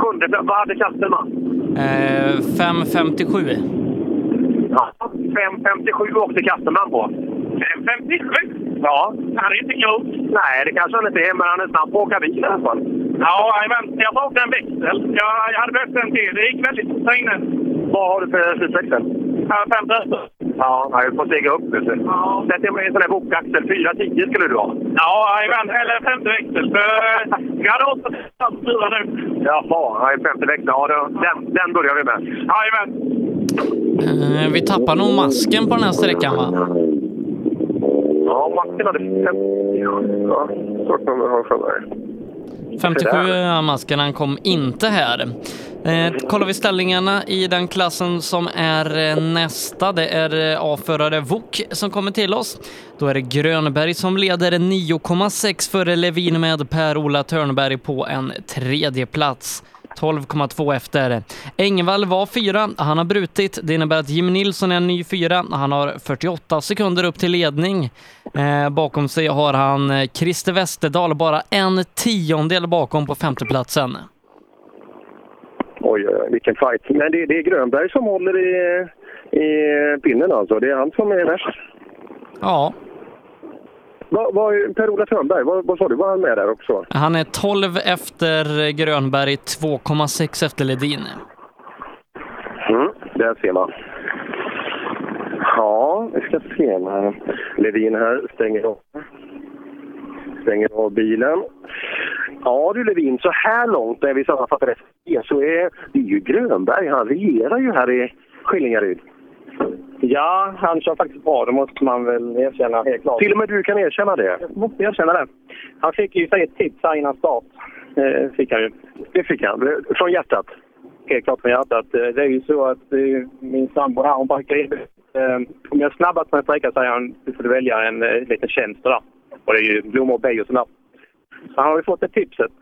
Sjunde plats. Vad hade Kastelman?
Eh, 5.57.
Ja. 5.57 åkte Kastelman på.
5.57?
Ja.
Han är inte klok.
Nej, det kanske han inte är, men han är snabb på att åka bil i alla fall.
Ja, jajamän. Jag bröt en växel. Jag, jag hade behövt en till. Det gick väldigt fort där inne.
Vad har du för slutväxel?
Ja, fem röster.
Ja, nej, du får stega upp. vet du. Sätt dig med en sån där bokaxel. 4.10 skulle du ha.
Ja, jajamän. Eller femte växel. För eh, vi hade åtta fyra nu.
Jaha, nej, femte växeln. Ja, då- den, den börjar vi med.
Jajamän.
Eh, vi tappar nog masken på den här sträckan va?
Ja, Martin hade 50. Ja, startnummer har jag för mig.
57 är masken, han kom inte här. Eh, kollar vi ställningarna i den klassen som är eh, nästa. Det är eh, A-förare Wok som kommer till oss. Då är det Grönberg som leder 9,6 före Levin med Per-Ola Törnberg på en tredje plats. 12,2 efter. Engvall var fyra, han har brutit. Det innebär att Jim Nilsson är en ny fyra. Han har 48 sekunder upp till ledning. Eh, bakom sig har han eh, Christer Westerdal bara en tiondel bakom på femteplatsen.
Oj, oj, oj, vilken fight. Men det, det är Grönberg som håller i, i pinnen alltså. Det är han som är värst.
Ja,
Vad- vad- Per-Ola Törnberg, vad, vad sa du? Var han med där också?
han är 12 efter Grönberg, 2,6 efter Ledin.
Mm, där ser man. Ja, vi ska se när Levin här stänger av, stänger av bilen. Ja du Levin, så här långt, när vi sammanfattar det, så är det är ju Grönberg. Han regerar ju här i Skillingaryd.
Ja, han kör faktiskt bra. Det måste man väl erkänna helt klart.
Till och med du kan erkänna det.
Jag måste erkänna det. Han fick ju sig ett tips här innan start. Eh, fick han ju.
Det fick han. Från hjärtat?
Helt klart från hjärtat. Eh, Det är ju så att eh, min sambo här, hon backar in. Eh, om jag är snabbast på en sträcka säger han, du får välja en eh, liten tjänst där. Och det är ju blommor och bej och sånt där. Så han har ju fått det tipset.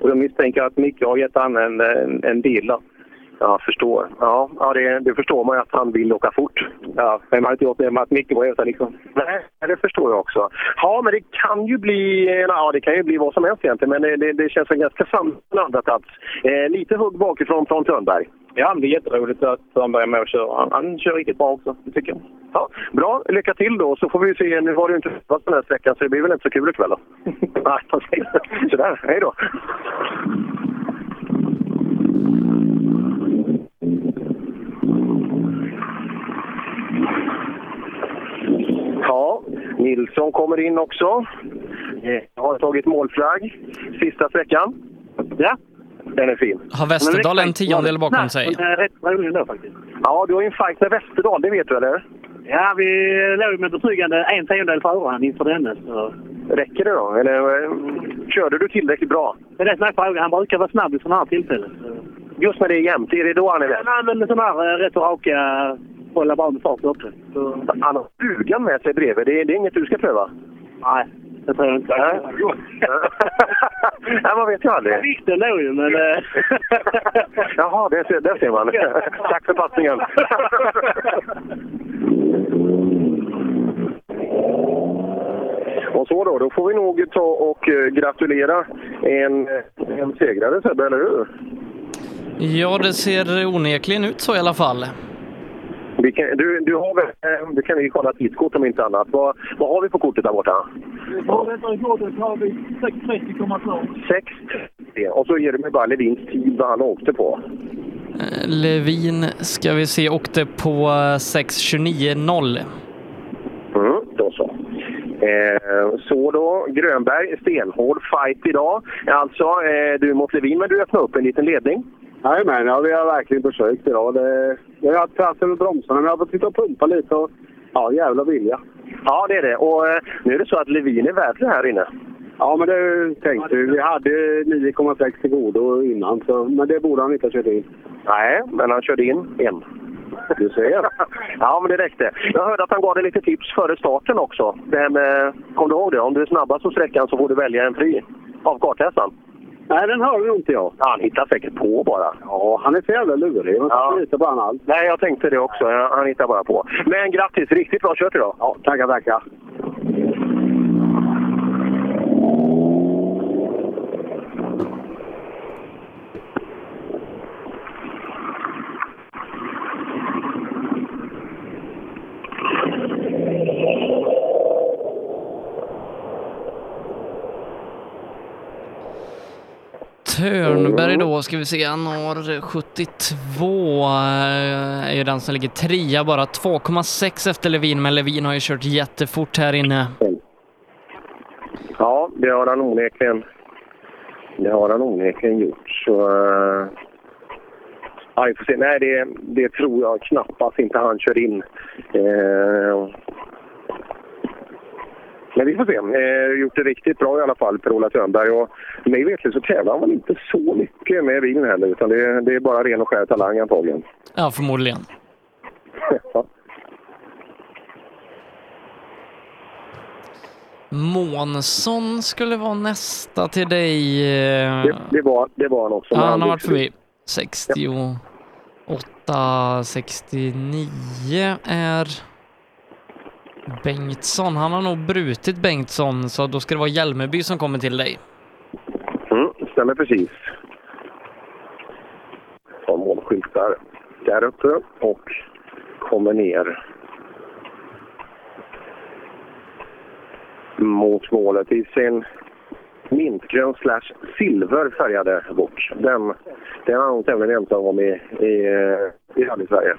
Och jag misstänker att Micke har gett han en, en, en deal där.
Jag förstår. Ja, ja det, det förstår man ju att han vill åka fort. Ja, men man har inte gjort det med att Micke var liksom. Nej, det förstår jag också. Ja, men det kan ju bli, ja, det kan ju bli vad som helst egentligen, men det, det, det känns en ganska samlandad plats. Eh, lite hugg bakifrån från Törnberg.
Ja, det är jätteroligt att han börjar med att köra. Han, han kör riktigt bra också, det tycker jag.
Ja, bra, lycka till då, så får vi se. Nu var det ju inte fast den här sträckan, så det blir väl inte så kul ikväll [laughs] då. Nej, precis. Sådär, hej då. Ja, Nilsson kommer in också. Jag har tagit målflagg sista sträckan. Ja. Den är fin.
Har Westerdal en tiondel bakom sig?
eh,
Rätt rolig då faktiskt. Ja, du har ju en fight med Westerdal, det vet du eller?
Ja, vi låg med betryggande en tiondel före han inför denne. Så.
Räcker det då? Eller eh, körde du tillräckligt bra?
Det är det som är frågan. Han brukar vara snabb i sådana här tillfällen.
Just när det är jämnt, är det då han är värst?
Han använder sådana här eh, rätt och raka, hålla bra med fart uppe. Så,
Han har stugan med sig bredvid. Det är, det är inget du ska pröva?
nej, det tror jag inte.
Nej.
[laughs]
[laughs] Nej, man vet ju aldrig.
Vikten låg ju, men...
[laughs]
eh, [laughs]
Jaha, där ser, där ser man. Tack för passningen. Och så då, då får vi nog ta och eh, gratulera en, en segrare Sebbe, eller hur?
Ja, det ser onekligen ut så i alla fall.
Vi kan, du, du har väl, eh, du kan ju kolla tidskort om inte annat. Vad, vad har vi på kortet där borta?
På detta rekordet har vi 6.30,2.
6. Och så ger du mig bara Levins tid vad han åkte på.
Eh, Levin ska vi se, åkte på eh, 6.29.0.
Mm, då så. Eh, Eh, så då, Grönberg, stenhård fight idag. Alltså, eh, du mot Levin, men du öppnar upp en liten ledning.
Jajamän, ja, vi har verkligen försökt idag. Det, jag har haft trassel med bromsarna, men jag har fått sitta och pumpa lite. Och, ja, jävla vilja.
Ja, det är det. Och eh, nu är det så att Levin är värd det här inne.
Ja, men det tänkte vi. Vi hade 9,6 till godo innan, så, men det borde han inte ha kört in.
Nej, men han körde in en.
Du ser.
[laughs] ja, men det räckte. Jag hörde att han gav dig lite tips före starten också. Det här med, kom du ihåg det? Om du är snabbast på sträckan så får du välja en fri av kartläsaren.
Nej, den hörde nog inte jag.
Han hittar säkert på bara.
Ja, han är så jävla lurig. Man ja. litar på honom allt.
Nej, jag tänkte det också. Ja, Han hittar bara på. Men grattis! Riktigt bra kört idag.
Ja, tackar, tackar.
Törnberg då, ska vi se, han har 72, eh, är ju den som ligger trea bara, 2,6 efter Levin, men Levin har ju kört jättefort här inne.
Ja, det har han onekligen. Det har han onekligen gjort. Så, eh, ja, vi får se. Nej, det, det tror jag knappast inte han kör in. Eh, men vi får se. Eh, gjort det riktigt bra i alla fall, Per-Ola Törnberg. Och mig vetligt så tävlar han väl inte så mycket med bilen heller, utan det, det är bara ren och skär talang antagligen. [laughs]
Ja, förmodligen. Månsson skulle vara nästa till dig. eh,
det, det, var, det var han också.
Ja,
Men
han har varit
lyckades-
förbi. 68, 69 är Bengtsson. Han har nog brutit Bengtsson, så då ska det vara Hjälmeby som kommer till dig.
Mm, stämmer precis. Har målskyltar där uppe och kommer ner mot målet i sin mintgrön slash silverfärgade bock. Den, den är han nog tämligen ensam om i, i, eh, i rally-Sverige.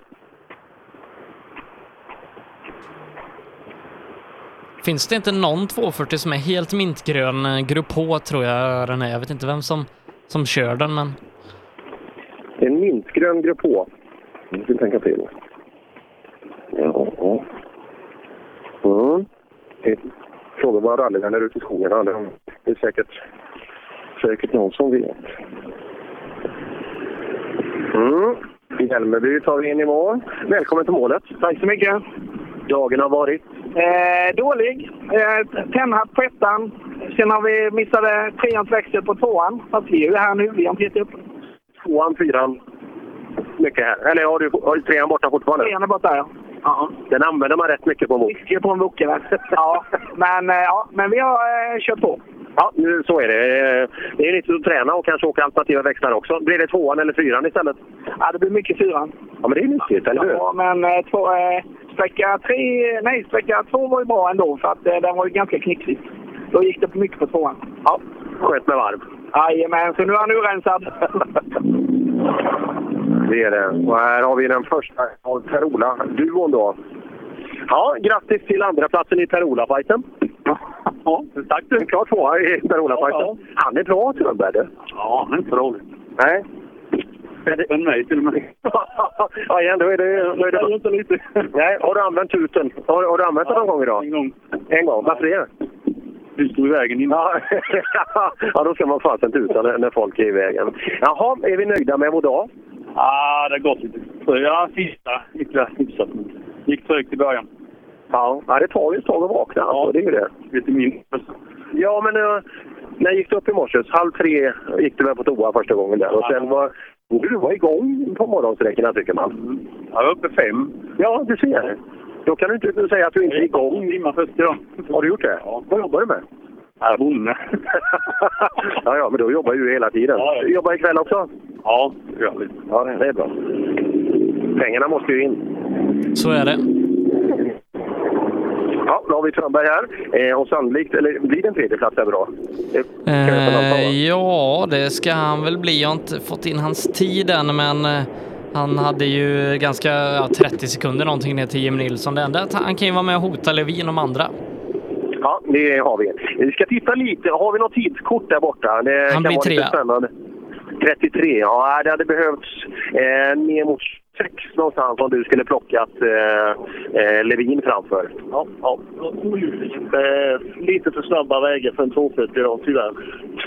Finns det inte någon 240 som är helt mintgrön? Eh, Grupp H tror jag den är. Jag vet inte vem som, som kör den, men
En mintgrön grupp H. Nu ska vi tänka till. Ja. ja. Mm. Det- Fråga våra rallyvänner ute i skogarna. De- Det är säkert, säkert någon som vet. Mm. Hjälmeby tar vi in i mål. Välkommen till målet. Tack så mycket. Dagen har varit.
Eh, dålig. Eh, Tändhatt på ettan. Sen har vi missade treans växel på tvåan. Fast vi är ju här nu. Vi har inte gett upp.
Tvåan, fyran. Mycket här. Eller har du, har du trean borta fortfarande?
Trean är borta, ja. ja.
Den använder man rätt mycket på en bok.
Mycket på en bok,
[laughs]
va? ja. Men, eh, ja. Men vi har eh, kört på.
Ja, nu, så är det. Eh, Det är nyttigt att träna och kanske åka alternativa växlar också. Blir det tvåan eller fyran istället?
Ja, det blir mycket fyran.
Ja, men det är nyttigt, eller hur?
Ja, men eh, två, eh, sträcka tre, nej, sträcka två var ju bra ändå för att eh, den var ju ganska knicklig. Då gick det på mycket på tvåan.
Ja, skönt med varv.
Jajamän, så nu är han urensad.
[laughs] Det är det. Och här har vi den första av Per-Ola. Duon då. Ja, grattis till andra platsen i per fighten Ja, tack du. Klart tvåa i per fighten Han är bra, Törnberg. du.
Ja, det är inte roligt.
Nej. [laughs]
Bättre än mig till och med.
Ja, igen, då är det... Då är det...
inte lite.
Nej, har du använt tuten? Har, har du använt den någon gång idag? En
gång.
En gång? Varför det?
Du stod i vägen innan.
Ja, [laughs] ja då ska man fasen tuta när, när folk är i vägen. Jaha, är vi nöjda med vår dag?
Ah, det har gått lite trögt. Ja, sista gick det hyfsat. Gick trögt i början.
Ja, ja det tar ju ett tag att vakna. Alltså, det är ju det.
Lite mindre.
Ja, men eh, när gick du upp i morse? Halv tre gick du väl på toa första gången där. Och sen var du var igång på morgonsträckorna, tycker man.
Jag var uppe fem.
Ja, du ser. Då kan du inte säga att du inte är igång.
Timma först idag.
Har du gjort det? Ja. Vad jobbar du med?
Jag är bonde.
[laughs] ja, ja, men då jobbar du ju hela tiden.
Ja, ja.
Du jobbar ikväll också?
Ja, det gör jag lite.
Ja, det är bra. Pengarna måste ju in.
så är det.
Ja, nu har vi Törnberg här. Eh, och sannolikt, eller blir det en tredje plats här bra? Det kan jag nästan anta, va?
Eh, ja, det ska han väl bli. Jag har inte fått in hans tid än, men eh, han hade ju ganska ja, 30 sekunder någonting ner till Jim Nilsson. Det enda är att han kan ju vara med och hota Levin om andra.
Ja, det har vi. Vi ska titta lite. Har vi något tidskort där borta? Det
Han
kan
blir
vara lite
trea.
spännande. 33, ja det hade behövts eh, ner mot 6 någonstans om du skulle plockat eh, eh, Levin framför.
Ja, ja. Eh, lite för snabba vägar för en 240 idag, tyvärr.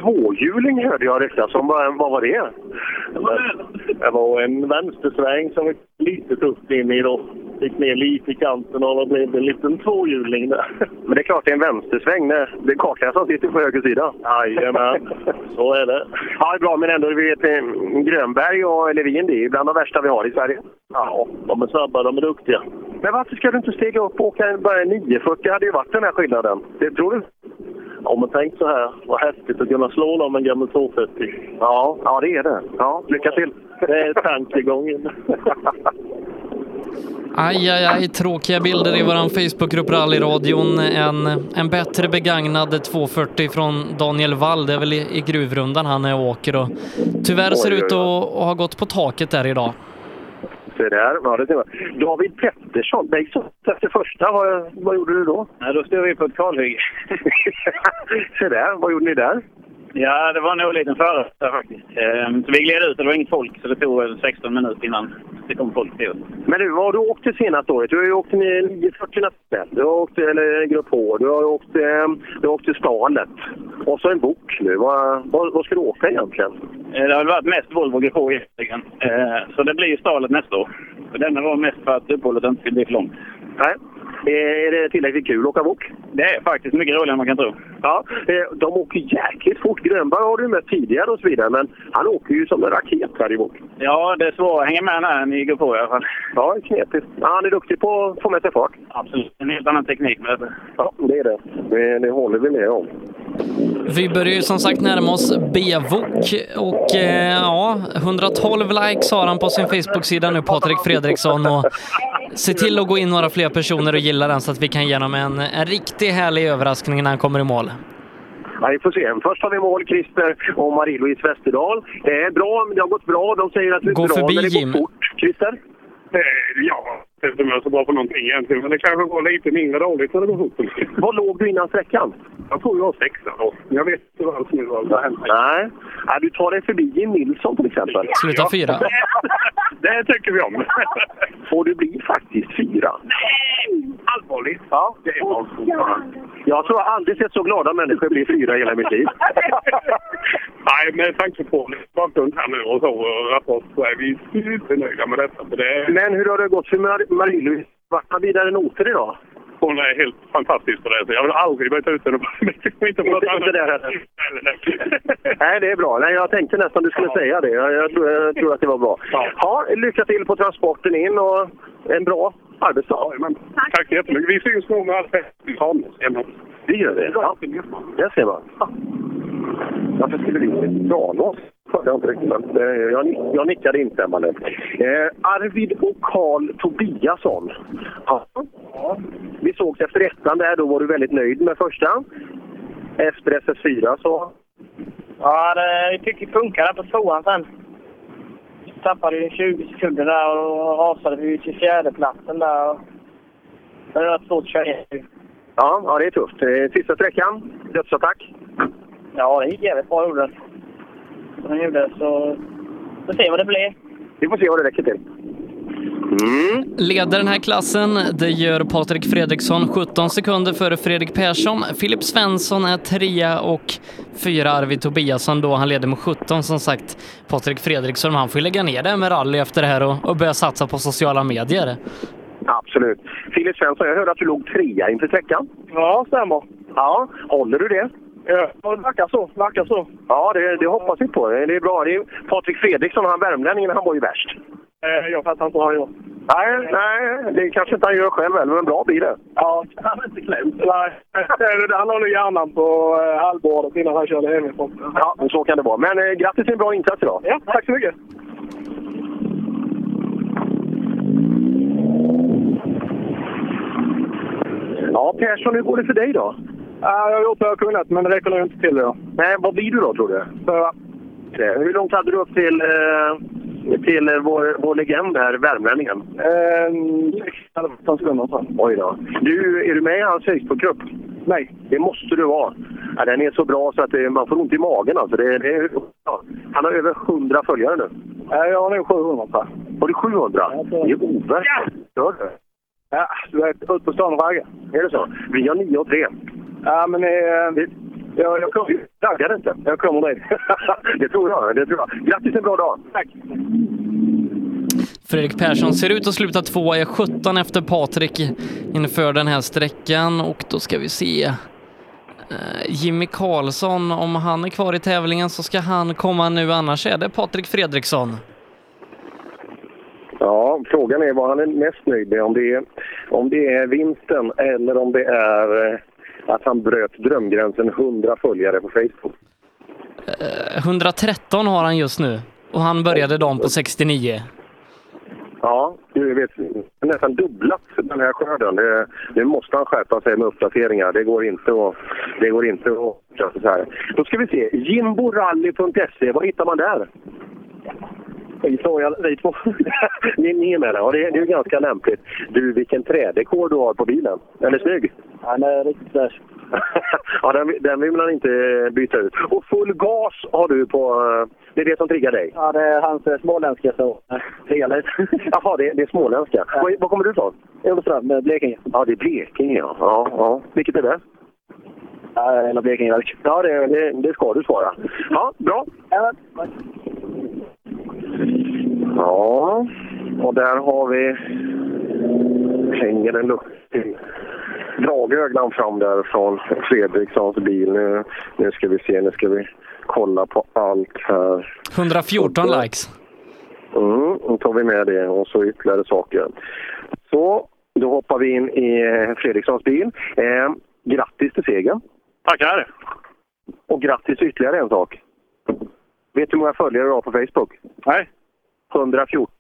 Tvåhjuling hörde jag ryktas om. Vad vad var det?
Det var en vänstersväng som gick lite tufft in i då. Gick ner lite i kanten och då blev det en liten tvåhjuling där.
[laughs] Men det är klart det är en vänstersväng. Det det är kartläsaren sitter på höger sida.
Jajamän,
så är det. Ja, det är bra. Men ändå, vi vet eh, Grönberg och Levin, det är bland de värsta vi har i Sverige.
Ja, de är snabba, de är duktiga.
Men varför ska du inte stega upp och åka en- bara en 940? Det hade ju varit den här skillnaden. Det tror du?
Ja, men tänk så här, vad häftigt att kunna slå dem med en gammal 240.
Ja, ja det är det. Ja, lycka till!
Det är
[laughs]
tankegången.
Aj, aj, aj, tråkiga bilder i våran Facebookgrupp Rallyradion. En, en bättre begagnad 240 från Daniel Wall. Det är väl i, i gruvrundan han är och åker och tyvärr ser det
Oj, oj,
ut att att ha gått på taket där idag.
Se där, ja, det ser man. David Pettersson, Bengtsson efter första, vad, vad gjorde du då?
Ja, då stod vi på ett kalhygge.
[laughs] Se där, vad gjorde ni där?
Ja, det var nog en liten förare faktiskt. Ehm, Så vi gled ut och det var inget folk, så det tog väl 16 minuter innan det kom folk till oss.
Men du, vad har du åkt det senaste året? Du har ju åkt med 940 nationell, du har åkt eller, Grupp H, du har åkt, eh, du har åkt till Stalet. Och så en bok nu. Vad, vad, vad ska du åka egentligen?
Eh, Det har väl varit mest Volvo GH egentligen. Eh, Så det blir ju stalet nästa år. Och Denna var mest för att uppehållet inte skulle bli för långt.
Nej. Är det tillräckligt kul att åka bok?
Det är faktiskt mycket roligare än man kan tro.
Ja, eh, de åker jäkligt fort. Grönberg har du med tidigare och så vidare, men han åker ju som en raket här i bok.
Ja, det är svårt att hänga med när ni går på i alla fall.
Ja, knepigt. Ja, han är duktig på att få med sig fart.
Absolut. En helt annan teknik med det.
Ja, det är det. Det, det håller vi med om.
Vi börjar ju som sagt närma oss Bevok och eh, ja, 112 likes har han på sin Facebook-sida nu, Patrik Fredriksson. Och se till att gå in några fler personer och gilla den så att vi kan ge honom en, en riktigt härlig överraskning när han kommer i mål.
Ja, vi får se. Först har vi mål, Christer och Marie-Louise Westerdahl. Det är bra, men det har gått bra. De säger att det är
Gå
bra,
förbi,
men det
Jim.
går fort. Christer?
Ja, jag vet inte om jag är så bra på någonting egentligen, men det kanske går lite mindre dåligt när det går fort.
Vad låg du innan sträckan?
Jag tror jag var sexa då. Jag vet inte alls nu vad som har hänt.
Nej. Ja, du tar dig förbi Jim Nilsson till exempel.
Sluta fyra.
Det tycker vi om.
Och du blir faktiskt fyra.
Allvarligt?
Ja.
Det är bra.
Jag tror jag aldrig sett så glada människor bli fyra i hela mitt liv.
[laughs] Nej, med tanke på bakgrund här nu och så och rapport så är vi supernöjda med detta. För det,
Men hur har det gått för Mar- Marie-Louise? Vart har vidare noter idag?
hon är helt fantastisk på det. Så jag vill aldrig byta ut henne. [laughs] inte på något
Inte- inte där
annat.
heller. [laughs] Nej, det är bra. Nej, jag tänkte nästan du skulle säga det. Jag, jag, tror, jag tror att det var bra. Ja, lycka till på transporten in och en bra arbetsdag.
Tack. Tack så jättemycket. Vi syns nog med allt det
Det gör vi. Ja. Där ser man. Varför skulle vi inte dra oss? Hörde jag inte riktigt, men eh, jag, nick, jag nickade instämmande. Eh, Arvid och Karl Tobiasson. Ja. Vi sågs efter ettan där. Då var du väldigt nöjd med första. Efter SS4 så
Ja, det tycker jag funkade på tvåan sen. Tappade ju 20 sekunder där och rasade vi till fjärdeplatsen där. och- Men det var svårt att köra igen.
Ja, ja, det är tufft. Eh, Sista sträckan, dödsattack.
Ja, det gick jävligt bra gjorde det. De gjorde det, så... Vi får se vad det blir.
Vi får se vad det räcker till.
Leder den här klassen, det gör Patrik Fredriksson 17 sekunder före Fredrik Persson. Filip Svensson är trea och fyra Arvid Tobiasson då. Han leder med 17 som sagt. Patrik Fredriksson, han får ju lägga ner det här med rally efter det här och, och börja satsa på sociala medier.
Absolut. Filip Svensson, jag hörde att du låg trea inför sträckan. Ja, stämmer. Ja, håller du det? Ja, det verkar så. Verkar så. Ja, det, det hoppas vi på. Det är bra. Det är Patrik Fredriksson, han värmlänningen, han var ju värst.
Eh, Jag fattar inte vad han gör.
Nej, nej, det kanske inte han gör själv heller, men bra blir det.
Ja, han är inte klämt. Nej, det är det. han håller hjärnan på eh, halvbordet innan han körde hemifrån.
Ja, men så kan det vara. Men eh, grattis till en bra insats idag.
Ja, tack så mycket.
Ja, Persson, hur går det för dig då? jag har gjort vad jag har kunnat, men det räcker nog inte till idag. Nej, vad blir du då, tror du? Fyra. Eh, Hur långt hade du upp till, eh, till eh, vår, vår legend här, värmlänningen?
Ehm, 16 sekunder sen.
Oj då. Du, är du med i hans Facebookgrupp? Nej, det måste du vara. Ja, den är så bra så att det, man får ont i magen. Alltså. Det, det, är- ja. Han har över 100 följare nu.
Nej, jag har nu 700 tror jag.
Har du 700? Det är overkligt. Gör du?
Ja, du vet, ut på stan och ragga.
Är det så? Vi har 9 och 3.
Ja, men eh, jag, jag kommer...
Raggar inte. Jag kommer dit. [laughs] det tror jag. Det tror jag. Grattis en bra dag! Tack!
Fredrik Persson ser ut att sluta tvåa, är 17 efter Patrik inför den här sträckan och då ska vi se eh, Jimmy Karlsson, om han är kvar i tävlingen så ska han komma nu, annars är det Patrik Fredriksson.
Ja, frågan är vad han är mest nöjd med. Om det är, om det är vinsten eller om det är eh, att han bröt drömgränsen 100 följare på Facebook.
Eh, 113 har han just nu och han började dagen på 69.
Ja, du vet, det är nästan dubblat den här skörden. Det, nu måste han skärpa sig med uppdateringar. Det går inte att... Det går inte att fortsätta så här. Då ska vi se. Jimborally.se, vad hittar man där? Vi två, ja, vi två. [laughs] ni, ni är med där. Ja, det, är- det är ganska lämpligt. Du, vilken trädekor du har på bilen. Den är snygg. [laughs]
Han är riktigt fräsch.
ja, den, den vill man inte byta ut. Och full gas har du på... eh, Det är det som triggar dig.
Ja, det är hans eh, småländska så.
Felet.
[laughs]
Jaha, det, det är småländska. Var, var kommer du ifrån?
Elström, eh, Blekinge.
Ja, det är Blekinge, ja. ja, ja. Vilket är det? Ja, hela Blekingeverk. Ja, det, det, det ska du svara. Ja, bra. Ja, och där har vi... Hänger en luft till. Dragöglan fram där från Fredrikssons bil. Nu, nu ska vi se, nu ska vi kolla på allt här.
114 likes.
Mm, då tar vi med det och så ytterligare saker. Så, då hoppar vi in i eh, Fredrikssons bil. Eh, grattis till segern!
Tackar!
Och grattis till ytterligare en sak! Vet du hur många följare du har på Facebook?
Nej.
114.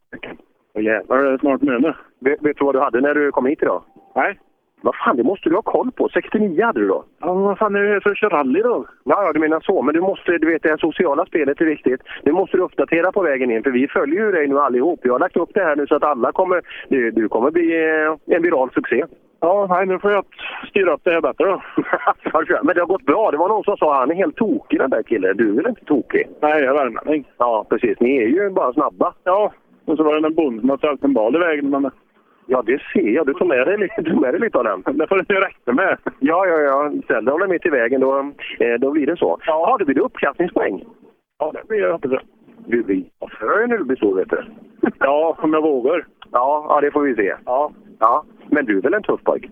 Åh, Jävlar, det är snart nu. Vet, vet du vad du hade när du kom hit idag?
Nej.
Vad fan, det måste du ha koll på. 69 hade du då?
Ja, men vad fan är det för att köra rally då?
Ja, ja, du menar så. Men du måste, du vet, det här sociala spelet är viktigt. Det måste du uppdatera på vägen in, för vi följer ju dig nu allihop. Jag har lagt upp det här nu så att alla kommer... Du, du kommer bli eh, en viral succé.
Ja, nej, nu får jag styra upp det här bättre
[laughs]
då.
Men det har gått bra. Det var någon som sa han är helt tokig den där killen. Du är väl inte tokig?
Nej, jag är värmlänning.
Ja, precis. Ni är ju bara snabba.
Ja, och så var det en bonde som hade ställt en bal i vägen. Men...
Ja, det ser jag. Du tog med dig, lite- du tog med dig lite av den.
Det får du räkna med.
Ja, ja, ja. Ställ dig mitt i vägen, då, eh, då blir det så. Ja, du blir det uppklassningspoäng.
Ja, det blir jag hoppas jag.
Du blir förare när du blir stor, vet du.
Ja, om jag vågar.
Ja, ja, det får vi se.
Ja.
ja. Men du är väl en tuff pojk?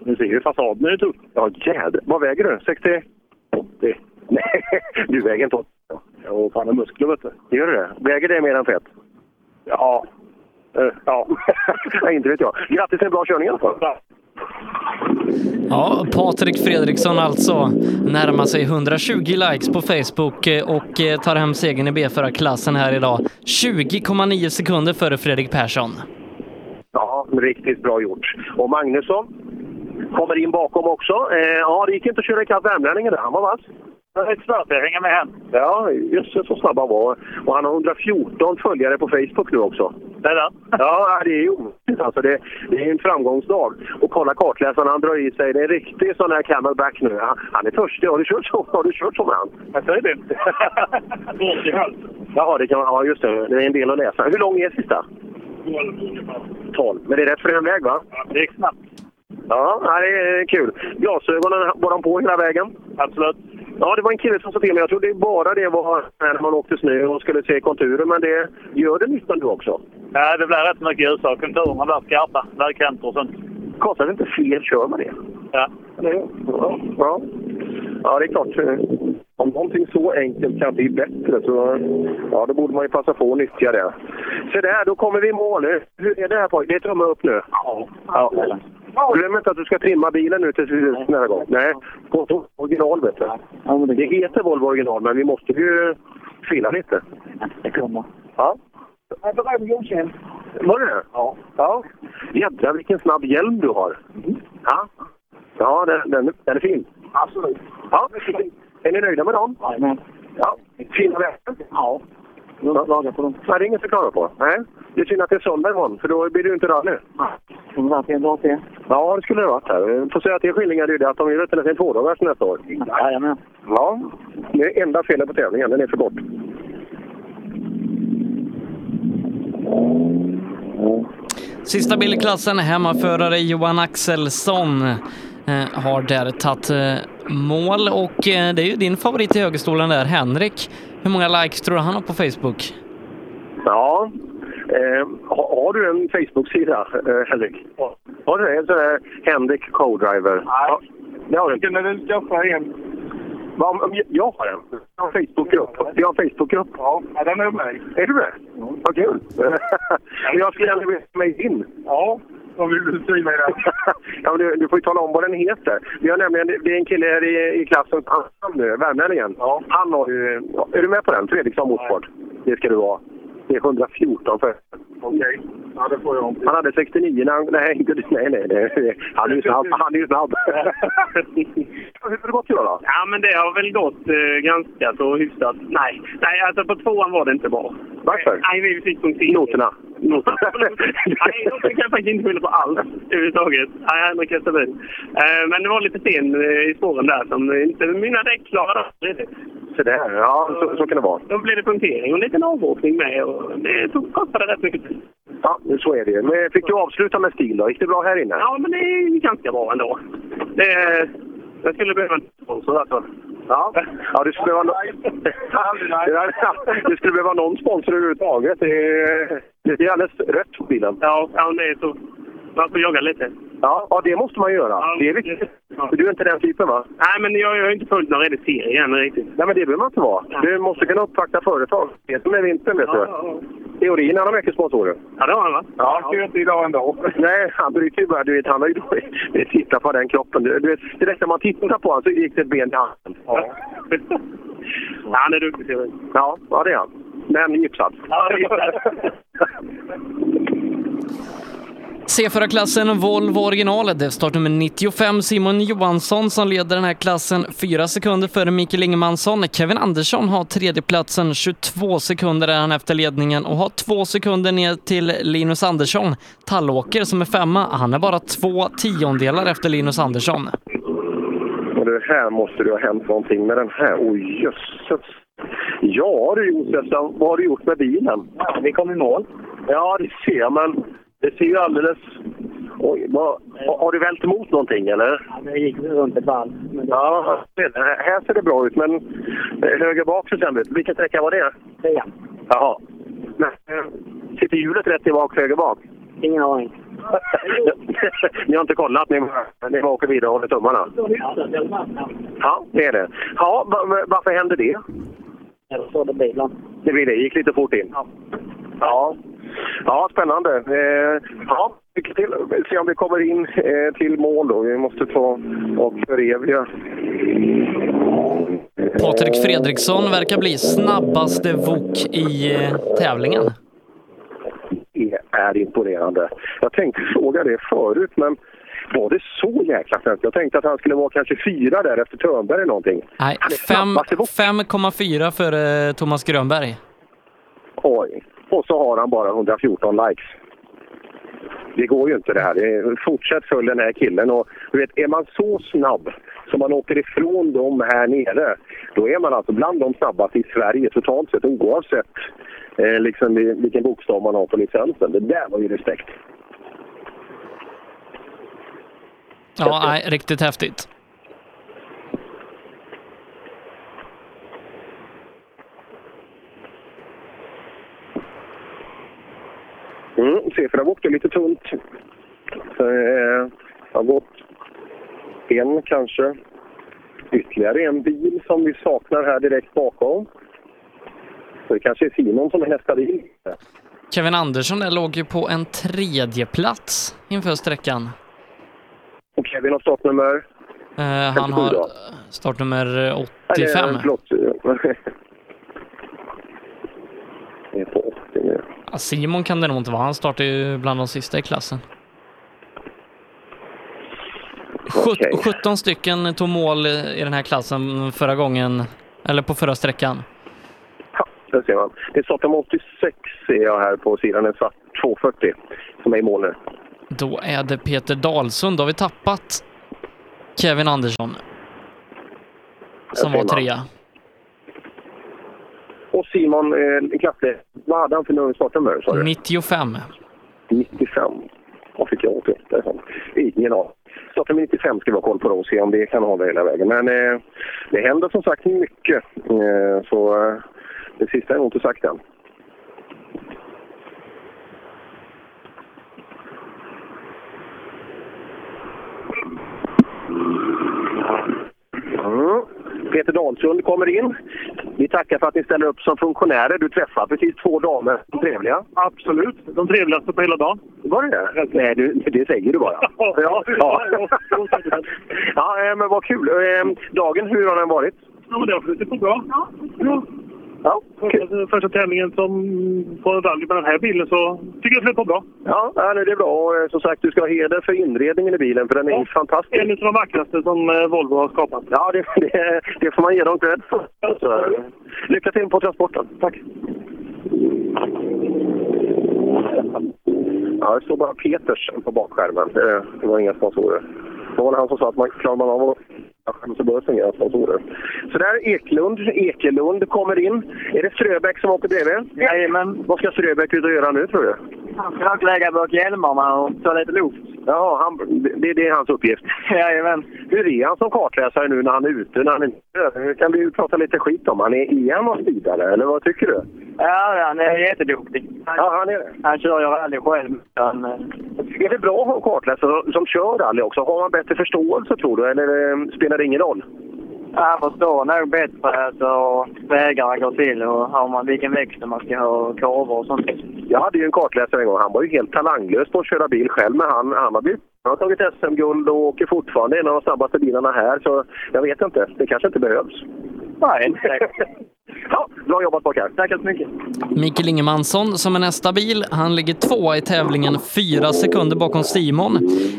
Du ser ju fasaden är ju tuff.
Ja, jädrar. Vad väger du? 60? 80. Nej, [laughs] du väger inte 80.
Jo, fan det är muskler vet du.
Gör du det? Väger det mer än fett?
Ja. Eh, ja.
[laughs] Nej, inte vet jag. Grattis till en bra körning i alla fall.
Ja, Patrik Fredriksson alltså närmar sig 120 likes på Facebook eh, och eh, tar hem segern i B-förarklassen här idag. 20,9 sekunder före Fredrik Persson.
Ja, riktigt bra gjort. Och Magnusson kommer in bakom också. Eh, ja, det gick inte att köra ikapp värmlänningen där. Han var vass.
Det är svårt, jag hänger med hem.
Ja, jösses så snabb han var. Och han har 114 följare på Facebook nu också.
Det där.
Ja, det är ju otroligt alltså. Det, det är en framgångsdag. Och kolla kartläsaren, han drar i sig. Det är en riktig sån här camelback nu. Han, han är törstig. Har du kört så? Har du kört så med han?
Jag säger det.
[laughs]
Jaha, det kan, ja, just det. Det är en del att läsa. Hur lång är sista? 12. Men det är rätt för den väg, va?
Det gick snabbt.
Ja, ja, det är kul. Glasögonen, var de på hela vägen?
Absolut.
Ja, det var en kille som sa till mig, jag trodde bara det var när man åkte snö och skulle se konturer, men det gör det nytta nu också.
Ja, det blir rätt mycket ljusare. Konturerna blir skarpa. Vägkanter och sånt.
Kostar det inte fel kör man det?
Ja.
Ja, ja. ja det är klart. eh, Om någonting så enkelt kan bli bättre så ja, då borde man ju passa på att nyttja det. Så där, då kommer vi i mål. nu. Hur är det här pojk? Det är tumme upp nu? Ja. Glöm inte att du ska trimma bilen nu till slutet nästa gång. Nej, på original vet du. Det heter Volvo original, men vi måste ju fila lite. Det kommer. Ja.
Jag berömmer godkänd.
Var det det? Ja. ja. Jädrar vilken snabb hjälm du har. Ja, ja den, den, den är fin. Absolut. Ja. Är ni nöjda med dem? Jajamän. Ja. Fina väskor? Ja. Du har inte klagat på dem? Nej, det är inget att klaga på. Nej. Det är synd att det är söndag imorgon, för då blir det ju inte rally.
skulle varit en dag till.
Ja, det skulle det varit. Här. Eh, Får säga till Skillingar det är det att de gör det till sin tvådagars nästa år.
Jajamän.
Ja, det är enda felet på tävlingen. Den är för kort.
Sista bil i klassen, hemmaförare Johan Axelsson eh, har där tagit eh, mål och eh, det är ju din favorit i högerstolen där, Henrik. Hur många likes tror du han har på Facebook?
Ja. Eh, ha- har du en Facebook-sida, eh, Henrik? Ja. Har du det? En sån här Henrik Co-driver? Nej. Det har du inte.
kunde väl skaffa en.
Va, om jag- Jag har en. Jag har en Facebookgrupp. Jag har en Facebookgrupp.
Ja, den är med.
Är du det? Vad kul! [laughs] jag skulle gärna vilja ha mig in.
Ja, vad vill du skriva i den?
[laughs] ja, men du, du får ju tala om vad den heter. Vi har nämligen, det är en kille här i, i klassen, han nu, värmlänningen. Han har ju... ja, Är du med på den? Fredriksson Motorsport. Det ska du vara. Det är 114 för...
Okej. Ja, det får jag om.
Han hade 69 när han... Nej, [laughs] inte, nej, nej, nej. Han är ju snabb. Han är ju snabb. Hur har det gått idag då?
Ja, men det har väl gått eh, ganska så hyfsat. Nej, nej alltså på tvåan var det inte bra.
Varför?
Nej, vi fick punkt in.
Noterna.
Nej, de kan jag faktiskt inte skylla på alls överhuvudtaget. Nej, Henrik Österbil. Eh, men det var lite sen eh, i spåren där som inte mina däck klarade av det.
Så där, ja. Så, så kan det vara.
Då blev det punktering och en liten avåkning med och det tog, kostade rätt mycket tid.
Ja, så är det ju. Men fick du avsluta med stil då? Gick det bra här inne?
Ja, men det är ganska bra ändå. Det, jag skulle behöva en sponsor alltså.
Ja. Ja, du skulle behöva... [laughs] no- du skulle behöva någon sponsor överhuvudtaget. Det är, det är alldeles rött på bilen.
Ja, ja, det är så. Man får jaga lite.
Ja, ja, det måste man göra.
Ja.
Det är viktigt. För Du är inte den typen, va?
Nej, men jag, jag har inte följt någon redig serie än riktigt.
Nej, men det behöver man inte vara. Du måste kunna uppvakta företag. Det är som med vintern, vet du. Teorin, han har mycket sponsorer.
Ja, det har han va?
Ja, han ska ju inte idag ändå. Nej, han bryter ju bara. Du vet, han har ju dåligt. Titta på den kroppen. Du du vet, direkt när man tittar på honom så gick det ett ben i handen. Ja.
Han är duktig, [laughs] Teorin.
Ja, ja, det är han. Men gipsad.
Ja, det är
C4-klassen Volvo original, det är startnummer 95 Simon Johansson som leder den här klassen 4 sekunder före Mikael Ingemansson. Kevin Andersson har tredjeplatsen, 22 sekunder är han efter ledningen och har två sekunder ner till Linus Andersson. Tallåker som är femma, han är bara två tiondelar efter Linus Andersson.
Men du, här måste det ha hänt någonting med den här. Oj, jösses! Ja du Josefsson, vad har du gjort med bilen? vi kom i mål. Ja, det ser man. Det ser ju alldeles... Oj, vad, har- har du vält emot någonting eller?
Det gick runt ett varv.
Ja, här ser det bra ut, men eh, höger bak ser sämre ut. Vilken sträcka var det?
Trean.
Jaha. Men, eh, sitter hjulet rätt i bak, höger bak?
Ingen aning.
[laughs] ni har inte kollat, ni, bara- ni bara åker vidare och håller tummarna? Ja, det är det. Ja, va- va- varför hände det?
Jag såg det bilen.
Det blir det. gick lite fort in. Ja. Ja, spännande. Eh, ja, lycka till. Vi får Se om vi kommer in eh, till mål då. Vi måste ta och föreviga.
Patrik Fredriksson verkar bli snabbaste vok i eh, tävlingen.
Det är imponerande. Jag tänkte fråga det förut, men var det så jäkla snabbt? Jag tänkte att han skulle vara kanske fyra där efter Törnberg eller någonting.
Nej, fem- 5,4 före Thomas Grönberg.
Oj. Och så har han bara 114 likes. Det går ju inte det här. Det är- Fortsätt följa den här killen. Och, du vet, är man så snabb som man åker ifrån dem här nere, då är man alltså bland de snabbaste i Sverige totalt sett oavsett eh, liksom, i- vilken bokstav man har på licensen. Det där var ju respekt.
Ja, nej, riktigt häftigt.
Mm, c 4 åkte lite tunt. Eh, har gått en kanske. Ytterligare en bil som vi saknar här direkt bakom. Så det kanske är Simon som är nästa bil.
Kevin Andersson där låg ju på en tredje plats inför sträckan.
Och Kevin har startnummer
Eh, han har eh,
då.
startnummer
Nej, det är-
85.
Förlåt. [laughs] Det är på 80 nu.
Ja, Simon kan det nog inte vara. Han startar ju bland de sista i klassen. Sjut- 17 stycken tog mål i den här klassen förra gången, eller på förra sträckan.
Där ser man. Det är startnummer 86 ser jag här på sidan. En svart 240 som är i mål nu.
Då är det Peter Dahlsund. Då har vi tappat Kevin Andersson. Som var
Jag ser man.
trea.
Och Simon eh, Klasse, vad hade han för nummer i startnummer? sa du?
95.
95. Vad fick jag åt det därifrån? Ingen aning. Startnummer 95 ska vi ha koll på då och se om det kan hålla hela vägen. Men eh, det händer som sagt mycket. Eh, så eh, det sista är nog inte sagt än. Mm. Peter Dahlsund kommer in. Vi tackar för att ni ställer upp som funktionärer. Du träffar precis två damer. De trevliga.
Absolut. De trevligaste på hela dagen.
Var det det? Nej, du, det säger du bara.
ja.
Ja. [laughs] ja, eh, men vad kul. Eh, Dagen, hur har den varit?
Ja, men det har flutit på bra. Ja.
Ja,
första, första tävlingen som på en rally med den här bilen så tycker jag det flöt på bra.
Ja, ja, nej, det är bra. Och eh, som sagt, du ska ha heder för inredningen i bilen, för den är ju fantastisk.
En av de vackraste som eh, Volvo har skapat.
Ja, det, det, det får man ge dem cred för. Så, Lycka till på transporten. Tack. Ja, det står bara Peters på bakskärmen. Eh, Det var inga sponsorer. Det var han som sa att man klarar man av att skämma så behövs inga sponsorer. Så där Eklund, Ekelund kommer in. Är det Ströbeck som åker bredvid? Jajamän. Vad ska Ströbeck ut och göra nu tror du?
Han försökte lägga bort hjälmarna och ta lite luft.
Ja, han, det, det är hans uppgift. [laughs]
Jajamän.
Hur är han som kartläsare nu när han är ute? När han inte kör? kan vi ju prata lite skit om. Han är, E är han någon speedare, eller vad tycker du?
Ja, han är jätteduktig. Han,
ja, han, är
han kör ju rally själv. Han, eh,
Är det bra att ha en kartläsare som kör rally också? Har man bättre förståelse tror du, eller eh, spelar det ingen roll?
han förstår nog bättre alltså, vägarna går till och har man, vilken växel man ska ha och kurvor och sånt.
Jag hade ju en kartläsare en gång. Han var ju helt talanglös på att köra bil själv, men han, han har blivit han har tagit SM-guld och åker fortfarande en av de snabbaste bilarna här, så jag vet inte. Det kanske inte behövs.
Nej,
[laughs] ja, Bra jobbat pojkar! Tack så mycket!
Mikael Ingemansson som är nästa bil. Han ligger tvåa i tävlingen, fyra sekunder bakom Simon.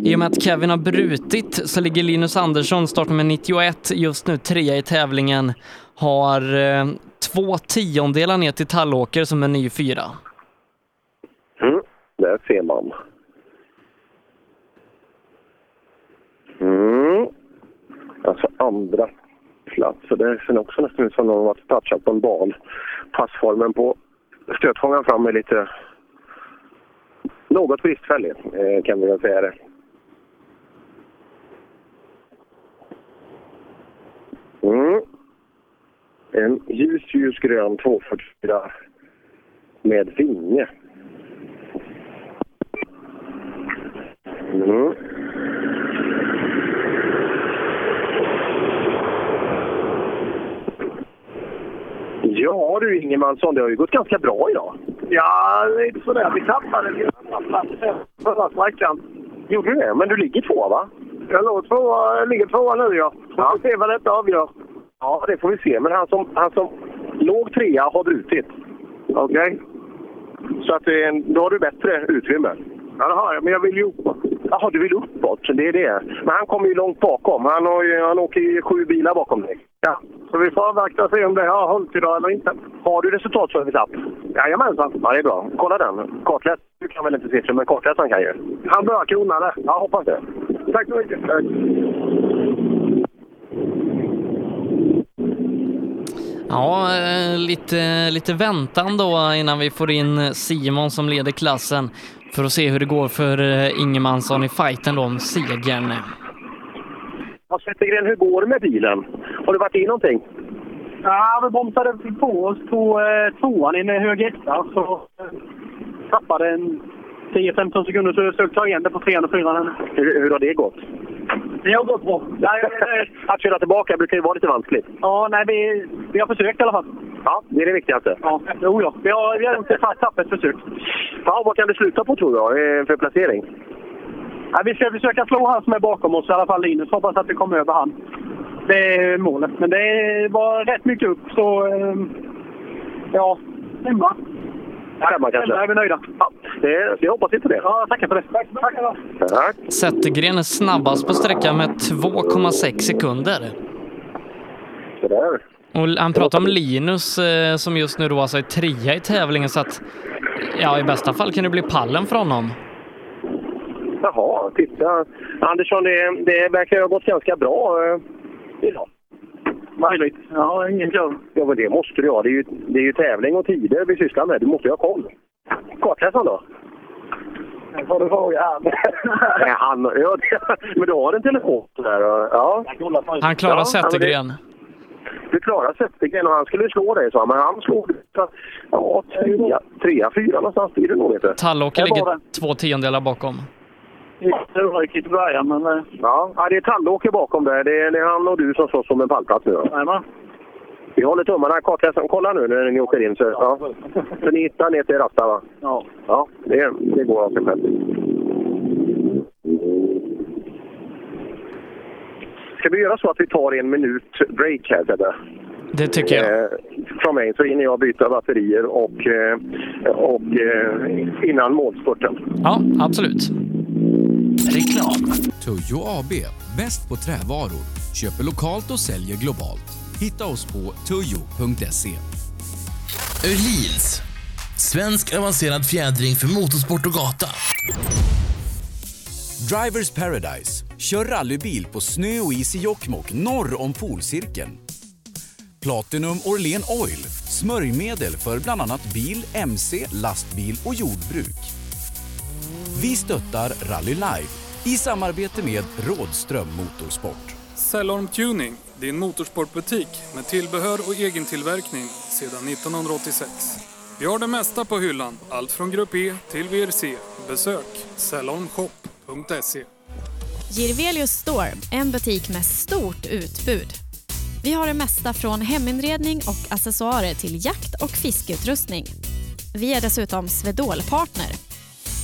I och med att Kevin har brutit så ligger Linus Andersson, startnummer 91, just nu trea i tävlingen. Har eh, två tiondelar ner till Tallåker som är ny fyra.
Mm, där ser man. Mm. Alltså andra plats. Så det ser också nästan ut som någon har touchat på en bal. Passformen på stötfångaren fram är lite... Något bristfällig, eh, kan vi väl säga det. Mm. En ljus, ljusgrön 244 med vinge. Mm. Ja du Ingemansson, det har ju gått ganska bra idag.
Ja, lite sådär. Vi tappade till andra platsen förra sträckan.
Gjorde du det? Men du ligger tvåa va?
Jag låg tvåa, jag ligger tvåa nu ja.
Ja.
Vi får se vad detta avgör.
Ja, det får vi se. Men han som, han som låg trea har brutit. Okej. Så att, eh, då har du bättre utrymme. Ja, det har jag. Men jag vill ju uppåt. Jaha, du vill uppåt. Det är det. Men han kommer ju långt bakom. Han, har ju, han åker ju sju bilar bakom dig. Ja, så vi får avvakta och se om det har hållit idag eller inte. Har du resultatserviceapp? Jajamensan. Ja, det är bra. Kolla den. Kartläs. Du kan väl inte siffror, men kartläsaren kan ju. Han bör kunna det. Ja, hoppas det. Tack så mycket.
Ja, eh, lite, lite väntan då eh, innan vi får in Simon som leder klassen för att se hur det går för eh, Ingemansson i fighten då om segern.
Ja, Zettergren, hur går det med bilen? Har du varit i någonting?
Ja, vi bromsade på oss på eh, tvåan i en hög etta så eh, tappade en 10-15 sekunder så jag försökte ta igen det på trean och fyran.
Hur, hur har det gått?
Det har gått bra. Nej, eh,
Att köra tillbaka brukar ju vara lite vanskligt.
ja, nej vi, vi har försökt i alla fall.
Ja, det är det viktigaste.
Ja, jo, ja. Vi har, vi har inte fast tappet försök.
Ja, vad kan du sluta på tror jag, eh, för placering?
Ja, vi ska försöka slå han som är bakom oss, i alla fall Linus. Hoppas att vi kommer över han. Det är målet. Men det var rätt mycket upp, så... eh, Ja, femma.
Femma kanske?
Femma är vi nöjda. Ja.
Det, jag hoppas inte det.
Ja, tackar för det. Tack. Tackar.
Tack.
Zettergren är snabbast på sträckan med 2,6 sekunder.
Sådär.
Och han pratar om Linus eh, som just nu då alltså är trea i tävlingen så att ja, i bästa fall kan det bli pallen för honom.
Jaha, titta. Andersson, det, det verkar ha gått ganska bra eh, idag. Möjligt. Ja, ingen jobb. Ja, men det måste du ha. Det är, ju, det är ju tävling och tider vi sysslar med. Du måste ju ha koll. Kartläsaren då?
Det får
[laughs]
du fråga han.
Nej, han, ja, men du har en telefon där? och- Ja.
Han klarar
ja,
Zettergren.
men det- Du klarar Zettergren och han skulle slå dig, sa han. Men han slog dig, så- ja, trea, trea, fyra någonstans blir det nog. Vet du.
Tallåker
Där var
ligger
den.
två tiondelar bakom.
Surrökigt i början, men...
eh,
Ja, ja, det är Tallåker bakom där. Det är, det är han och du som slåss om en pallplats nu. Jajamän. Vi håller tummarna. Kartläsaren, kolla nu när ni åker in. Så, ja. så ni hittar ner till Rasta, va?
Ja.
Ja, det, det går av sig själv. Ska vi göra så att vi tar en minut break här, Sebbe?
Det tycker jag.
Eh, från mig så hinner jag byta batterier och, eh, och eh, innan målspurten.
Ja, absolut.
Reklam. Tujo AB, bäst på trävaror. Köper lokalt och säljer globalt. Hitta oss på tujo.se.
Öhlins. Svensk avancerad fjädring för motorsport och gata.
Drivers Paradise. Kör rallybil på snö och is i Jokkmokk norr om polcirkeln. Platinum Orlen Oil. Smörjmedel för bland annat bil, mc, lastbil och jordbruk. Vi stöttar Rally Life i samarbete med Rådström Motorsport.
Cellorm Tuning, din motorsportbutik med tillbehör och egen tillverkning sedan 1986. Vi har det mesta på hyllan, allt från Grupp E till VRC. Besök cellormshop.se.
Girvelius Store, en butik med stort utbud. Vi har det mesta från heminredning och accessoarer till jakt och fiskeutrustning. Vi är dessutom Swedol-partner.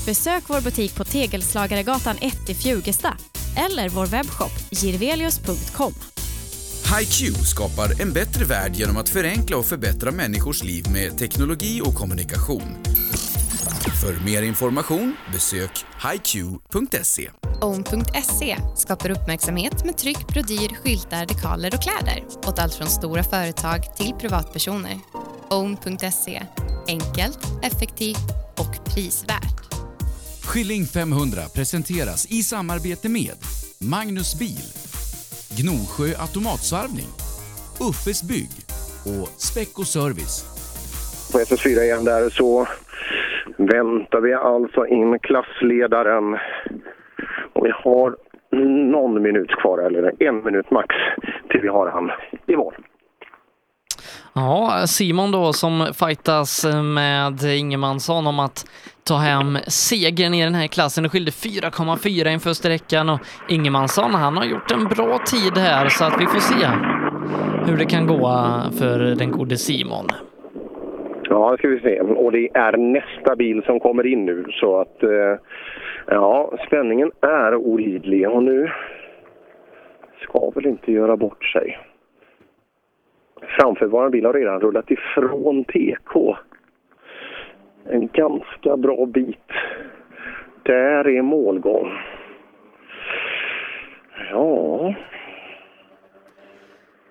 Besök vår butik på Tegelslagaregatan 1 i Fjugesta eller vår webbshop girvelius.com.
HiQ skapar en bättre värld genom att förenkla och förbättra människors liv med teknologi och kommunikation. För mer information besök hiq.se.
Own.se skapar uppmärksamhet med tryck, brodyr, skyltar, dekaler och kläder åt allt från stora företag till privatpersoner. Own.se enkelt, effektivt och prisvärt.
Skilling 500 presenteras i samarbete med Magnus Bil, Gnosjö Automatsvarvning, Uffes Bygg och Speck Service.
på SS4 igen där så väntar vi alltså in klassledaren. Och vi har någon minut kvar, eller en minut max, till vi har han i mål.
Ja, Simon då som fightas med Ingemansson om att ta hem segern i den här klassen. Det skilde 4,4 inför sträckan och Ingemansson han har gjort en bra tid här så att vi får se hur det kan gå eh, för den gode Simon.
Ja, det ska vi se. Och det är nästa bil som kommer in nu. Så att, eh, ja, spänningen är olidlig. Och nu ska väl inte göra bort sig. Framförvarande bil har redan rullat ifrån TK. En ganska bra bit. Där är målgång. Ja...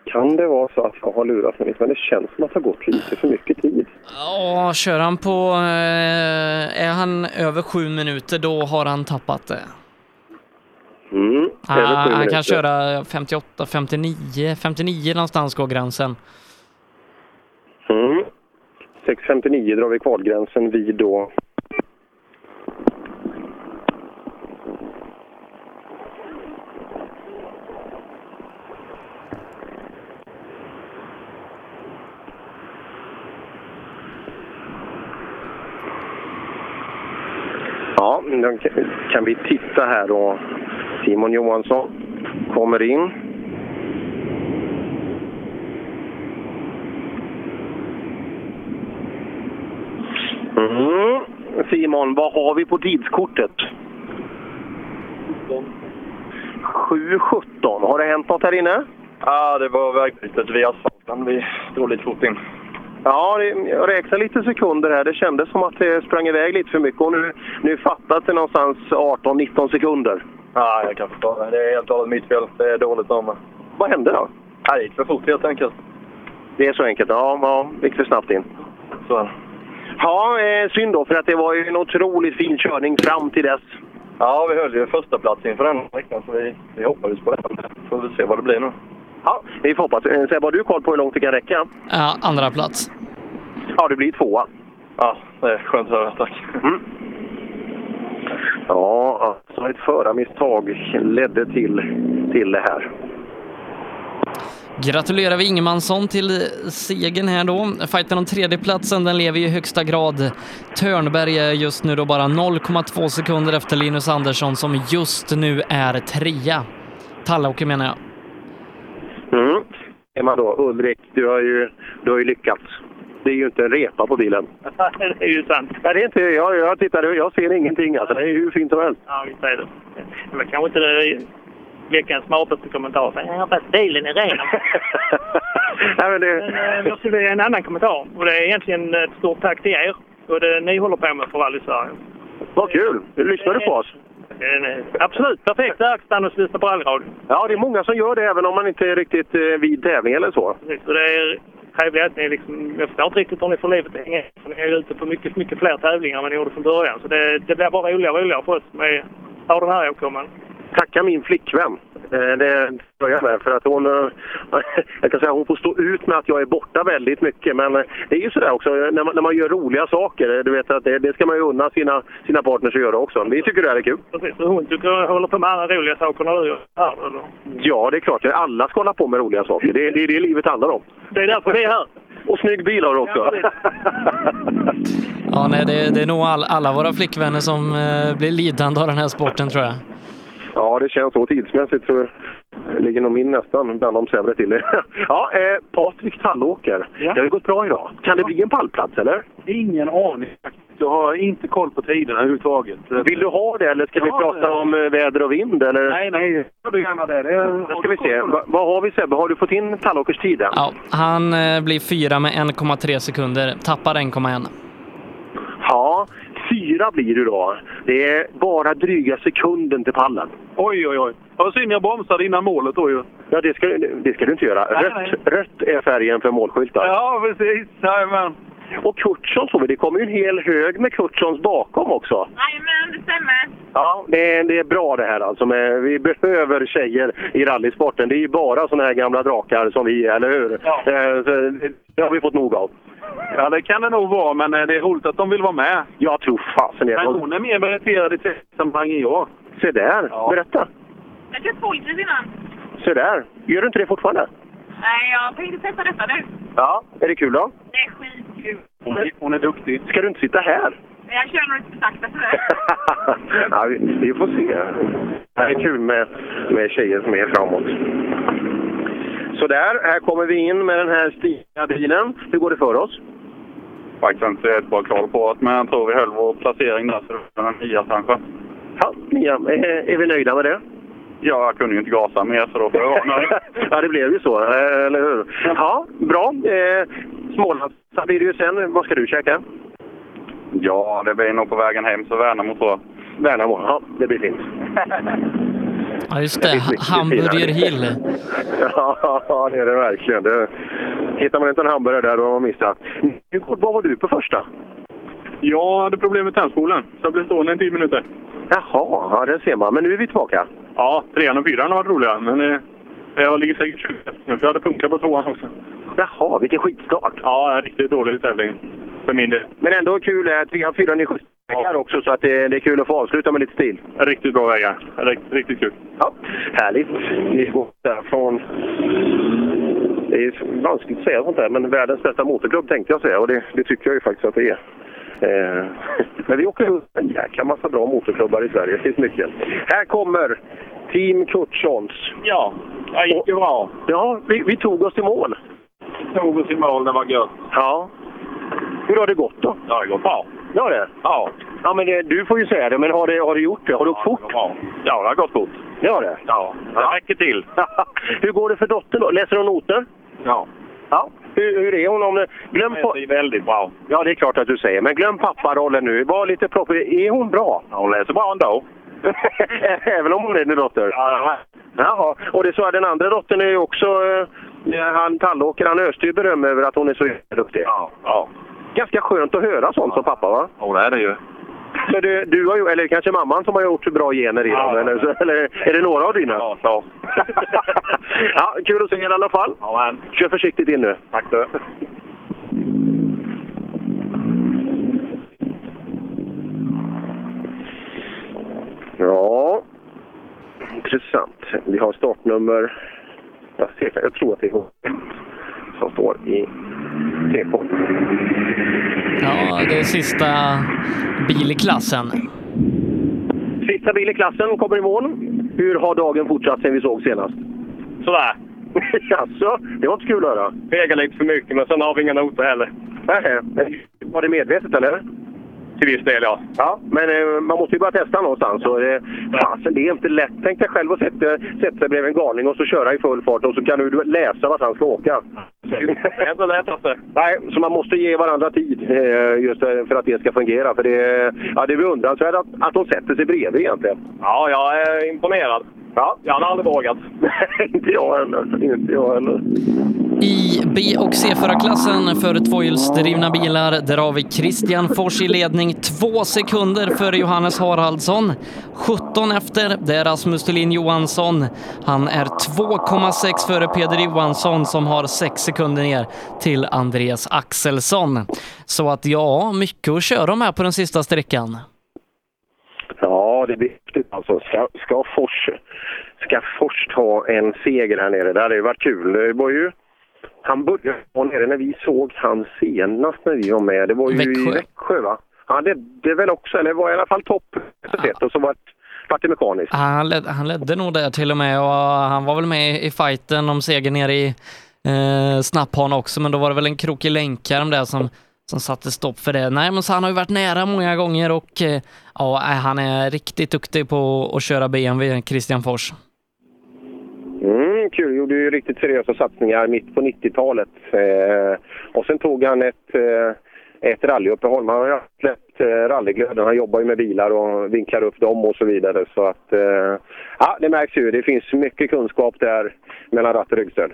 Kan det vara så att jag har lurat mig lite? Men det känns som att det har gått lite för mycket tid.
Ja, kör han på... eh, Är han över sju minuter då har han tappat det.
Mm,
Ah,
över sju
han
minuter.
kan köra 58, 59, 59 någonstans går gränsen.
Mm. 6.59 drar vi kvalgränsen vid då. Ja, då kan vi titta här då. Simon Johansson kommer in. Mm. Simon, vad har vi på tidskortet? 7.17. Har det hänt något här inne?
Ja, det var vägbytet via asfalten. Vi drog lite fort in.
Ja, det- jag räknade lite sekunder här. Det kändes som att det sprang iväg lite för mycket. Och nu, nu fattas det någonstans 18-19 sekunder.
Ja, jag kan förstå det. Det är helt och hållet mitt fel. Det är dåligt av mig.
Vad hände då?
Ja, det gick för fort helt enkelt.
Det är så enkelt. Ja, ja gick för snabbt in.
Så.
Ja, eh, synd då, för att det var ju en otroligt fin körning fram till dess.
Ja, vi höll ju första plats inför den här veckan, så vi, vi hoppades på det. Får vi se vad det blir nu.
Ja, vi får hoppas. Eh, Sebbe, har du koll på hur långt det kan räcka?
Ja, andra plats.
Ja, det blir tvåa. Mm.
Ja, det är skönt att höra. Tack.
Ja, alltså ett förarmisstag ledde till, till det här.
Gratulerar vi Ingemansson till segern här då. Fighten om tredjeplatsen, den lever i högsta grad. Törnberg är just nu då bara 0,2 sekunder efter Linus Andersson som just nu är trea. Tallåker menar jag.
Mm. Är man då, Ulrik, du har, ju, du har ju lyckats. Det är ju inte en repa på bilen.
[laughs] det är ju sant.
Nej, det är inte, jag, jag tittar, jag ser ingenting. Alltså, det är hur fint som
[laughs]
helst.
Ja, visst är det. Det var kanske inte det veckans smartaste kommentar. Men, Ja, fast bilen är
[laughs]
ren.
Nej, men det...
Men, eh, jag skulle vilja en annan kommentar. Och det är egentligen ett stort tack till er och det ni håller på med för Rally Sverige.
Vad kul! Lyssnar du på oss?
Eh, En absolut perfekt verkstad att lyssna på rallyradion.
Ja, det är många som gör det, även om man inte är riktigt eh, vid tävling eller så.
Precis, Och det är trevligt att ni liksom... Jag förstår inte riktigt hur ni får livet att hänga ihop, för Ni är ju ute på mycket, mycket fler tävlingar än vad ni gjorde från början. Så det, det blir bara roligare och roligare för oss med av den här åkomman.
Tacka min flickvän. Eh, Det börjar med, för att hon... eh, [laughs] Jag kan säga hon får stå ut med att jag är borta väldigt mycket, men eh, det är ju sådär också eh, när man, när man gör roliga saker. eh, Du vet att det, det ska man ju unna sina, sina partners att göra också. Vi tycker det här är kul.
Precis, och hon tycker jag håller på med andra roliga saker när du gör det här. eller?
Ja, det är klart. Alla ska hålla på med roliga saker. Det, det är det livet handlar om.
Det är därför vi är här.
Och snygg bil har du också. [laughs]
Ja, nej, det, det är nog all, alla våra flickvänner som eh, blir lidande av den här sporten tror jag.
Ja, det känns så tidsmässigt. Så ligger nog min nästan bland de sämre till. [laughs] ja, eh, Patrik Tallåker. Det har ju gått bra idag. Kan det bli en pallplats, eller?
Ingen aning. Jag har inte koll på tiderna överhuvudtaget.
Vill du ha det, eller ska vi
Ja,
prata
det-
om eh, väder och vind? Eller?
Nej, nej. Gör du gärna det. det
Då ska vi se. Va, vad har vi Sebbe? Har du fått in Tallåkers tid än?
Ja, han eh, blir fyra med 1,3 sekunder, tappar 1,1.
Ja, fyra blir du då. Det är bara dryga sekunden till pallen.
Oj, oj, oj. Det var synd jag bromsade innan målet då ju.
Ja, det ska, det ska du inte göra.
Nej,
Rött, rött är färgen för målskyltar.
Ja, precis. Jajamän.
Och Kurtsson såg vi. Det kommer ju en hel hög med Kurtssons bakom också.
Jajamän, det stämmer.
Ja, det är, det är bra det här alltså. Med, vi behöver tjejer i rallysporten. Det är ju bara såna här gamla drakar som vi är, eller hur? Ja. Så det, det har vi fått nog av.
Ja, det kan det nog vara, men eh, det är roligt att de vill vara med.
Jag tror fasen det.
Men hon är mer meriterad i testsammanhang än jag.
Se där! Berätta!
Jag kört polkris innan.
Se där! Gör du inte det fortfarande?
Nej, jag tänkte testa detta nu.
Ja. Är det kul då?
Det är skitkul.
Hon är, duktig. Ska du inte sitta här?
Men Jag kör nog lite för sakta för det.
[laughs] ja, vi, vi får se. Det här är kul med, med tjejer som är framåt. Så där, här kommer vi in med den här stiga bilen. Hur går det för oss?
Faktiskt inte ett bra koll på det, men jag tror vi höll vår placering där, så det var en nia kanske.
Ja, nia. Eh, Är vi nöjda med det?
Ja, jag kunde ju inte gasa mer, så då får jag vara nöjd.
[laughs]
[laughs]
ja, det blev ju så, eh, eller hur? Ja, bra. Eh, Smålandsresa blir det ju sen. Vad ska du käka?
Ja, det blir nog på vägen hem, så Värnamo tror jag.
Värnamo, ja. Det blir fint.
Ja, just det. Ha- Hamburger Hill.
[laughs] ja, det är det verkligen. Det... Hittar man inte en hamburgare där, då har man missat. Hur kort var du på första?
Jag hade problem med tändskolan, så jag blev stående i tio minuter.
Jaha, ja, det ser man. Men nu är vi tillbaka.
Ja, trean och fyran har varit roliga, men eh, jag ligger säkert 20 efter. Jag hade punkat på tvåan också.
Jaha, vilken skitstart!
Ja, en riktigt dålig tävling för min del.
Men ändå kul att vi har fyra nya skjutvägar också, så att det, det är kul att få avsluta med lite stil.
Riktigt bra vägar. Rikt, riktigt kul.
Ja, härligt. Vi går därifrån. Det är vanskligt att säga sånt där, men världens bästa motorklubb tänkte jag säga och det, det tycker jag ju faktiskt att det är. Eh, [laughs] men vi åker runt en jäkla massa bra motorklubbar i Sverige, det finns mycket. Här kommer Team Kurtssons.
Ja, det gick ju bra.
Ja, vi, vi tog oss till mål.
Tog oss i mål, det var gött.
Ja. Hur har det gått då?
Ja, det går bra.
Ja, det?
Ja.
Ja, men det, du får ju säga det, men har, det, har du gjort det? Har du åkt fort?
Ja, det har gått fort.
Det har det?
Ja, det räcker till.
[laughs] Hur går det för dottern då? Läser hon noter?
Ja.
Ja. Hur, hur är hon? Om det, glöm pa-
det är väldigt bra.
Ja, det är klart att du säger. Men glöm papparollen nu. Var lite propp. Är hon bra? [laughs]
Hon läser bra ändå.
Även om hon är din dotter?
Ja.
Jaha. Och det är så att den andra dottern är ju också... Eh, han Tallåker, han öste ju beröm över att hon är så jävla duktig.
Ja. ja.
Ganska skönt att höra sånt som pappa, va?
Ja, det är det ju.
Så du, du har ju, eller kanske mamman som har gjort bra gener i dem? eller, så, eller är det några av dina? Ja, så. [laughs] ja, kul att se er i alla fall. Ja, Kör försiktigt in nu. Tack du. Ja, intressant. Vi har startnummer... Jag, ser, jag tror att det är hon som står i TK.
Ja, det är sista bil i klassen.
Sista bil i klassen kommer i mål. Hur har dagen fortsatt sen vi såg senast? Sådär. [laughs] Jaså? Det var inte kul att höra. Fegar lite för mycket, men sen har vi inga noter heller. Nej, var det medvetet eller? Till viss del, ja. ja men eh, man måste ju bara testa någonstans. Och, eh, fasen, det är inte lätt. Tänk dig själv att sätta, sätta sig bredvid en galning och så köra i full fart och så kan du läsa vart han ska åka.
Det är inte lätt alltså.
Nej, så man måste ge varandra tid eh, just eh, för att det ska fungera. För det, ja, det är beundransvärt att, att de sätter sig bredvid egentligen.
Ja, jag är imponerad.
Ja.
Jag hade aldrig vågat.
[laughs] inte jag heller. Inte jag heller.
I B och C-förarklassen för tvåhjulsdrivna bilar, där har vi Christian Fors i ledning, två sekunder före Johannes Haraldsson. 17 efter, det är Rasmus Thulin Johansson. Han är 2,6 före Peder Johansson som har 6 sekunder ner till Andreas Axelsson. Så att ja, mycket att köra om här på den sista sträckan.
Ja, det blir viktigt alltså. Ska, ska, Fors, ska Fors ta en seger här nere? Det hade ju varit kul. Det var ju, han började vara nere när vi såg han senast när vi var med. Det var ju i
Växjö.
Växjö, va? Han ledde väl också, eller var i alla fall topp sett, och så var vart det mekaniskt.
Han ledde, han ledde nog där till och med och han var väl med i fighten om seger nere i eh, Snapphane också, men då var det väl en krokig länkarm där som, som satte stopp för det. Nej, men så han har ju varit nära många gånger och eh, ja, han är riktigt duktig på att köra BMW, Christian Fors.
Mm, kul. Gjorde ju riktigt seriösa satsningar mitt på 90-talet. Eh, och sen tog han ett, eh, ett rallyuppehåll. Man har ju släppt eh, rallyglöden. Han jobbar ju med bilar och vinklar upp dem och så vidare. Så att, eh, ja, det märks ju. Det finns mycket kunskap där mellan ratt och ryggstöd.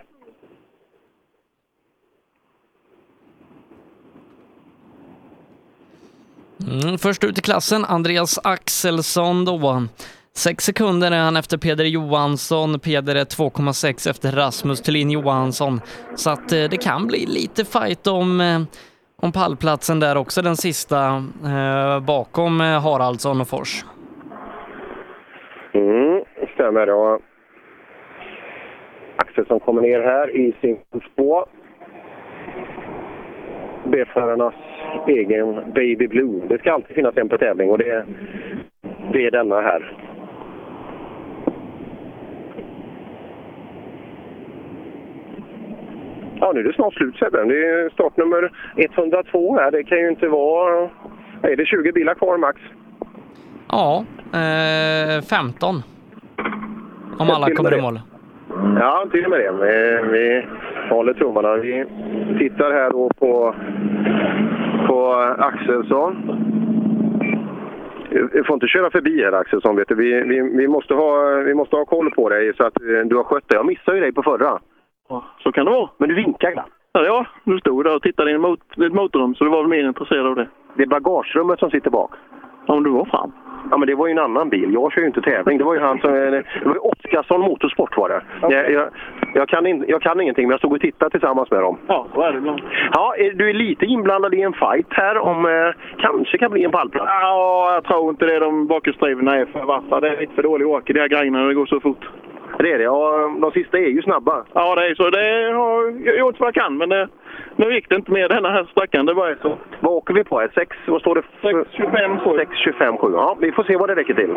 Mm, först ut i klassen, Andreas Axelsson då. Sex sekunder är han efter Peder Johansson. Peder är 2,6 efter Rasmus Thulin Johansson. Så att eh, det kan bli lite fight om, eh, om pallplatsen där också, den sista eh, bakom eh, Haraldsson och Fors.
Mm, stämmer. Och Axelsson kommer ner här i sin spå. B-förarnas egen Baby Blue. Det ska alltid finnas en på tävling och det, det är denna här. Ja, nu är det snart slut Sebbe. Det är startnummer 102 här. Det kan ju inte vara... Nej, det är 20 bilar kvar max.
Ja, eh, 15. Om alla kommer i mål.
Ja, till och med det. Vi, vi håller tummarna. Vi tittar här då på, på Axelsson. Du får inte köra förbi här Axelsson. Vet du. Vi, vi, vi, måste ha, vi måste ha koll på dig så att eh, du har skött dig. Jag missade ju dig på förra.
Så kan det vara.
Men du vinkar glatt.
Ja, ja, nu stod jag där och tittade in i mot- i ett motorrum, så du var väl mer intresserad av det.
Det är bagagerummet som sitter bak.
Ja, men du var fram.
Ja, men det var ju en annan bil. Jag kör ju inte tävling. Det var ju han som... Det var ju Oskarsson Motorsport var det. Jag, jag, jag, kan in, jag kan ingenting, men jag stod och tittade tillsammans med dem.
Ja, så är det ibland.
Ja, eh, du är lite inblandad i en fight här om eh, kanske kan bli en pallplats.
Ja, jag tror inte det de bakhjulsdrivna är för vassa. Det är lite för dålig åker, de här grejerna, när det går så fort.
Det är det. Ja, de sista är ju snabba.
Ja, det är så. Det har jag gjort vad jag kan, men det, nu gick det inte med den här stackaren. Det bara är så.
Vad åker vi på? 6, vad står det?
625
625 7. Ja, vi får se vad det räcker till.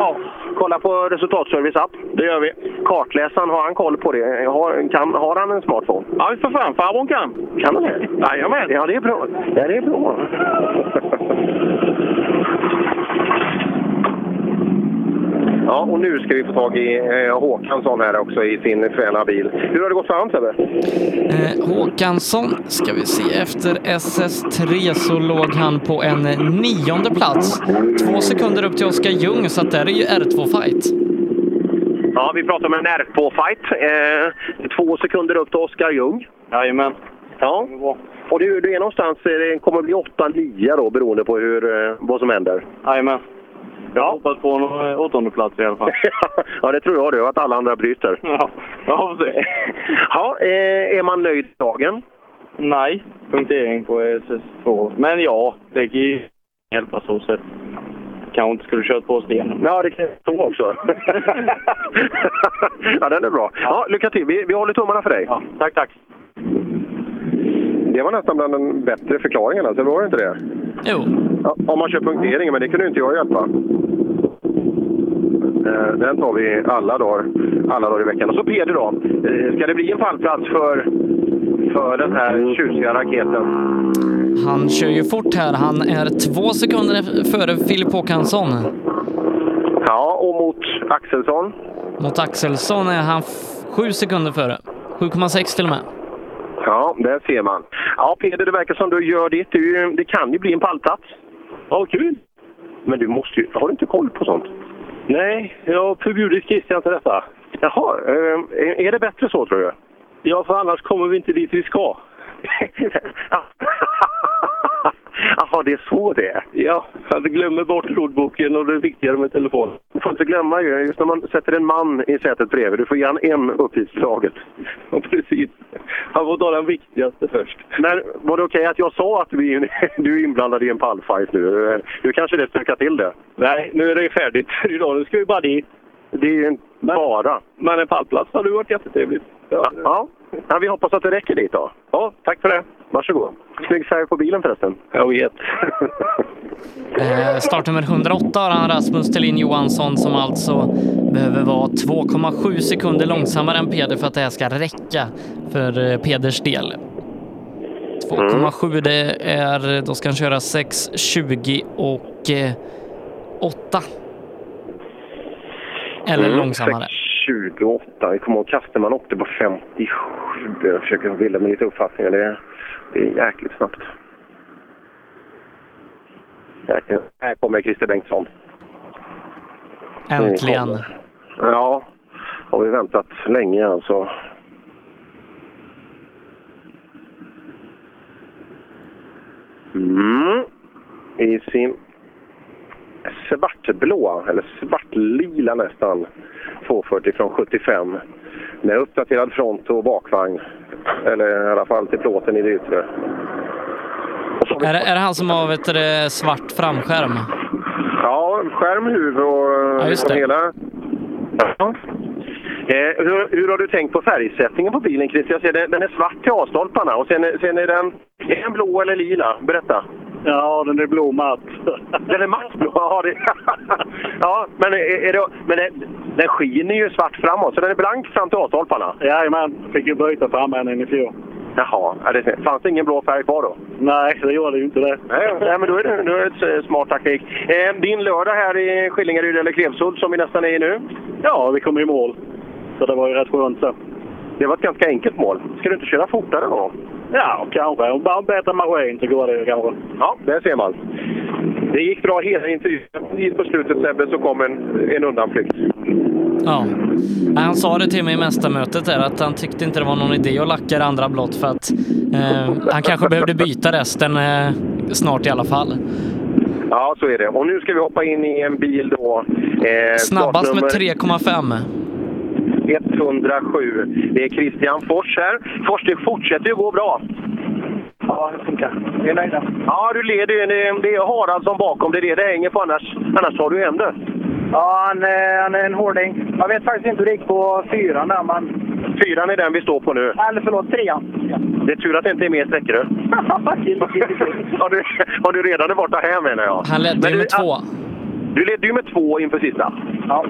Kolla på Resultatservice app.
Det gör vi.
Kartläsaren, har han koll på det? Har, kan, har han en smartphone?
Ja, för fan. Farbrorn kan.
Kan han det?
Jajamän.
Ja, det är bra. Ja, det är bra. Ja, och nu ska vi få tag i eh, Håkansson här också i sin fräna bil. Hur har det gått för han Sebbe?
Eh, Håkansson ska vi se. Efter SS3 så låg han på en nionde plats. Två sekunder upp till Oskar Ljung, så att där är ju R2-fight.
Ja, vi pratar om en R2-fight. Eh, två sekunder upp till Oskar Ljung.
Jajamän.
Ja. Och du, du är någonstans, eh, det kommer att bli 8-9 då beroende på hur, eh, vad som händer.
Jajamän.
Jag hoppas på en åttonde plats i alla fall.
[laughs] ja, det tror jag du, att alla
[laughs]
andra bryter.
Ja, ja precis.
ja, eh, är man nöjd med dagen?
Nej, punktering på SS2. Men ja, det kan ju hjälpa så sett. Kanske inte skulle kört på stenen.
Ja, det kan jag tro
[laughs]
också. ja, den är bra. Ja, lycka till. Vi, vi håller tummarna för dig. tack, tack. Det var nästan bland den bättre förklaringarna, så var det inte det?
Jo.
Ja, om man kör punkteringen, men det kunde ju inte jag hjälpa. Eh, Den tar vi alla dagar, alla dagar i veckan. Och så Peder då. Eh, Ska det bli en pallplats för, för den här tjusiga raketen?
Han kör ju fort här. Han är två sekunder ef- före Filip Håkansson.
Ja, och mot Axelsson?
Mot Axelsson är han f- sju sekunder före. 7,6 till och med.
Ja, där ser man. Ja, Peder, det verkar som du gör ditt. Det, är ju- det kan ju bli en pallplats. Ja, kul! Men du måste ju... Har du inte koll på sånt? Nej, jag har förbjudit Christian till detta. Jaha, eh, är- är det bättre så tror du? Ja, för annars kommer vi inte dit vi ska. [laughs] Jaha, det är så det är? Ja, jag glömmer bort ordboken och det är viktigare med telefonen. Du får inte glömma ju, just när man sätter en man i sätet bredvid, du får ge han en uppgift i taget. Ja, precis. Han får ta den viktigaste först. Men var det okej att jag sa att vi, du är inblandad i en pallfight nu? Nu kanske det stökar till det?
Nej, nu är det ju
[laughs]
färdigt för idag. Nu ska vi bara dit.
Det är ju en bara.
Men en pallplats hade varit jättetrevligt.
Ja. ja. vi hoppas att det räcker dit då. Ja, tack för det. Varsågod. Snygg färg på bilen förresten. Jag vet.
Eh, startnummer 108 har han Rasmus Thelin Johansson som alltså behöver vara 2,7 sekunder långsammare än Peder för att det här ska räcka för eh, Peders del. 2,7 det är, då ska han köra 6,20 och eh, 8. [laughs] Eller
Mm.
långsammare.
28. Vi kommer ihåg Kasterman åkte på 57. Jag försöker bilda mig lite uppfattningar. Det är, det är jäkligt snabbt. Jäkligt. Här kommer Christer Bengtsson.
Äntligen.
Ja, har vi väntat länge alltså. Mm. I sin svartblå, eller svartlila nästan, 240 från 75. Med uppdaterad front och bakvagn. Eller i alla fall till plåten i det yttre.
Är det, är det han som har vet du, det, svart framskärm?
Ja, skärm, huvud och eh,
Ja, just
och
det.
hela. Ja. Eh, hur, hur har du tänkt på färgsättningen på bilen, Christer? Jag ser den, den är svart till A-stolparna och sen, är- sen är den... Är den blå eller lila? Berätta.
Ja, den är blå [laughs] matt.
Den är matt blå? Ja, det... [laughs] ja men, är, är det, men den, den skiner ju svart framåt, så den är blank fram till A-stolparna?
Jajamän, fick ju byta fram henne i fjol.
Jaha, ja, det, fanns det ingen blå färg kvar då?
Nej, det gjorde ju inte det.
Nej, nej, men då är det, då är det ett smart taktik. Eh, din lördag här i Skillingaryd eller Klevsund som vi nästan är i nu?
Ja, vi kom i mål. Så det var ju rätt skönt så.
Det var ett ganska enkelt mål. Ska du inte köra fortare då?
Ja, kanske. Om bara en bättre maskin så går det ju kanske.
Ja, där ser man. Det gick bra hela intervjun. Precis på slutet Sebbe så kom en, en undanflykt.
Ja. Nej, Han sa det till mig i mästarmötet där att han tyckte inte det var någon idé att lacka det andra blått för att eh, han kanske behövde byta resten eh, snart i alla fall.
Ja, så är det. Och nu ska vi hoppa in i en bil då. Eh,
Snabbast med
startnummer
3,5.
107. Det är Christian Fors här. Fors, det fortsätter ju gå bra. Ja, det funkar. Vi är nöjda. Ja, du leder ju. Det är- Det är Haraldsson bakom. Det är det det hänger på annars. Annars tar du hem det.
Ja, han, eh, han är en hårding. Jag vet faktiskt inte hur det gick på fyran där, men...
Fyran är den vi står på nu.
Eller förlåt, trean.
Det är tur att det inte är
[laughs]
mer sträckor. har, du, har du redan borta hem menar jag.
Han ledde ju med två.
Du ledde ju med två inför sista.
Ja.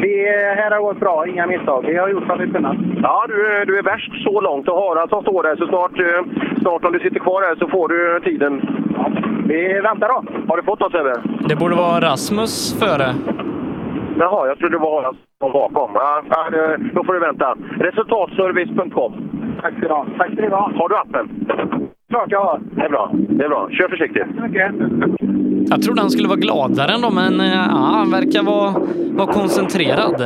Vi, eh, här har gått bra, inga misstag. Vi har gjort vad vi kunnat.
Ja, du, är- du är värst så långt och Haraldsson står där. Så snart, eh, snart om du sitter kvar här så får du tiden. Vi väntar då. Har du fått något Sebbe?
Det borde vara Rasmus före.
Jaha, jag trodde det var Haraldsson bakom. Ja, ja, det- då får du vänta. Resultatservice.com. Tack ska du ha. Tack ska du ha. Har du appen? Klart jag har. Det är bra. Det är bra. Kör försiktigt.
Jag trodde han skulle vara gladare än dem, men eh, ja, han verkar vara, vara koncentrerad.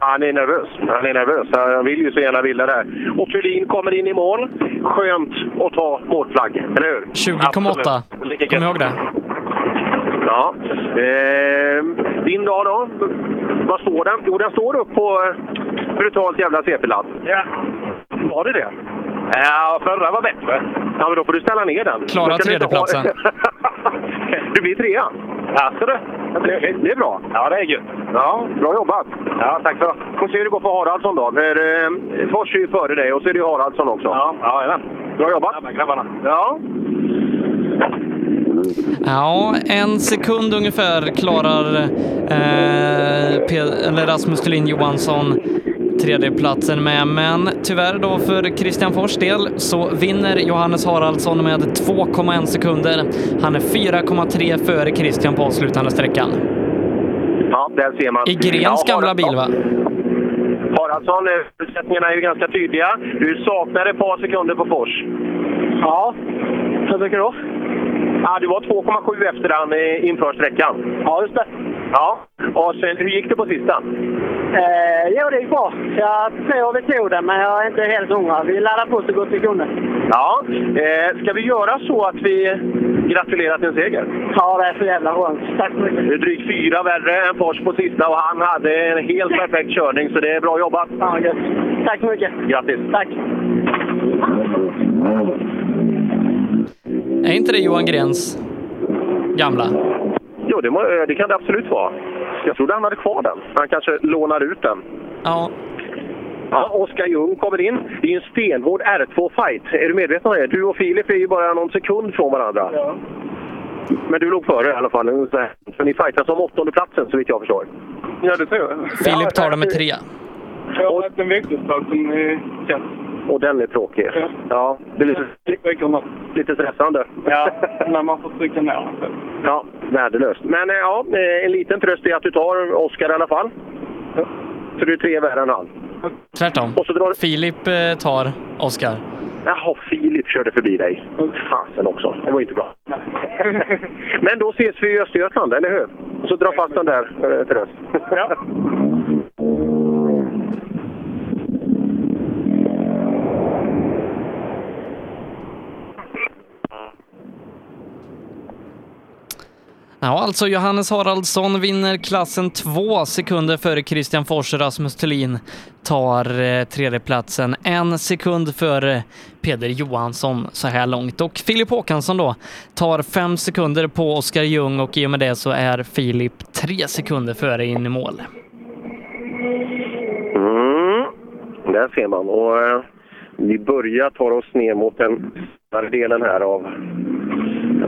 Han är nervös. Han är nervös. Han vill ju så gärna vilja det här. Och Thulin kommer in i mål. Skönt att ta målflagg, eller hur?
20,8.
Absolut. Lika
Kom
gött.
ihåg det.
Ja. Eh, din dag då? Vad står den? Jo, den står upp på eh, brutalt jävla CP-ladd. Ja. Var det det? Ja, förra var bättre. Ja, men då får du ställa ner den.
Klara
Då kan du inte ha- [laughs] du blir trea. Jaså du? Det är bra. Ja, det är gött. Ja, bra jobbat. Ja, tack så Vi får se hur det går för Haraldsson då. För, eh, Fors är ju före dig och så är det ju Haraldsson också. Ja, ja Bra jobbat. Grabbarna, grabbarna. Ja.
Ja, en sekund ungefär klarar eh, Pe- eller Rasmus Thulin Johansson tredjeplatsen med, men tyvärr då för Christian Fors del så vinner Johannes Haraldsson med 2,1 sekunder. Han är 4,3 före Christian på avslutande sträckan.
Ja, där ser man.
I Grens
Ja,
gamla bil va?
Haraldsson, eh, förutsättningarna är ju ganska tydliga. Du saknar ett par sekunder på Fors. Ja, hur mycket då? Ja, du var 2,7 efter han eh, inför sträckan. Ja, just det. Ja, och sen, hur gick det på sista?
Eh, jo, det gick bra. Jag tror vi tog den, men jag är inte helt hundra. Vi laddar på så gott vi kunde.
Ja, eh, ska vi göra så att vi gratulerar till en seger?
Ja, det är så jävla skönt. Tack så mycket.
Det är drygt fyra värre än Fors på sista och han hade en helt perfekt körning, så det är bra jobbat.
Ja, gött. Tack så mycket.
Grattis!
Tack.
Är inte det Johan Grens gamla?
Jo, det, må, eh, det kan det absolut vara. Jag trodde han hade kvar den. Han kanske lånar ut den.
Ja.
Ja, Oskar Ljung kommer in. Det är ju en stenhård R2-fight. Är du medveten om det? Du och Filip är ju bara någon sekund från varandra. Men du låg före i alla fall. Så ni fightas om åttondeplatsen, så vitt jag förstår.
Ja, det tror jag.
Filip tar det med tre.
Jag har haft en veckospalt som eh, känns.
Och den är tråkig. Ja, det är lite, lite stressande.
Ja, när man får trycka ner sig.
[laughs] Ja, värdelöst. Men eh, ja, eh, en liten tröst är att du tar Oskar i alla fall. Så du är tre värre än han.
Tvärtom. Filip eh, tar Oskar.
Jaha, Filip körde förbi dig. Fasen också. Det var inte bra. Men då ses vi i Östergötland, eller hur? Så dra fast den där, eh, Therese. Ja.
Ja, alltså Johannes Haraldsson vinner klassen två sekunder före Christian Fors. Rasmus Thulin tar eh, tredjeplatsen. En sekund före Peder Johansson så här långt. Och Filip Håkansson då tar fem sekunder på Oskar Ljung och i och med det så är Filip tre sekunder före in i mål.
Mm. Där ser man. Och, eh, vi börjar ta oss ner mot den senare delen här av,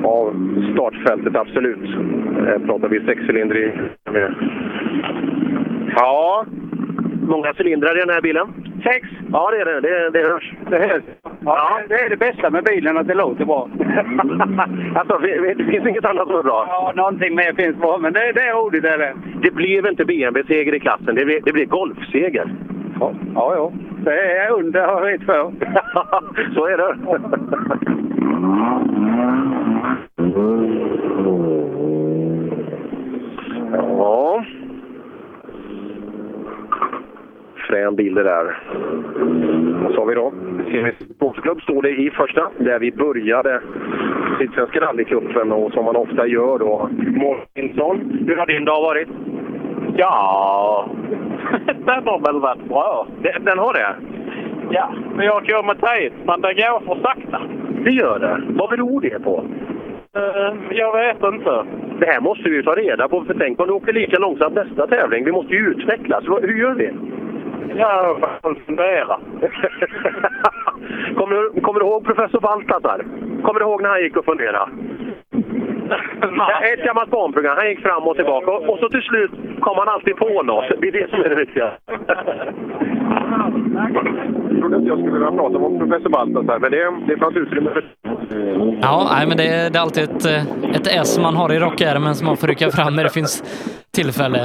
av startfältet, absolut. Eh, pratar vi sexcylindrig. Ja, många cylindrar i den här bilen? Sex. Ja, det är det. Det, det hörs. Det, hörs. Ja. det är det bästa med bilen, att det låter bra. [laughs] alltså, vi- vi- det finns inget annat som är bra? Ja, någonting mer finns bra, men det, det är roligt. Det, det. det blev inte BMW-seger i klassen, det blev, det blev golfseger. Ja, ja, ja. Det är jag underhårig för. [laughs] Så är det. ja. Frän bil det där. Vad sa vi då? CVC Sportklubb står det i första, där vi började Sydsvenska rallycupen och som man ofta gör då. Mårtinsson, hur har din dag varit? Ja, den har väl varit bra. Den, har det?
Ja, men jag kör med tid, men det går för sakta.
Det gör det. Vad beror det på?
Eh, jag vet inte.
Det här måste vi ju ta reda på, för tänk om du åker lika långsamt nästa tävling. Vi måste ju utvecklas. Vad- Hur gör vi? [laughs] Ja, jag fundera. kommer, du- kommer du ihåg professor Baltasar? Kommer du ihåg när han gick och funderade? Det är ett gammalt barnprogram. Han gick fram och tillbaka och, och så till slut kom han alltid på något. Det är det som är det viktiga. Jag trodde inte jag skulle vilja prata om professor Baltasar, men det, det fanns utrymme för
Ja, nej, men det, är- det är alltid ett, eh, ett S man har i rockärmen som man får rycka fram när det finns tillfälle.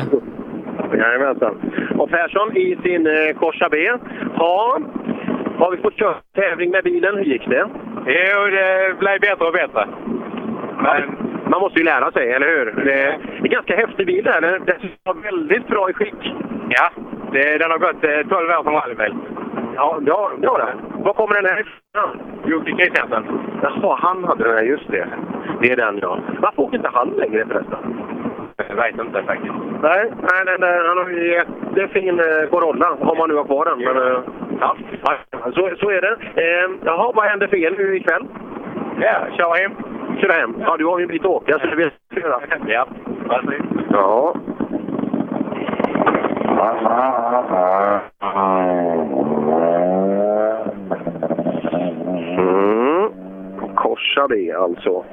Jajamensan. Och Persson i sin eh, Corsa B. Ja, har vi fått köra tävling med bilen? Hur gick det?
Jo, det blev bättre och bättre.
Men... Man måste ju lära sig, eller hur? Det är en ganska häftig bil där. Den den var väldigt bra i skick.
Ja, det, den har gått eh, 12 år som rallybil.
Ja, det har det. Var kommer den här ifrån? Jocke Kristiansen. Jaha, han hade den här, just det. Det är den, ja. Varför åker inte han längre förresten?
Jag vet inte faktiskt.
Nej, nej, nej, nej han har ju jättefin eh, Corolla, om man nu har kvar den. Men, eh, ja, så, så är det. Eh, jaha, vad händer för er nu ikväll? Ja, köra hem. Köra hem? Ja, du har ju en bit att åka, så det blir fyra. Ja, Ja. Mm. Korsa det alltså.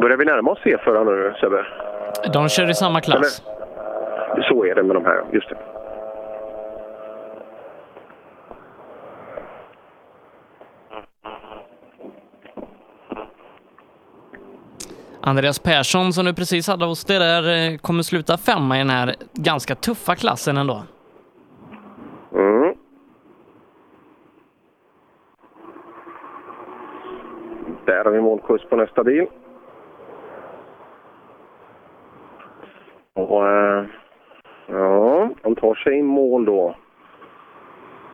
Börjar vi närma oss C4 nu, Sebbe?
De kör i samma klass.
Så är det med de här, just det.
Andreas Persson som du precis hade hos dig där eh, kommer sluta femma i den här ganska tuffa klassen ändå.
Mm. Där har vi målskjuts på nästa bil. Och, eh, ja, de tar sig i mål då.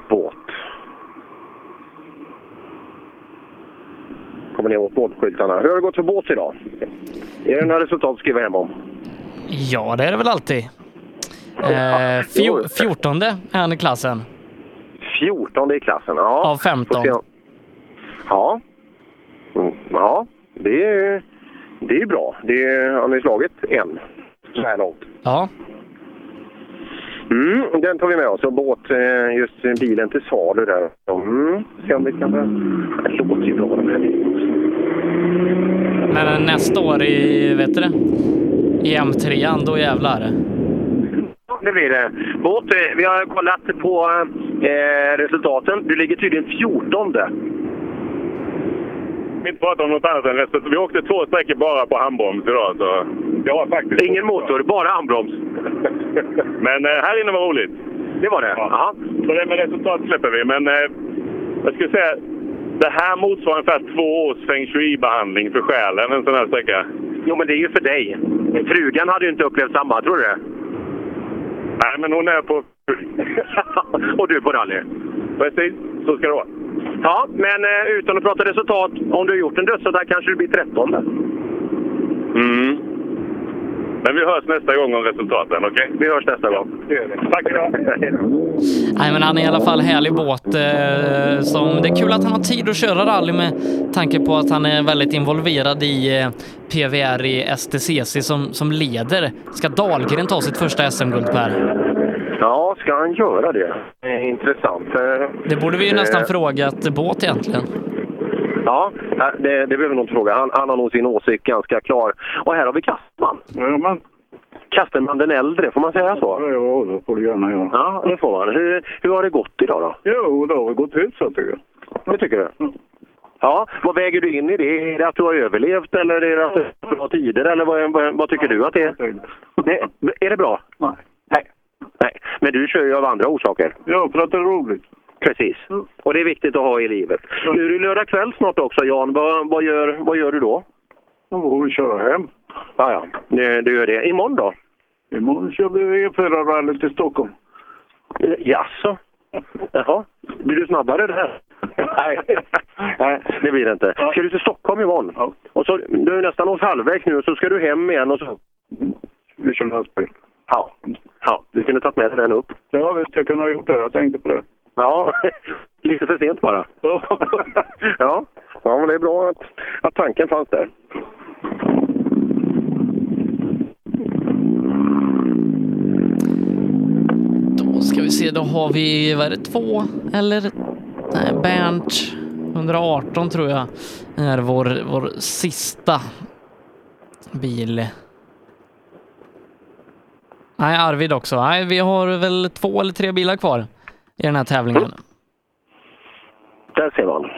Båt. Kommer ner mot målskyltarna. Hur har det gått för båt idag? Är det några resultat att skriva hem om?
Ja, det är det väl alltid. Eh, fjor, fjortonde är han i klassen.
14 i klassen. Ja.
Av 15.
Ja. Mm, Ja, det är, det är bra. Det är, han har ju slagit en så här långt.
Ja.
Mm, den tar vi med oss. Och båt, eh, just bilen till salu där. Mm, se om vi kan... Det låter ju bra. den här bilen.
Men nästa år i, vet du det? I M3, då jävlar.
Det blir det. Båt, eh, vi har kollat på eh, resultaten. Du ligger tydligen 14.
Vi inte prata om något annat än resten. Vi åkte två sträckor bara på handbroms idag. Så det var faktiskt
Ingen motor, bara handbroms.
men eh, här inne var roligt.
Det var det? Ja.
Så det med resultat släpper vi. Men eh, jag skulle säga det här motsvarar ungefär två års feng shui-behandling för själen, en sån här sträcka.
Jo, men det är ju för dig. Frugan hade ju inte upplevt samma, tror du det?
Nej, men hon är på...
[laughs] och du på rally?
Precis, så ska det vara.
Ja, men eh, utan att prata resultat, om du har gjort en dödsattack kanske du blir 13.
Mm. Men vi hörs nästa gång om resultaten, okej?
Vi hörs nästa gång.
Tack ska du ha.
Nej, men han är i alla fall härlig båt. Eh, som, det är kul att han har tid att köra rally med tanke på att han är väldigt involverad i eh, PVR i STCC som, som leder. Ska Dahlgren ta sitt första SM-guld, Per?
[laughs] Ja, ska han göra det? Eh, Intressant. Eh,
Det borde vi ju nästan
eh,
frågat båt egentligen.
Ja, eh, det, det behöver nog inte fråga. Han, han har nog sin åsikt ganska klar. Och här har vi Kastenman.
Jajamän.
Kastenman den äldre, får man säga så?
Ja, det får du gärna göra.
Ja, det får man. Hur, hur har det gått idag då?
Jo, det har gått hyfsat tycker jag.
Det tycker du? Ja, vad väger du in i det? Är det att du har överlevt eller är det att du har bra tider? Eller vad, vad, vad tycker du att det är? Nej, är det bra? Nej. Nej. Nej. Men du kör ju av andra orsaker.
Ja, för att det är roligt.
Precis. Och det är viktigt att ha i livet. Nu är det lördag kväll snart också, Jan. Vad, vad, gör, vad gör du då?
Då får vi köra hem.
Ja, ja. Du, du gör det. Imorgon då?
Imorgon kör vi E4-rallyt till Stockholm.
Eh, Jaså? Jaha. Blir du snabbare där? Nej. Nej, det blir det inte. Ska du till Stockholm imorgon? Ja. Och så, du är nästan åt halvvägs nu, så ska du hem igen och så...
Vi kör lastbil.
Ja. ja. Du kunde tagit med dig den upp.
Ja, visst, jag kunde ha gjort det. Jag tänkte på det.
Ja, [laughs] lite för sent bara. [laughs] ja. ja, men det är bra att, att tanken fanns där.
Då ska vi se, då har vi, vad är det, två eller? Nej, Bernt 118 tror jag är vår, vår sista bil. Nej, Arvid också. Nej, vi har väl två eller tre bilar kvar i den här tävlingen.
Där ser man.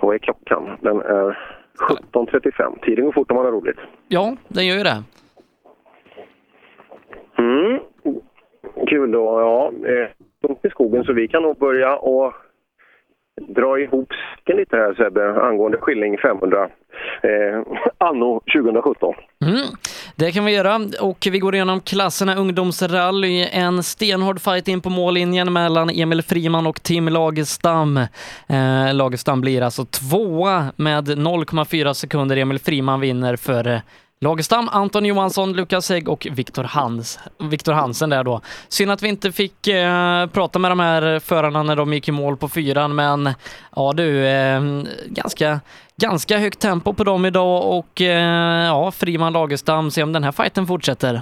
Vad är klockan? Den är 17.35. Tiden går fort om man har roligt.
Ja, den gör ju det.
Mm. Kul då. Ja, eh, punkt i skogen så vi kan nog börja och dra ihop säcken lite här Sebbe angående Skilling 500 eh, anno 2017.
Mm. Det kan vi göra och vi går igenom klasserna ungdomsrally. En stenhård fight in på mållinjen mellan Emil Friman och Tim Lagerstam. Eh, Lagerstam blir alltså tvåa med 0,4 sekunder. Emil Friman vinner för eh, Lagerstam, Anton Johansson, Lukas Hägg och Viktor Hans, Victor Hansen där då. Synd att vi inte fick eh, prata med de här förarna när de gick i mål på fyran, men ja du, eh, ganska, ganska högt tempo på dem idag och eh, ja, Friman Lagerstam, se om den här fighten fortsätter.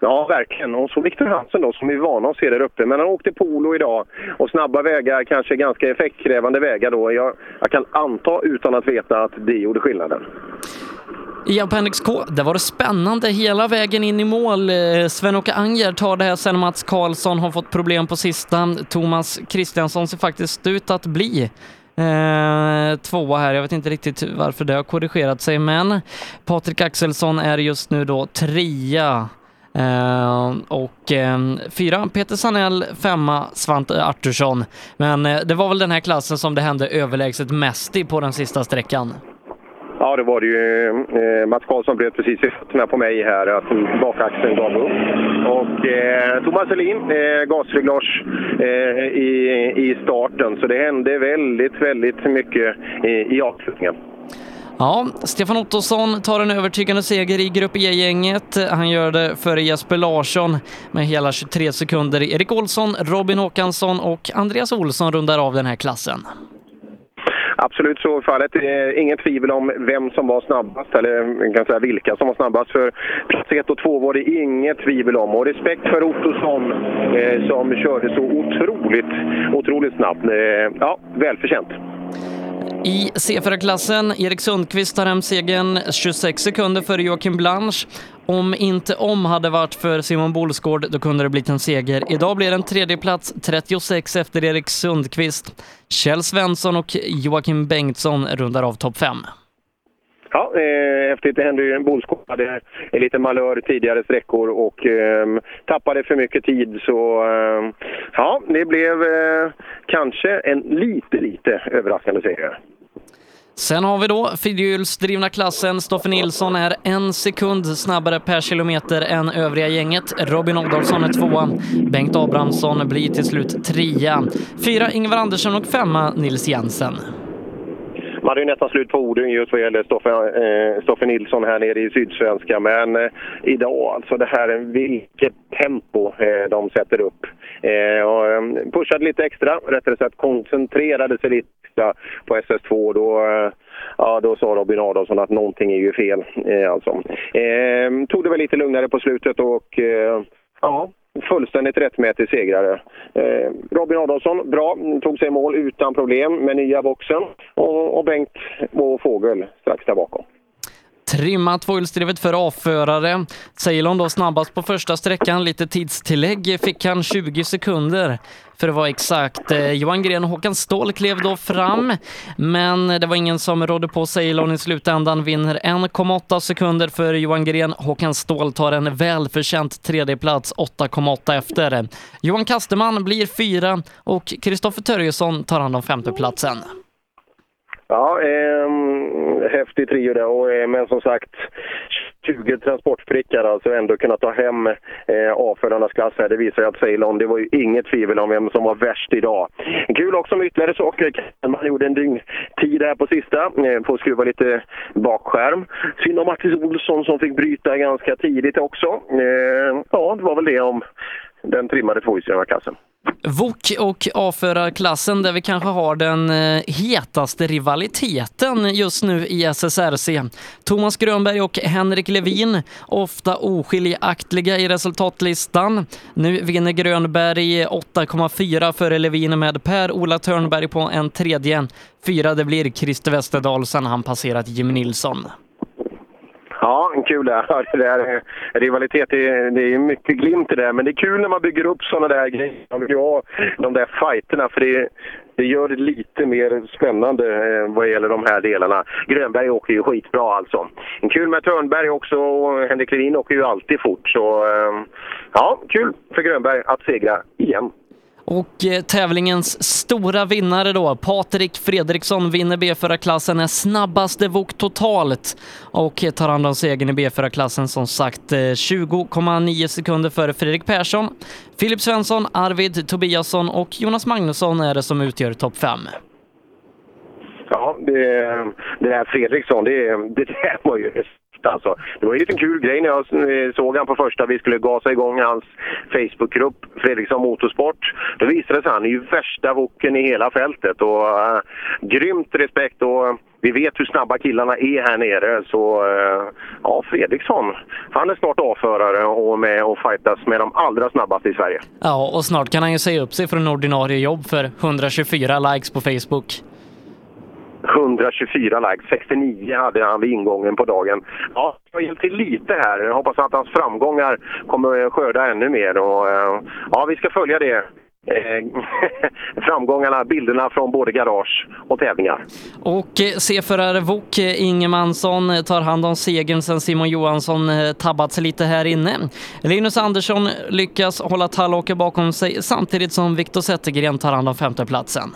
Ja, verkligen. Och så Viktor Hansen då, som vi är vana att se där uppe. Men han åkte polo idag och snabba vägar, kanske ganska effektkrävande vägar då. Jag, jag kan anta utan att veta att det gjorde skillnaden.
I Appendix K, där var det spännande hela vägen in i mål. Eh, Sven-Åke Anger tar det här sen Mats Karlsson har fått problem på sista. Thomas Kristiansson ser faktiskt ut att bli eh, tvåa här. Jag vet inte riktigt varför det har korrigerat sig, men Patrik Axelsson är just nu då trea. Eh, och eh, fyra, Peter Sanell, femma, Svante Artursson. Men eh, det var väl den här klassen som det hände överlägset mest i på den sista sträckan.
Ja, det var det ju. Eh, Mats Karlsson bröt precis i fötterna på mig här, att bakaxeln gav upp. Och eh, Thomas Helin, eh, gasreglage eh, i, i starten. Så det hände väldigt, väldigt mycket i, i avslutningen.
Ja, Stefan Ottosson tar en övertygande seger i Grupp E-gänget. Han gör det före Jesper Larsson med hela 23 sekunder. Erik Olsson, Robin Håkansson och Andreas Olsson rundar av den här klassen.
Absolut så är fallet. Eh, Inget tvivel om vem som var snabbast, eller man kan säga vilka som var snabbast. För plats 1 och 2 var det inget tvivel om. Och respekt för Ottosson eh, som körde så otroligt, otroligt snabbt. Eh, Ja, välförtjänt.
I C4-klassen, Erik Sundqvist tar hem segern 26 sekunder före Joakim Blanche. Om inte om hade varit för Simon Bolsgård, då kunde det blivit en seger. Idag blir det en tredjeplats, 36 efter Erik Sundqvist. Kjell Svensson och Joakim Bengtsson rundar av topp 5.
Ja, eh, häftigt. Det hände ju en bolskott. hade en liten malör tidigare sträckor och ehm, tappade för mycket tid. Så ehm, ja, det blev eh, kanske en lite, lite överraskande seger.
Sen har vi då fyrhjulsdrivna klassen. Stoffe Nilsson är en sekund snabbare per kilometer än övriga gänget. Robin Adolfsson är tvåa. Bengt Abrahamsson blir till slut trea. Fyra Ingvar Andersson och femma Nils Jensen.
Man hade ju nästan slut på orden just vad gäller Stoffe, eh, Stoffe Nilsson här nere i Sydsvenska. Men eh, idag, alltså det här, vilket tempo eh, de sätter upp. Eh, och, eh, pushade lite extra, rättare sagt koncentrerade sig lite extra på SS2. Då, eh, ja, då sa Robin Adolfsson att någonting är ju fel. Eh, alltså. eh, tog det väl lite lugnare på slutet och eh, ja, fullständigt rättmätig segrare. Eh, Robin Adolfsson, bra. Tog sig i mål utan problem med nya boxen. Och, och Bengt och Fågel strax där bakom.
Trimma tvåhjulsdrivet för A-förare. Ceylon då snabbast på första sträckan. Lite tidstillägg fick han 20 sekunder för att vara exakt. Eh, Johan Gren och Håkan Ståhl klev då fram, men det var ingen som rådde på Ceylon i slutändan. Vinner 1,8 sekunder för Johan Gren. Håkan Ståhl tar en välförtjänt tredjeplats, 8,8 efter. Johan Kasterman blir fyra och Kristoffer Törjesson tar hand om femteplatsen.
Ja, eh, häftig trio där. Och, eh, men som sagt, 20 transportprickar alltså ändå kunna ta hem eh, avförarnas klass här. Det visar ju att Ceylon, det var ju inget tvivel om vem som var värst idag. Kul också med ytterligare saker. Man gjorde en dygntid här på sista, eh, på att skruva lite bakskärm. Synd om Martin Olsson som fick bryta ganska tidigt också. Eh, ja, det var väl det om den trimmade tvåhjulsdrivarklassen.
VOK och A-förarklassen där vi kanske har den eh, hetaste rivaliteten just nu i SSRC. Thomas Grönberg och Henrik Levin, ofta oskiljaktiga i resultatlistan. Nu vinner Grönberg 8,4 före Levin med Per-Ola Törnberg på en tredje. Fyra det blir Christer Westerdahl sen han passerat Jim Nilsson.
Ja, kul det här. Det där är rivalitet, det är, det är mycket glimt i det. Men det är kul när man bygger upp sådana där grejer. Man vill ju ha de där fighterna för det, det gör det lite mer spännande eh, vad gäller de här delarna. Grönberg åker ju skitbra alltså. Kul med Törnberg också och Henrik Levin åker ju alltid fort. Så eh, ja, kul för Grönberg att segra igen.
Och eh, tävlingens stora vinnare då, Patrik Fredriksson vinner B4-klassen, är snabbaste vok totalt och eh, tar hand om segern i B4-klassen som sagt eh, 20,9 sekunder före Fredrik Persson. Filip Svensson, Arvid Tobiasson och Jonas Magnusson är det som utgör topp 5.
Ja, det, det där Fredriksson, det, det där var ju häst, alltså. Det var ju en liten kul grej när jag eh, såg han på första vi skulle gasa igång hans Facebookgrupp Fredriksson Motorsport. Då visade det sig han är ju värsta voken i hela fältet och äh, grymt respekt och eh, vi vet hur snabba killarna är här nere så eh, ja, Fredriksson, han är snart avförare och med och fightas med de allra snabbaste i Sverige.
Ja, och snart kan han ju säga upp sig från ordinarie jobb för 124 likes på Facebook.
124 likes, 69 hade han vid ingången på dagen. Ja, jag har hjälpt till lite här. Jag hoppas att hans framgångar kommer att skörda ännu mer. Och, eh, ja, vi ska följa det. Eh, [laughs] Framgångarna, bilderna från både garage och tävlingar.
Och eh, C-förare Wok eh, Ingemansson eh, tar hand om segern sen Simon Johansson eh, tabbat sig lite här inne. Linus Andersson lyckas hålla Tallåker bakom sig samtidigt som Viktor Zettergren tar hand om femteplatsen.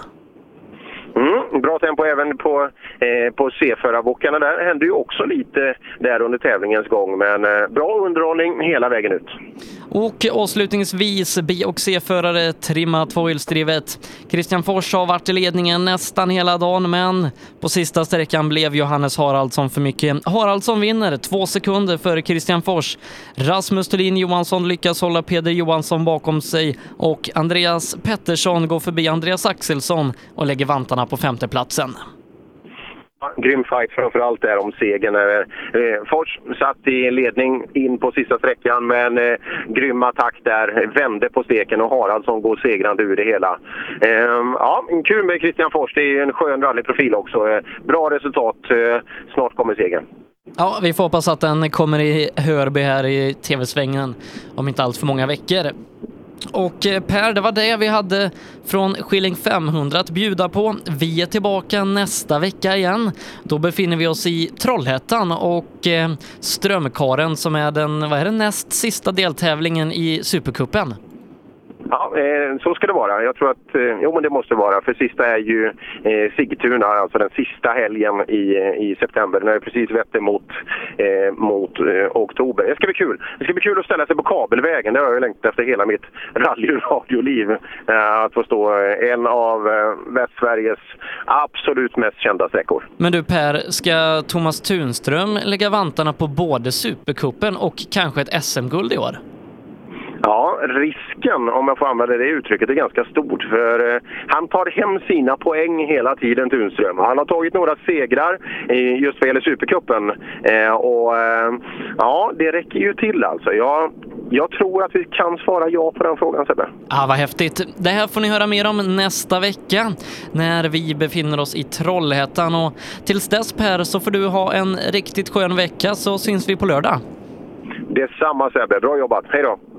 Mm, bra tempo även på, eh, på C-förarbockarna där. Det hände ju också lite där under tävlingens gång, men eh, bra underhållning hela vägen ut.
Och avslutningsvis B och C-förare trimma tvåhjulsdrivet. Christian Fors har varit i ledningen nästan hela dagen, men på sista sträckan blev Johannes Haraldsson för mycket. Haraldsson vinner två sekunder före Christian Fors. Rasmus Thulin Johansson lyckas hålla Peder Johansson bakom sig och Andreas Pettersson går förbi Andreas Axelsson och lägger vantarna på femteplatsen.
Grym fight framförallt där om segern. Eh, Fors satt i ledning in på sista sträckan men eh, grym attack där. Vände på steken och Haraldsson går segrande ur det hela. Eh, ja, kul med Christian Fors. Det är ju en skön rallyprofil också. Eh, bra resultat. Eh, snart kommer segern.
Ja, vi får hoppas att den kommer i Hörby här i tv-svängen om inte allt för många veckor. Och eh, Per, det var det vi hade från Skilling 500 att bjuda på. Vi är tillbaka nästa vecka igen. Då befinner vi oss i Trollhättan och eh, Strömkaren som är den, vad är det, näst sista deltävlingen i Supercupen.
Ja, eh, så ska det vara. Jag tror att, eh, jo men det måste vara, för sista är ju eh, Sigtuna, alltså den sista helgen i, i september. Den har ju precis vett mot, eh, mot eh, oktober. Det ska bli kul. Det ska bli kul att ställa sig på kabelvägen. Det har jag ju längtat efter hela mitt rallyradioliv. Eh, att få stå eh, en av eh, Västsveriges absolut mest kända sträckor.
Men du Per, ska Thomas Tunström lägga vantarna på både Supercupen och kanske ett SM-guld i år?
Ja, risken, om jag får använda det uttrycket, är ganska stort. För eh, han tar hem sina poäng hela tiden, Tunström. Han har tagit några segrar eh, just vad gäller Supercupen. Eh, och eh, ja, det räcker ju till alltså. Jag, jag tror att vi kan svara ja på den frågan, Sebbe.
Ah, vad häftigt! Det här får ni höra mer om nästa vecka när vi befinner oss i Trollhättan. Och tills dess Per, så får du ha en riktigt skön vecka så syns vi på lördag.
Detsamma Sebbe, bra jobbat. Hej då!